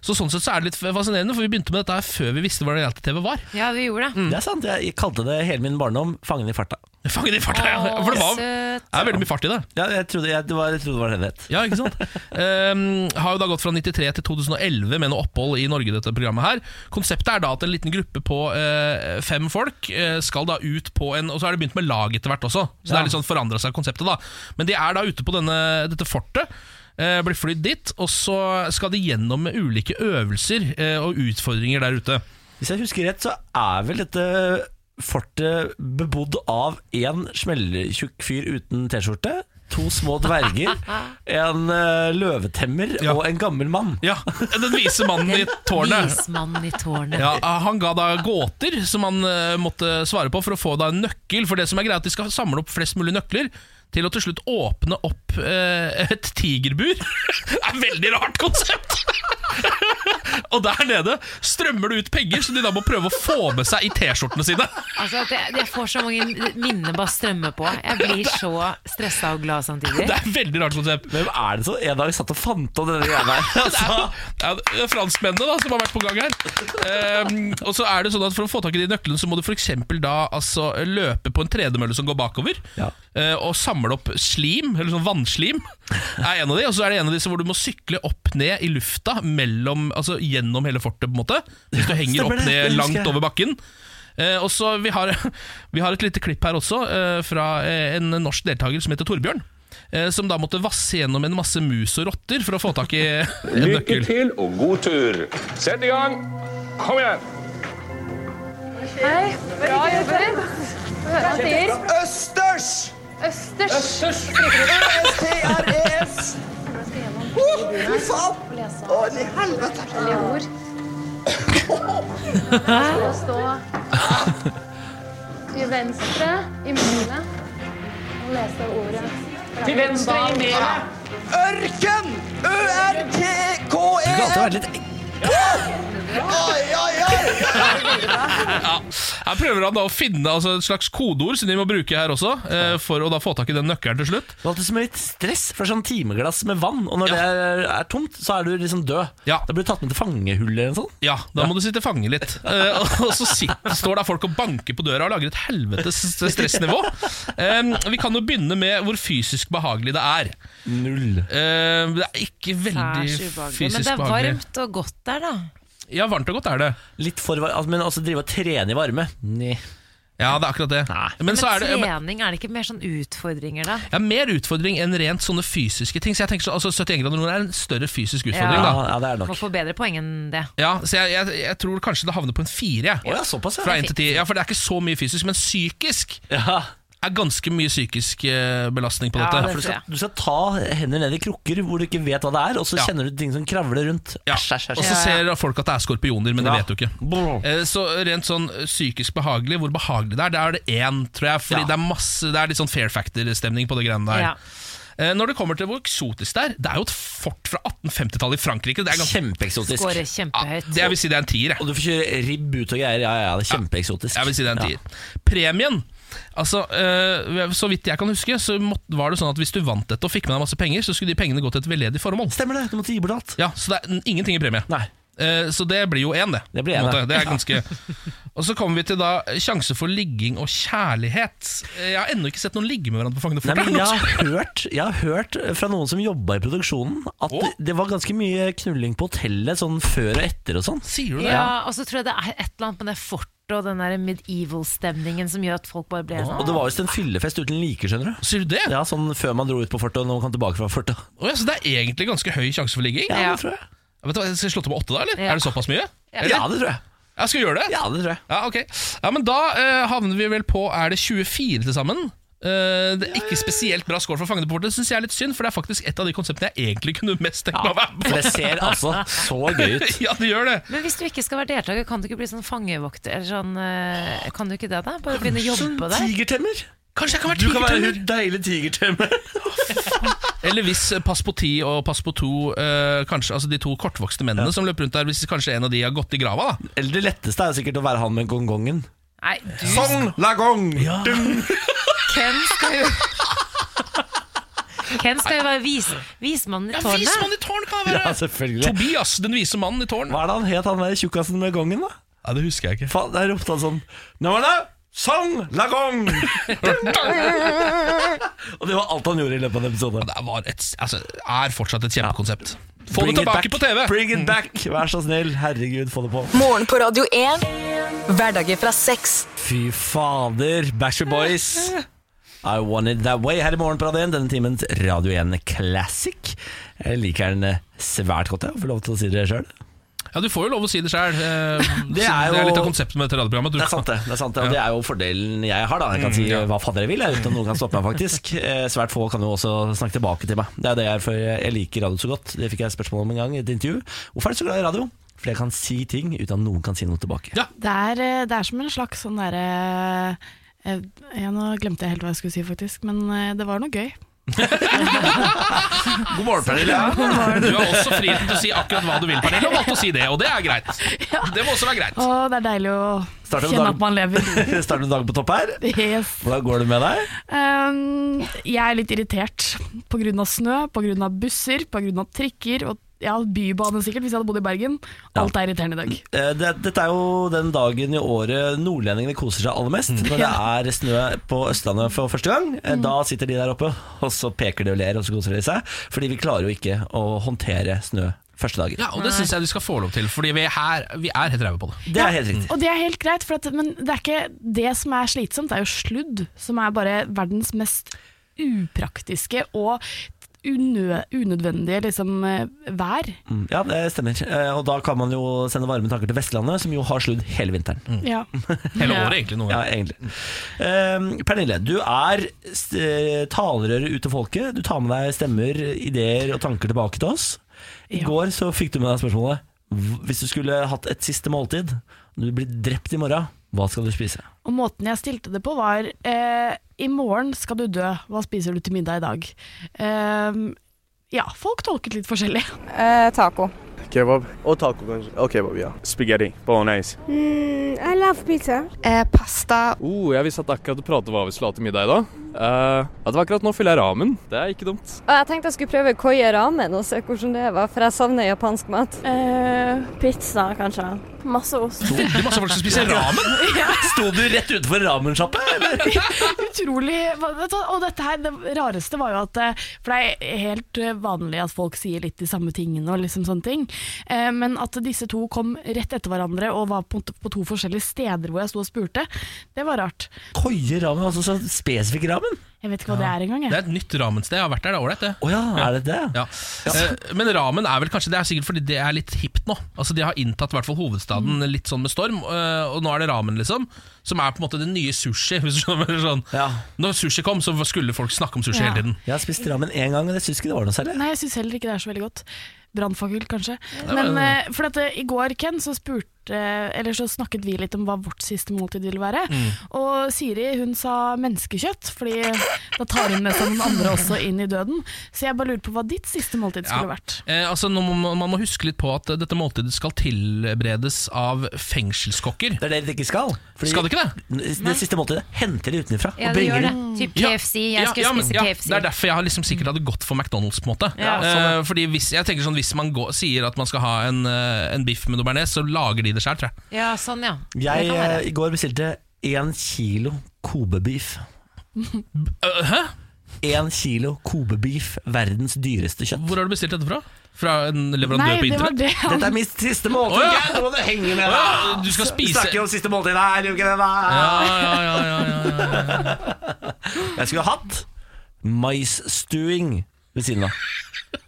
[SPEAKER 3] Så sånn sett så er det litt fascinerende, for vi begynte med dette her før vi visste hva reality-TV var.
[SPEAKER 1] Ja, vi gjorde
[SPEAKER 3] Mm.
[SPEAKER 1] det.
[SPEAKER 2] Mm. Det er sant, jeg kalte det hele min barndom Fangen i farta.
[SPEAKER 3] Fangen i farta, ja. For det var, det er veldig mye fart i det.
[SPEAKER 2] Ja, jeg trodde, jeg, det var, jeg trodde det var det det het.
[SPEAKER 3] Ja, ikke sant? Ehm, har jo da gått fra 93 til 2011 med noe opphold i Norge, dette programmet her. Konseptet er da at en liten gruppe på eh, fem folk eh, skal da ut på en Og så er det begynt med lag etter hvert også, så det
[SPEAKER 2] Ja.
[SPEAKER 3] er litt sånn forandra seg konseptet, da. Men de er da ute på denne, dette fortet. eh, Blir flydd dit, og så skal de gjennom ulike øvelser eh, og utfordringer der ute.
[SPEAKER 2] Hvis jeg husker rett, så er vel dette fortet bebodd av én smelltjukk fyr uten T-skjorte, to små dverger, en eh, løvetemmer og en gammel mann.
[SPEAKER 3] Ja, Den vise mannen i tårnet.
[SPEAKER 1] Vismannen i tårnet.
[SPEAKER 3] Ja, Ah, Han ga da gåter som han eh, måtte svare på for å få da en nøkkel. For det som er greit, at de skal samle opp flest mulig nøkler til å til slutt åpne opp eh, et tigerbur. det er et veldig rart konsept! og der nede strømmer det ut penger som de da må prøve å få med seg i T-skjortene sine.
[SPEAKER 1] Altså, at jeg, jeg får så mange minner bare strømme på. Jeg blir så stressa og glad samtidig.
[SPEAKER 3] Det er et veldig rart konsept.
[SPEAKER 2] Hvem er det som en dag satt og fant opp denne greia der? Altså,
[SPEAKER 3] Ja, det er franskmennene da, som har vært på gang her. Ehm, og så er det sånn at For å få tak i de nøklene så må du for eksempel da altså, løpe på en tredemølle som går bakover, eh, og samle opp slim, eller sånn vannslim, er en av de. Og så er det en av disse hvor du må sykle opp ned i lufta mellom, altså, gjennom hele fortet, på en måte. Hvis du henger
[SPEAKER 2] stemmer
[SPEAKER 3] opp
[SPEAKER 2] det, det
[SPEAKER 3] ned
[SPEAKER 2] husker
[SPEAKER 3] langt
[SPEAKER 2] jeg.
[SPEAKER 3] over bakken. Eh, og så vi, har, vi har et lite klipp her også, eh, fra eh, en norsk deltaker som heter Torbjørn. eh, Som da måtte vasse gjennom en masse mus og rotter for å få tak i en nøkkel.
[SPEAKER 18] til og god tur. Sett i gang. Kom igjen.
[SPEAKER 19] Hei. Bra jobbet. Hva sier?
[SPEAKER 17] Østers!
[SPEAKER 19] Østers.
[SPEAKER 17] Østers! Åh, fy faen! Å, i helvete!
[SPEAKER 19] Å stå til venstre i målene og lese ordet.
[SPEAKER 17] Til venstre i melet. Ørken!
[SPEAKER 2] Du skulle alltid
[SPEAKER 17] Ø-r-t-k-e-n!
[SPEAKER 2] vært litt
[SPEAKER 3] Ja. Her prøver han da å finne altså, et slags kodeord som de må bruke her også, eh, for å da få tak i den nøkkelen til slutt.
[SPEAKER 2] Det er alltid som litt stress, for det er sånn timeglass med vann, og når det er, er tomt, så er du liksom død. Da blir du tatt med til fangehull eller noe sånt.
[SPEAKER 3] Ja, da må du sitte fange litt. Eh, og så sitter, står der folk og banker på døra og lager et helvetes stressnivå. Eh, vi kan jo begynne med hvor fysisk behagelig det er.
[SPEAKER 2] Null.
[SPEAKER 3] det er ikke veldig
[SPEAKER 1] Særs ubehagelig. Men det
[SPEAKER 3] fysisk
[SPEAKER 1] er
[SPEAKER 3] behagelig.
[SPEAKER 1] varmt og godt der, da.
[SPEAKER 3] Ja, varmt og godt er det.
[SPEAKER 2] Litt for varmt, altså, men altså drive og trene i varme. Nei.
[SPEAKER 3] Ja, det er akkurat det.
[SPEAKER 1] Men,
[SPEAKER 3] Men så er det
[SPEAKER 1] trening, er det ikke mer sånn utfordringer, da?
[SPEAKER 3] ja, Mer utfordring enn rent sånne fysiske ting. Så jeg tenker så, altså 71 grader nord er en større fysisk utfordring.
[SPEAKER 1] Ja.
[SPEAKER 3] da
[SPEAKER 1] Ja, det er Må få bedre poeng enn det.
[SPEAKER 3] Ja, så jeg, jeg, jeg tror kanskje det havner på en fire. jeg.
[SPEAKER 1] Å ja, såpass, ja.
[SPEAKER 3] Fra 1 til 10. Ja, For det er ikke så mye fysisk, men psykisk er ganske mye psykisk eh, belastning på dette.
[SPEAKER 2] for du, skal, du skal ta hender ned i krukker hvor du ikke vet hva det er, og så
[SPEAKER 3] Ja.
[SPEAKER 2] kjenner du ting som kravler rundt. Æsj, æsj, æsj.
[SPEAKER 3] Og så ser folk at det er skorpioner, men
[SPEAKER 2] Ja.
[SPEAKER 3] det vet du ikke. Eh, Så rent sånn psykisk behagelig, hvor behagelig det er, der er det én, tror jeg. Fordi
[SPEAKER 2] Ja.
[SPEAKER 3] det er masse, det er litt sånn fair factor-stemning på det greiene der.
[SPEAKER 2] Ja.
[SPEAKER 3] Eh, Når det kommer til hvor eksotisk det er, det er jo et fort fra 1850-tallet i Frankrike. Det er ganske
[SPEAKER 2] Kjempeeksotisk.
[SPEAKER 1] Skårer kjempehøyt.
[SPEAKER 3] Det jeg vil si det er en tier. Jeg.
[SPEAKER 2] Og du får kjøre ribb ut og greier. Ja, ja, det er kjempeeksotisk.
[SPEAKER 3] Jeg vil si det er en tier. Premien Altså, eh, Så vidt jeg kan huske, så måtte, var det sånn at hvis du vant dette og fikk med deg masse penger, så skulle de pengene gå til et veldedig formål.
[SPEAKER 2] Stemmer det, du måtte gi bort alt
[SPEAKER 3] Ja, Så det er n- ingenting i premie. Eh, så det blir jo én, det.
[SPEAKER 2] Det blir
[SPEAKER 3] på
[SPEAKER 2] én,
[SPEAKER 3] en måte.
[SPEAKER 2] det.
[SPEAKER 3] det er ganske Og så kommer vi til da sjanse for ligging og kjærlighet. Eh, Jeg har ennå ikke sett noen ligge med hverandre på
[SPEAKER 2] Nei,
[SPEAKER 3] Frognerfort.
[SPEAKER 2] men jeg, har hørt, jeg har hørt fra noen som jobba i produksjonen, at det, det var ganske mye knulling på hotellet sånn før og etter og sånn.
[SPEAKER 3] Sier
[SPEAKER 1] Ja, og så tror jeg det er et eller annet med det fortet og den der medieval-stemningen som gjør at folk bare ble sånn
[SPEAKER 2] Og det var visst en fyllefest uten like, skjønner du.
[SPEAKER 3] Sier du det?
[SPEAKER 2] Ja, Sånn før man dro ut på fortet, og når man kom tilbake fra fortet.
[SPEAKER 3] Å ja, så det er egentlig ganske høy sjanse for ligging?
[SPEAKER 2] Ja, det tror jeg.
[SPEAKER 3] Vet du hva, Skal jeg slå til med åtte, da? eller?
[SPEAKER 2] Ja.
[SPEAKER 3] Er det såpass mye?
[SPEAKER 2] Ja.
[SPEAKER 3] Eller?
[SPEAKER 2] Ja, det tror jeg.
[SPEAKER 3] Ja, skal jeg gjøre det?
[SPEAKER 2] Ja, det tror jeg.
[SPEAKER 3] Ja, ok. Ja, men da eh, havner vi vel på Er det 24 til sammen? Eh, det er ikke spesielt bra score for Fangene syns jeg er litt synd, for det er faktisk et av de konseptene jeg egentlig kunne mest tenkt meg å være med på.
[SPEAKER 2] For det ser altså så gøy ut.
[SPEAKER 3] ja, det gjør det.
[SPEAKER 1] Men hvis du ikke skal være deltaker, kan du ikke bli sånn fangevokter? Eller sånn, eh, kan du ikke det, da? Bare begynne å
[SPEAKER 3] Sånn
[SPEAKER 1] jobbe der?
[SPEAKER 2] tigertemmer?
[SPEAKER 3] Kanskje jeg kan være
[SPEAKER 2] Du kan være
[SPEAKER 3] tigertemmer?
[SPEAKER 2] hun deilige tigertemmer.
[SPEAKER 3] Eller hvis eh, Pass på ti og Pass på to eh, Kanskje altså de to kortvokste mennene som løper rundt der, hvis kanskje en av de har gått i grava, da.
[SPEAKER 2] Eller det letteste er jo sikkert å være han med gongongen.
[SPEAKER 1] Nei, du
[SPEAKER 2] Song la gong! Ja.
[SPEAKER 1] Ken skal jo Ken skal jo være vis, vismannen i
[SPEAKER 3] Ja,
[SPEAKER 1] tårnet.
[SPEAKER 3] vismannen i tårnet kan
[SPEAKER 2] ja, selvfølgelig.
[SPEAKER 3] Tobias, den vise mannen i tårn.
[SPEAKER 2] Hva er det han het, han der tjukkasen med gongen, da?
[SPEAKER 3] Ja, Det husker jeg ikke.
[SPEAKER 2] Faen, Der ropte han sånn Nå var det Song la gong! Og det var alt han gjorde i løpet av en episode.
[SPEAKER 3] Det var et, altså, er fortsatt et kjempekonsept. Få
[SPEAKER 2] Bring
[SPEAKER 3] det
[SPEAKER 2] it
[SPEAKER 3] tilbake
[SPEAKER 2] back.
[SPEAKER 3] på TV!
[SPEAKER 2] Bring it back! Vær så snill. Herregud, få det på.
[SPEAKER 4] Morgen på Radio 1. Hverdager fra seks.
[SPEAKER 2] Fy fader, Backstreet Boys. I want it that way her i morgen på Radio 1. Denne timens Radio 1 Classic. Jeg liker den svært godt, jeg. Får lov til å si det sjøl.
[SPEAKER 3] Ja, Du får jo lov å si det sjøl.
[SPEAKER 2] Det er jo-
[SPEAKER 3] litt av konseptet med dette radioprogrammet. at du
[SPEAKER 2] Det er sant, det. det er sant det. Og
[SPEAKER 3] Ja.
[SPEAKER 2] det er jo fordelen jeg har. da Jeg kan
[SPEAKER 3] Mm,
[SPEAKER 2] si
[SPEAKER 3] ja.
[SPEAKER 2] hva fader jeg vil, jeg, uten at noen kan stoppe meg, faktisk. Eh, Svært få kan jo også snakke tilbake til meg. Det er det jeg, er, for jeg liker radio så godt. Det fikk jeg et spørsmål om en gang i et intervju. Hvorfor er du så glad i radio? Fordi jeg kan si ting uten at noen kan si noe tilbake.
[SPEAKER 20] Det er, eh, det er som en slags sånn derre ja, Nå glemte jeg helt hva jeg skulle si, faktisk, men eh, det var noe gøy.
[SPEAKER 3] God morgen, Pernille. Du har også friheten til å si akkurat hva du vil, Pernille, og valgte å si det, og det er greit. Det må også være greit.
[SPEAKER 20] Å, det er deilig å
[SPEAKER 2] Starter med
[SPEAKER 20] kjenne
[SPEAKER 2] dag-
[SPEAKER 20] at man lever.
[SPEAKER 2] Starter du dagen på topp her?
[SPEAKER 20] Yes.
[SPEAKER 2] Hvordan går det med deg?
[SPEAKER 20] Um, jeg er litt irritert pga. snø, pga. busser, pga. trikker og ja, bybane sikkert, hvis jeg hadde bodd i Bergen. Alt er irriterende i dag.
[SPEAKER 2] Eh, Det, dette er jo den dagen i året nordlendingene koser seg aller mest. Når det er snø på Østlandet for første gang. Eh, Da sitter de der oppe, og så peker de og ler, og så koser de seg. Fordi vi klarer jo ikke å håndtere snø første dagen.
[SPEAKER 3] Ja, Og det syns jeg du skal få lov til, Fordi vi er, her, vi er helt ræve på det.
[SPEAKER 2] Det er helt riktig.
[SPEAKER 20] Og det er helt greit, for at, men det er ikke det som er slitsomt, det er jo sludd, som er bare verdens mest upraktiske og unø unødvendige liksom, eh, vær.
[SPEAKER 2] Mm, Ja, det stemmer. Eh, Og da kan man jo sende varme tanker til Vestlandet, som jo har sludd hele vinteren.
[SPEAKER 20] Ja.
[SPEAKER 3] Hele året, egentlig. Noe.
[SPEAKER 2] Ja, egentlig. Eh, Pernille, du er st- eh, talerøret ut til folket. Du tar med deg stemmer, ideer og tanker tilbake til oss. I går så fikk du med deg spørsmålet "Hv- Hvis du skulle hatt et siste måltid, og du blir drept i morgen, hva skal du spise?
[SPEAKER 20] Og måten jeg stilte det på var eh, I morgen skal du dø, hva spiser du til middag i dag? Eh, ja, folk tolket litt forskjellig.
[SPEAKER 19] taco.
[SPEAKER 21] Kebab.
[SPEAKER 22] Og taco, kanskje. Og kebab, ja.
[SPEAKER 21] Spaghetti. Bolognese.
[SPEAKER 23] Mm, I love pizza.
[SPEAKER 24] Eh, pasta.
[SPEAKER 21] Oh, jeg visste at akkurat å prate hva vi skulle ha til middag i dag. Eh, at det var akkurat nå fyller jeg ramen. Det er ikke dumt.
[SPEAKER 24] Og jeg tenkte jeg skulle prøve koie ramen og se hvordan det var, for jeg savner japansk mat.
[SPEAKER 23] pizza, kanskje. Masse ost.
[SPEAKER 2] Det er masse folk som spiser ramen! Sto du rett utenfor ramensjappe, eller?
[SPEAKER 20] Utrolig. hva- vet du hva, Og dette her, det rareste var jo at eh, For det er helt eh, vanlig at folk sier litt de samme tingene og liksom sånne ting. Eh, Men at disse to kom rett etter hverandre og var på, en måte på to forskjellige steder hvor jeg sto og spurte, det var rart.
[SPEAKER 2] Koie ramen, altså så spesifikk ramen?
[SPEAKER 20] Jeg vet ikke hva det er engang,
[SPEAKER 3] Det
[SPEAKER 20] jeg.
[SPEAKER 3] er et nytt ramensted. Jeg har vært der, det er ålreit, det.
[SPEAKER 2] er det det?
[SPEAKER 3] Ja. Eh, Men ramen er vel kanskje Det er sikkert fordi det er litt hipt nå. Altså De har inntatt i hvert fall hovedstaden litt sånn med storm, eh, og nå er det ramen, liksom. Som er på en måte det nye sushi. Hvis du skjønner, sånn. Når sushi kom, så skulle folk snakke om sushi
[SPEAKER 20] Ja.
[SPEAKER 3] hele tiden.
[SPEAKER 2] Jeg har spist ramen én gang, og jeg syns ikke det var noe særlig.
[SPEAKER 20] Nei, jeg syns heller ikke det er så veldig godt. Brannfakkel, kanskje.
[SPEAKER 2] Nei,
[SPEAKER 20] Men
[SPEAKER 2] nei,
[SPEAKER 20] eh, for dette, i går, Ken, så spurte eller så snakket vi litt om hva vårt siste måltid ville være.
[SPEAKER 25] Mm.
[SPEAKER 20] Og Siri hun sa menneskekjøtt, Fordi da tar hun med seg noen andre også inn i døden. Så jeg bare lurer på hva ditt siste måltid skulle vært.
[SPEAKER 3] Eh, altså, nå må, man- man må huske litt på at eh, dette måltidet skal tilberedes av fengselskokker.
[SPEAKER 2] Det er det det ikke skal.
[SPEAKER 3] skal det ikke det?
[SPEAKER 2] Det siste måltidet henter de utenfra
[SPEAKER 1] Ja,
[SPEAKER 2] og
[SPEAKER 1] det
[SPEAKER 2] bringer
[SPEAKER 1] gjør
[SPEAKER 2] det.
[SPEAKER 1] det. Typ KFC. Jeg skulle
[SPEAKER 3] men-
[SPEAKER 1] spise KFC.
[SPEAKER 3] Det er derfor jeg har liksom sikkert hadde gått for McDonald's. på en måte
[SPEAKER 1] Ja,
[SPEAKER 3] Eh, Fordi hvis, jeg tenker sånn, hvis man går, sier at man skal ha en, eh, en biff med noe bearnés, så lager de det sjøl, tror jeg.
[SPEAKER 1] Ja, sånn, ja.
[SPEAKER 2] Jeg
[SPEAKER 1] Det kan
[SPEAKER 2] eh,
[SPEAKER 1] være.
[SPEAKER 2] i går bestilte én kilo kobebeef.
[SPEAKER 3] Øh, Hæ?
[SPEAKER 2] Én kilo kobebeef, verdens dyreste kjøtt.
[SPEAKER 3] Hvor har du bestilt dette fra? Fra en
[SPEAKER 2] Nei, det
[SPEAKER 3] leverandør på
[SPEAKER 2] var
[SPEAKER 3] internett?
[SPEAKER 2] det han- Dette er mitt siste måltid, Geir, nå må du henge med, da.
[SPEAKER 3] Å ja, Du skal
[SPEAKER 2] Vi
[SPEAKER 3] spise
[SPEAKER 2] snakker jo om siste måltid her, gjør vi ikke det? da?
[SPEAKER 3] Ja, ja, ja, ja, ja.
[SPEAKER 2] Jeg skulle hatt maisstuing ved siden av.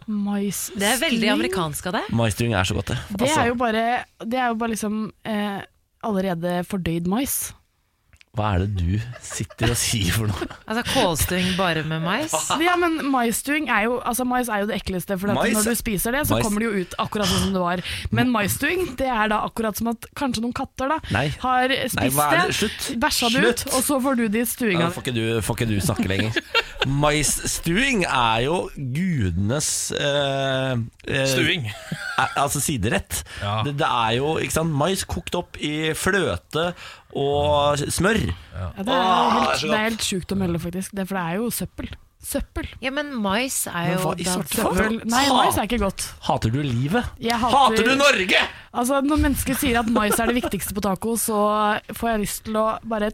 [SPEAKER 20] Mais.
[SPEAKER 1] Det er veldig amerikansk av deg.
[SPEAKER 2] Maisstuing er så godt, det. Altså,
[SPEAKER 20] Det er jo bare, det er jo bare liksom eh, allerede fordøyd mais.
[SPEAKER 2] Hva er det du sitter og sier for noe?
[SPEAKER 1] Altså kålstuing bare med mais.
[SPEAKER 20] Ja, men maisstuing er jo Altså mais er jo det ekleste, for at
[SPEAKER 1] Mais-
[SPEAKER 20] når du spiser det, så
[SPEAKER 1] mais-
[SPEAKER 20] kommer det jo ut akkurat sånn som det var. Men maisstuing, det er da akkurat som at kanskje noen katter da
[SPEAKER 2] Nei.
[SPEAKER 20] har
[SPEAKER 2] Nei,
[SPEAKER 20] spist
[SPEAKER 2] hva er det?
[SPEAKER 20] det,
[SPEAKER 2] Slutt.
[SPEAKER 20] bæsja det ut,
[SPEAKER 2] Slutt.
[SPEAKER 20] og så får du det i
[SPEAKER 2] Ja,
[SPEAKER 20] stuinga.
[SPEAKER 2] Får ikke, du- får ikke du snakke lenger. Maisstuing er jo gudenes eh, eh,
[SPEAKER 3] Stuing.
[SPEAKER 2] eh, altså siderett. Det, det er jo ikke sant, mais kokt opp i fløte og smør.
[SPEAKER 20] Ja, det, er
[SPEAKER 2] Åh,
[SPEAKER 20] helt,
[SPEAKER 2] så
[SPEAKER 20] det er
[SPEAKER 2] godt.
[SPEAKER 20] helt sjukt å melde, faktisk. Det, for det er jo søppel. Søppel.
[SPEAKER 1] Ja, men mais er
[SPEAKER 2] Men
[SPEAKER 1] jo
[SPEAKER 2] hva i
[SPEAKER 1] da
[SPEAKER 2] svarte
[SPEAKER 1] søppel.
[SPEAKER 2] faen?
[SPEAKER 20] Nei, mais er ikke godt.
[SPEAKER 2] Hater du livet?
[SPEAKER 20] Jeg
[SPEAKER 2] Hater du Norge?!
[SPEAKER 20] Altså, Når mennesker sier at mais er det viktigste på taco, så får jeg lyst til å bare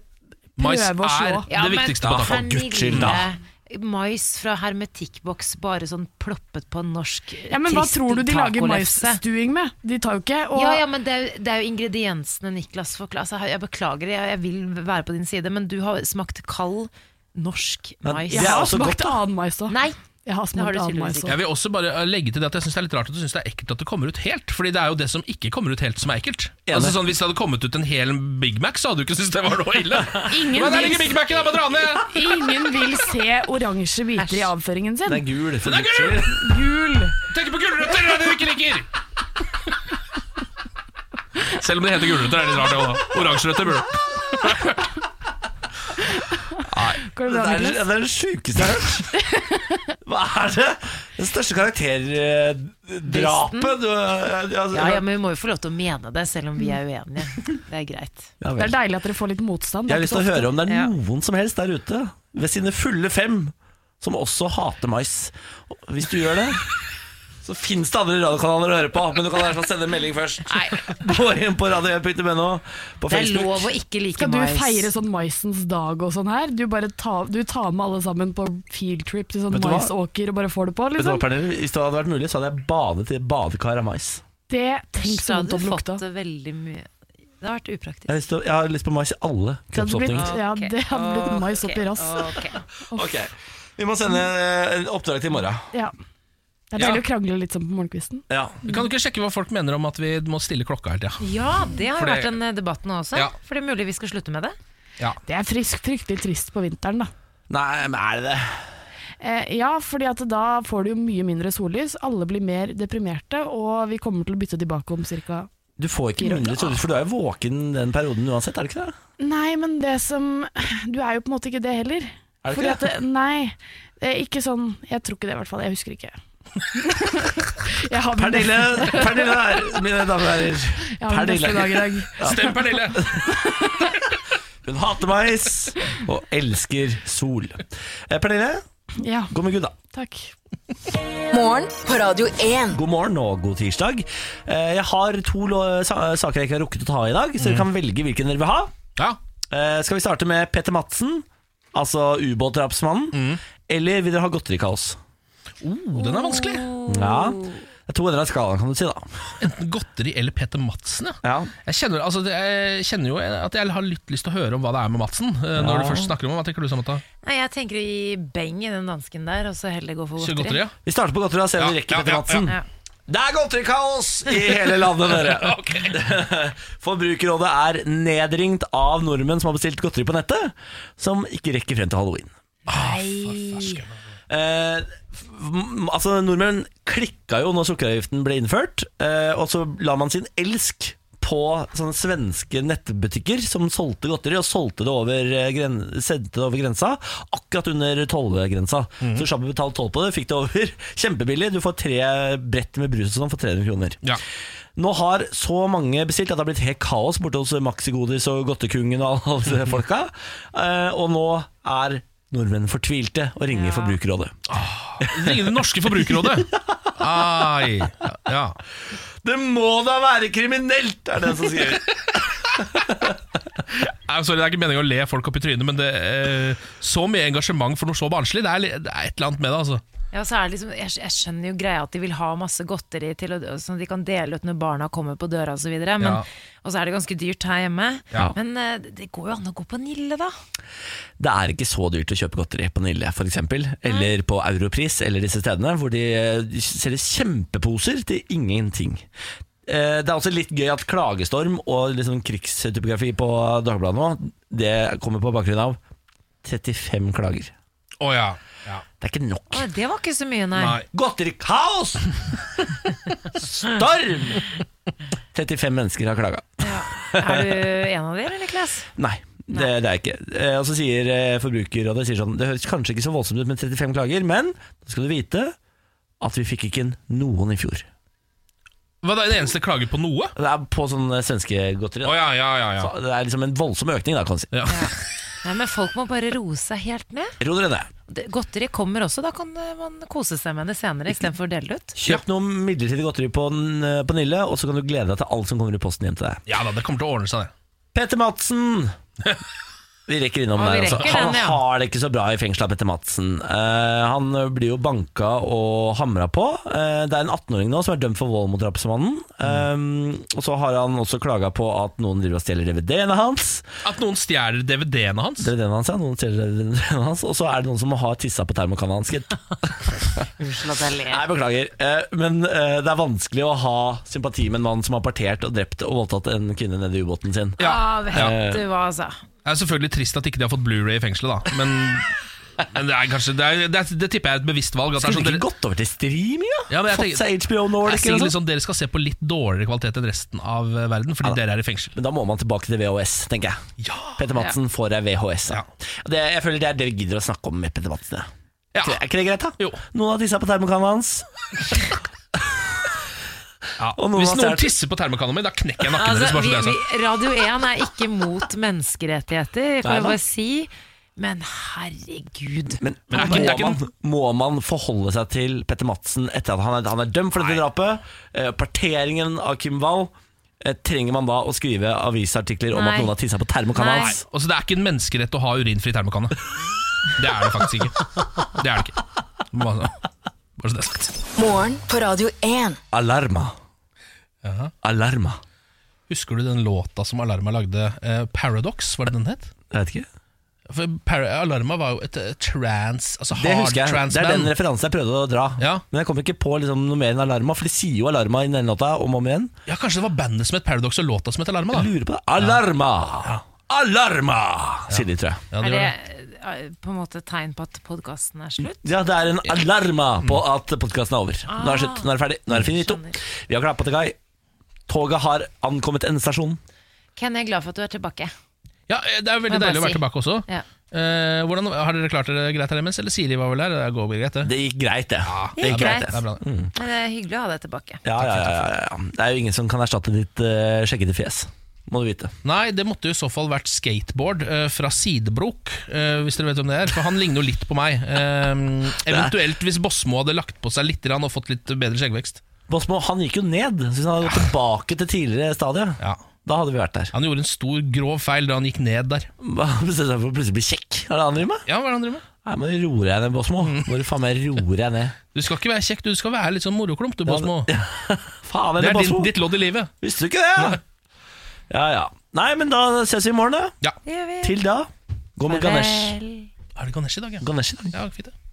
[SPEAKER 2] Mais
[SPEAKER 20] prøve å slå.
[SPEAKER 2] er- Det viktigste på taco. For guds skyld, da.
[SPEAKER 1] Pernille, Mais fra hermetikkboks, bare sånn ploppet på en norsk
[SPEAKER 20] Ja, men Hva
[SPEAKER 1] trist
[SPEAKER 20] tror du de lager
[SPEAKER 1] tacolefse?
[SPEAKER 20] maisstuing med? De tar jo ikke og
[SPEAKER 1] Ja, ja, men det er, jo- det er jo ingrediensene Niklas forklarer. Altså, jeg beklager, jeg, jeg vil være på din side, men du har smakt kald norsk
[SPEAKER 3] Men
[SPEAKER 1] mais.
[SPEAKER 3] det er Jeg har også smakt godt, da.
[SPEAKER 20] annen mais òg.
[SPEAKER 1] Nei.
[SPEAKER 20] Jeg har
[SPEAKER 1] smakt annen mais
[SPEAKER 3] Jeg vil også bare eh, legge til det at jeg syns det er litt rart at du syns det er ekkelt at det kommer ut helt. Fordi det er jo det som ikke kommer ut helt, som er ekkelt.
[SPEAKER 2] Enig.
[SPEAKER 3] Altså sånn Hvis det hadde kommet ut en hel Big Mac, så hadde du ikke syntes det var noe ille.
[SPEAKER 20] Ingen
[SPEAKER 3] Men der
[SPEAKER 20] vil-
[SPEAKER 3] ligger Big Mac-en, jeg må dra ned!
[SPEAKER 20] Ingen vil se oransje biter i avføringen sin.
[SPEAKER 2] Den er gul. for
[SPEAKER 3] Den er
[SPEAKER 2] guds skyld.
[SPEAKER 20] Gul!
[SPEAKER 3] Tenk på gulrøtter, det er det du ikke liker! Selv om det heter gulrøtter, er det litt rart, det òg, da. Oransjerøtter burde
[SPEAKER 20] Går
[SPEAKER 2] Det
[SPEAKER 20] det bra,
[SPEAKER 2] er det
[SPEAKER 20] Niklas?
[SPEAKER 2] er det sjukeste jeg har hørt. Hva er det? Det største karakterdrapet du altså-
[SPEAKER 1] Ja, ja, men vi må jo få lov til å mene det, selv om vi er uenige. Det er greit.
[SPEAKER 2] Ja, vel.
[SPEAKER 20] Det er deilig at dere får litt motstand.
[SPEAKER 2] Jeg har lyst til å høre om det
[SPEAKER 1] Ja.
[SPEAKER 2] er noen som helst der ute ved sine fulle fem som også hater mais. Og Hvis du gjør det, så fins det andre radiokanaler å høre på, men du kan i hvert fall sende en melding først. Gå inn på radio1.no på
[SPEAKER 1] Det er
[SPEAKER 2] Facebook.
[SPEAKER 1] lov å ikke like
[SPEAKER 20] Skal du
[SPEAKER 1] mais.
[SPEAKER 20] feire sånn maisens dag og sånn her? Du bare tar, du tar med alle sammen på fieldtrip til sånn
[SPEAKER 2] Vet du hva?
[SPEAKER 20] maisåker og bare får det på,
[SPEAKER 2] Vet du hva,
[SPEAKER 20] liksom?
[SPEAKER 2] Pernille? Hvis det hadde vært mulig, så hadde jeg badet i et badekar av mais.
[SPEAKER 20] Det tenk
[SPEAKER 1] Så
[SPEAKER 20] så vondt
[SPEAKER 1] hadde
[SPEAKER 20] om
[SPEAKER 1] du fått
[SPEAKER 20] lukta.
[SPEAKER 1] det veldig mye Det har vært
[SPEAKER 2] Jeg
[SPEAKER 1] upraktisk.
[SPEAKER 2] har lyst til, å- jeg har lyst på mais i alle
[SPEAKER 20] Det hadde blitt,
[SPEAKER 2] kroppsåpninger.
[SPEAKER 20] ja, det hadde blitt mais
[SPEAKER 1] Ok,
[SPEAKER 20] opp i rass.
[SPEAKER 1] ok.
[SPEAKER 2] Ok, Vi må sende eh, en oppdrag til i morgen.
[SPEAKER 20] Ja. Det er
[SPEAKER 3] Ja.
[SPEAKER 20] deilig å krangle litt sånn på morgenkvisten.
[SPEAKER 2] Ja.
[SPEAKER 3] Kan du ikke sjekke hva folk mener om at vi må stille klokka hele tida?
[SPEAKER 1] Ja, det har
[SPEAKER 3] For
[SPEAKER 1] jo
[SPEAKER 3] det-
[SPEAKER 1] vært en eh, debatt nå også.
[SPEAKER 3] Ja.
[SPEAKER 1] For det er mulig vi skal slutte med det.
[SPEAKER 20] Det er frisk, fryktelig trist på vinteren, da.
[SPEAKER 2] Nei, men er det det?
[SPEAKER 20] Eh, ja, fordi at da får du jo mye mindre sollys, alle blir mer deprimerte, og vi kommer til å bytte tilbake om ca.
[SPEAKER 2] Du får ikke
[SPEAKER 20] Fire år.
[SPEAKER 2] munnlig sollys, for du er jo våken den perioden uansett, er du ikke det?
[SPEAKER 20] Nei, men det som Du er jo på en måte ikke det heller.
[SPEAKER 2] Er du
[SPEAKER 20] Fordi
[SPEAKER 2] ikke det?
[SPEAKER 20] At, nei, eh, ikke sånn Jeg tror ikke det, i hvert fall. Jeg husker ikke. Jeg har min
[SPEAKER 2] Pernille,
[SPEAKER 20] beste-
[SPEAKER 2] Pernille her, mine damer og herrer.
[SPEAKER 20] Jeg har min beste dag i dag.
[SPEAKER 2] Ja.
[SPEAKER 3] Stem Pernille!
[SPEAKER 2] Hun hater mais og elsker sol. Eh, Pernille,
[SPEAKER 20] Ja,
[SPEAKER 2] gå med Gud, da.
[SPEAKER 20] takk.
[SPEAKER 4] Morgen på Radio 1.
[SPEAKER 2] God morgen og god tirsdag. Eh, Jeg har to lo- sa- saker jeg ikke har rukket å ta i dag,
[SPEAKER 20] Mm.
[SPEAKER 2] så dere kan velge hvilken dere vil ha. Eh, Skal vi starte med Peter Madsen, altså ubåtdrapsmannen,
[SPEAKER 1] Mm.
[SPEAKER 2] eller vil dere ha godterikaos?
[SPEAKER 3] Oh, den er vanskelig.
[SPEAKER 2] Ja. Det er to ender av skalaen, kan du si, da.
[SPEAKER 3] Enten godteri eller Peter Madsen, ja.
[SPEAKER 2] Ja.
[SPEAKER 3] Jeg kjenner, altså, det- jeg kjenner jo at jeg har litt lyst til å høre om hva det er med Madsen. eh, Når
[SPEAKER 2] Ja.
[SPEAKER 3] du først snakker om ham. Hva tenker du, Samantha?
[SPEAKER 1] Nei, Jeg tenker å gi beng i den dansken der, og så heller gå for
[SPEAKER 3] Kjør
[SPEAKER 1] godteri.
[SPEAKER 3] godteri, ja.
[SPEAKER 2] Vi starter på godteri og ser om vi rekker Petter Madsen.
[SPEAKER 1] Ja.
[SPEAKER 2] Det er godterikaos i hele landet, dere! Forbrukerrådet er nedringt av nordmenn som har bestilt godteri på nettet, som ikke rekker frem til halloween. Eh, f- m- altså Nordmenn klikka jo når sukkeravgiften ble innført, eh, og så la man sin elsk på sånne svenske nettbutikker som solgte godteri, og solgte det over, eh, gren sendte det over grensa. Akkurat under tollgrensa. Så slapp å betale toll på det, fikk det over kjempebillig. Du får tre brett med brus og sånn for 300 kroner. Nå har så mange bestilt at det har blitt helt kaos borte hos Maxigodis og Godtekungen og alle disse folka. Eh, og nå er nordmenn fortvilte og ringer Forbrukerrådet.
[SPEAKER 3] Ringe Det norske forbrukerrådet! Ai, ja.
[SPEAKER 2] Det må da være kriminelt, er det en som skriver.
[SPEAKER 3] Nei, sorry, Det er ikke meningen å le folk opp i trynet, men det, eh, så mye engasjement for noe så barnslig, det er, li- det er et eller annet med det. altså
[SPEAKER 1] Ja, så er det liksom, jeg, jeg skjønner jo greia at de vil ha masse godteri til å, som de kan dele ut når barna kommer på døra osv.
[SPEAKER 2] Ja.
[SPEAKER 1] Og så er det ganske dyrt her hjemme.
[SPEAKER 2] Ja.
[SPEAKER 1] Men eh, det går jo an å gå på Nille, da.
[SPEAKER 2] Det er ikke så dyrt å kjøpe godteri på Nille for eksempel, eller på Europris eller disse stedene, hvor de eh, selger kjempeposer til ingenting. Eh, Det er også litt gøy at klagestorm og liksom krigstypografi på Dagbladet nå, det kommer på bakgrunn av 35 klager.
[SPEAKER 3] Å ja. ja.
[SPEAKER 2] Det er ikke nok.
[SPEAKER 1] Å, det var ikke så mye, nei.
[SPEAKER 2] Godterikaos! Storm! 35 mennesker har klaga.
[SPEAKER 1] Er du en av dere, Niklas?
[SPEAKER 2] Nei, det, det er ikke. Eh, Og så sier eh, Forbrukerrådet sier sånn Det høres kanskje ikke så voldsomt ut med 35 klager, men da skal du vite at vi fikk ikke inn noen i fjor.
[SPEAKER 3] Hva, det er en eneste klage på noe?
[SPEAKER 2] Det er på sånn eh, svenske godteri. da.
[SPEAKER 3] Å ja, ja, ja, ja.
[SPEAKER 2] Så det er liksom en voldsom økning, da, kan man si.
[SPEAKER 1] Nei, men folk må bare roe seg helt ned.
[SPEAKER 2] Ro dere ned.
[SPEAKER 1] Det- Godteri kommer også, da kan eh, man kose seg med det senere istedenfor å dele det ut.
[SPEAKER 2] Kjøp noe midlertidig godteri på, n- eh, på Nille, og så kan du glede deg til alt som kommer i posten hjem til deg.
[SPEAKER 3] Ja da, det kommer til å ordne seg, det.
[SPEAKER 2] Petter Madsen! Vi rekker innom
[SPEAKER 3] Ja, vi
[SPEAKER 2] der. Altså.
[SPEAKER 3] rekker
[SPEAKER 2] Han
[SPEAKER 3] den, ja.
[SPEAKER 2] har det ikke så bra i fengselet, Petter Madsen. Eh, han blir jo banka og hamra på. Eh, det er en 18-åring nå som er dømt for vold mot drapsmannen. Eh, og så har han også klaga på at noen driver og stjeler DVD-ene hans.
[SPEAKER 3] At noen stjeler DVD-ene hans?
[SPEAKER 2] DVD-ene hans, ja, noen stjeler DVD-ene hans Og så er det noen som har tissa på termokanna hans. gitt.
[SPEAKER 1] Unnskyld at jeg
[SPEAKER 2] Nei, beklager. Eh, men eh, det er vanskelig å ha sympati med en mann som har partert og drept og voldtatt en kvinne nede i ubåten sin.
[SPEAKER 1] Ja, ah, vet
[SPEAKER 2] Ja.
[SPEAKER 1] du hva, altså.
[SPEAKER 3] Det er selvfølgelig trist at ikke de har fått Blu-ray i fengselet, da. Men, men det er kanskje det, er, det, er, det tipper jeg er et bevisst valg.
[SPEAKER 2] Skulle det ikke gått over til streaming, da?
[SPEAKER 3] Ja, men jeg
[SPEAKER 2] Fått
[SPEAKER 3] tenker-
[SPEAKER 2] seg HBO Nordic
[SPEAKER 3] Jeg
[SPEAKER 2] eller liksom?
[SPEAKER 3] sier
[SPEAKER 2] noe
[SPEAKER 3] litt sånn, Dere skal se på litt dårligere kvalitet enn resten av eh, verden, fordi dere er i fengsel.
[SPEAKER 2] Men da må man tilbake til VHS, tenker jeg.
[SPEAKER 3] Ah,
[SPEAKER 2] Petter Madsen får ei VHS. da. Og Det, jeg føler det er det vi gidder å snakke om med Petter Madsen. jeg. Er ikke det greit, da? Noen har tissa på termokanna hans.
[SPEAKER 3] Ja.
[SPEAKER 2] Og noen
[SPEAKER 3] Hvis
[SPEAKER 2] har
[SPEAKER 3] noen
[SPEAKER 2] stjålet-
[SPEAKER 3] tisser på termokanna mi, da knekker jeg nakken
[SPEAKER 1] Altså,
[SPEAKER 3] deres. bare
[SPEAKER 1] vi,
[SPEAKER 3] så det er sagt.
[SPEAKER 1] vi, Radio 1 er ikke mot menneskerettigheter, kan
[SPEAKER 2] Nei
[SPEAKER 1] jeg
[SPEAKER 2] da.
[SPEAKER 1] bare si. Men herregud.
[SPEAKER 2] Men,
[SPEAKER 1] Man
[SPEAKER 2] må,
[SPEAKER 1] må-
[SPEAKER 2] man, må man forholde seg til Petter Madsen etter at han er, han er dømt for dette drapet? Eh, parteringen av Kim Wall. Eh, trenger man da å skrive avisartikler om
[SPEAKER 3] Nei.
[SPEAKER 2] at noen har tissa på termokanna
[SPEAKER 3] Nei.
[SPEAKER 2] hans?
[SPEAKER 3] Altså, det er ikke en menneskerett å ha urinfri termokanne. Det er det faktisk ikke. Det er det ikke. Bare, bare så det er sagt.
[SPEAKER 4] Morgen på Radio 1.
[SPEAKER 2] Alarma. Alarma.
[SPEAKER 3] Husker du den låta som Alarma lagde? Eh, Paradox, var det den het?
[SPEAKER 2] Jeg vet ikke.
[SPEAKER 3] For Par Alarma var jo et eh, trans altså
[SPEAKER 2] Det
[SPEAKER 3] hard
[SPEAKER 2] husker jeg. Det er
[SPEAKER 3] trans-band.
[SPEAKER 2] den referansen jeg prøvde å dra. Men jeg kom ikke på liksom noe mer enn Alarma, for de sier jo Alarma i den låta om og om igjen.
[SPEAKER 3] Ja, Kanskje det var bandet som het Paradox og låta som het Alarma? da
[SPEAKER 2] Jeg lurer på det Alarma! Alarma! Sier de, tror jeg.
[SPEAKER 1] er det eh, på en måte et tegn på at podkasten er slutt?
[SPEAKER 2] Ja, det er en alarma
[SPEAKER 3] Mm.
[SPEAKER 2] på at podkasten er over. Nå er det slutt. Nå er det ferdig.
[SPEAKER 1] Mm,
[SPEAKER 2] Nå er det finito. Vi har klappa til kai. Toget har ankommet endestasjonen.
[SPEAKER 1] Ken, jeg er glad for at du er tilbake.
[SPEAKER 3] Ja, eh, det er veldig
[SPEAKER 1] Må jeg bare
[SPEAKER 3] deilig å være
[SPEAKER 1] si.
[SPEAKER 3] tilbake også.
[SPEAKER 1] Ja.
[SPEAKER 3] Eh, hvordan, har dere klart dere greit her imens, eller Siri var vel her? Det går vel greit, det.
[SPEAKER 2] Det gikk greit, det.
[SPEAKER 1] Det gikk greit.
[SPEAKER 2] det er bra. Mm.
[SPEAKER 1] Men det er hyggelig å ha deg tilbake.
[SPEAKER 2] Ja, ja, ja, ja, ja. Det er jo ingen som kan erstatte ditt uh, skjeggete fjes, må du vite.
[SPEAKER 3] Nei, det måtte jo i så fall vært skateboard eh, fra Sidebrok, eh, hvis dere vet hvem det er. For han ligner jo litt på meg. Eh, eventuelt hvis Bosmo hadde lagt på seg litt grann og fått litt bedre skjeggvekst.
[SPEAKER 2] Bosmo han gikk jo ned, så hvis han hadde gått tilbake til tidligere stadie, da hadde vi vært der.
[SPEAKER 3] Han gjorde en stor, grov feil da han gikk ned der.
[SPEAKER 2] Han bestemte seg for å plutselig bli kjekk. Er det det han driver med?
[SPEAKER 3] Ja, hva er det han driver med?
[SPEAKER 2] Nei, men roer jeg ned, Bosmo.
[SPEAKER 3] Mm.
[SPEAKER 2] Hvor faen meg roer jeg ned?
[SPEAKER 3] Du skal ikke være kjekk, du skal være litt sånn moroklump, du, Bosmo.
[SPEAKER 2] Faen,
[SPEAKER 3] Det er
[SPEAKER 2] Bosmo.
[SPEAKER 3] din, ditt lodd i livet.
[SPEAKER 2] Visste du ikke det? Ja, ja. Nei, men da ses vi i morgen, da.
[SPEAKER 3] Ja.
[SPEAKER 2] Til da, gå med Ganesh.
[SPEAKER 3] Er det Ganesh i dag, ja?
[SPEAKER 2] Ganesh i dag.
[SPEAKER 3] Ja, fint det.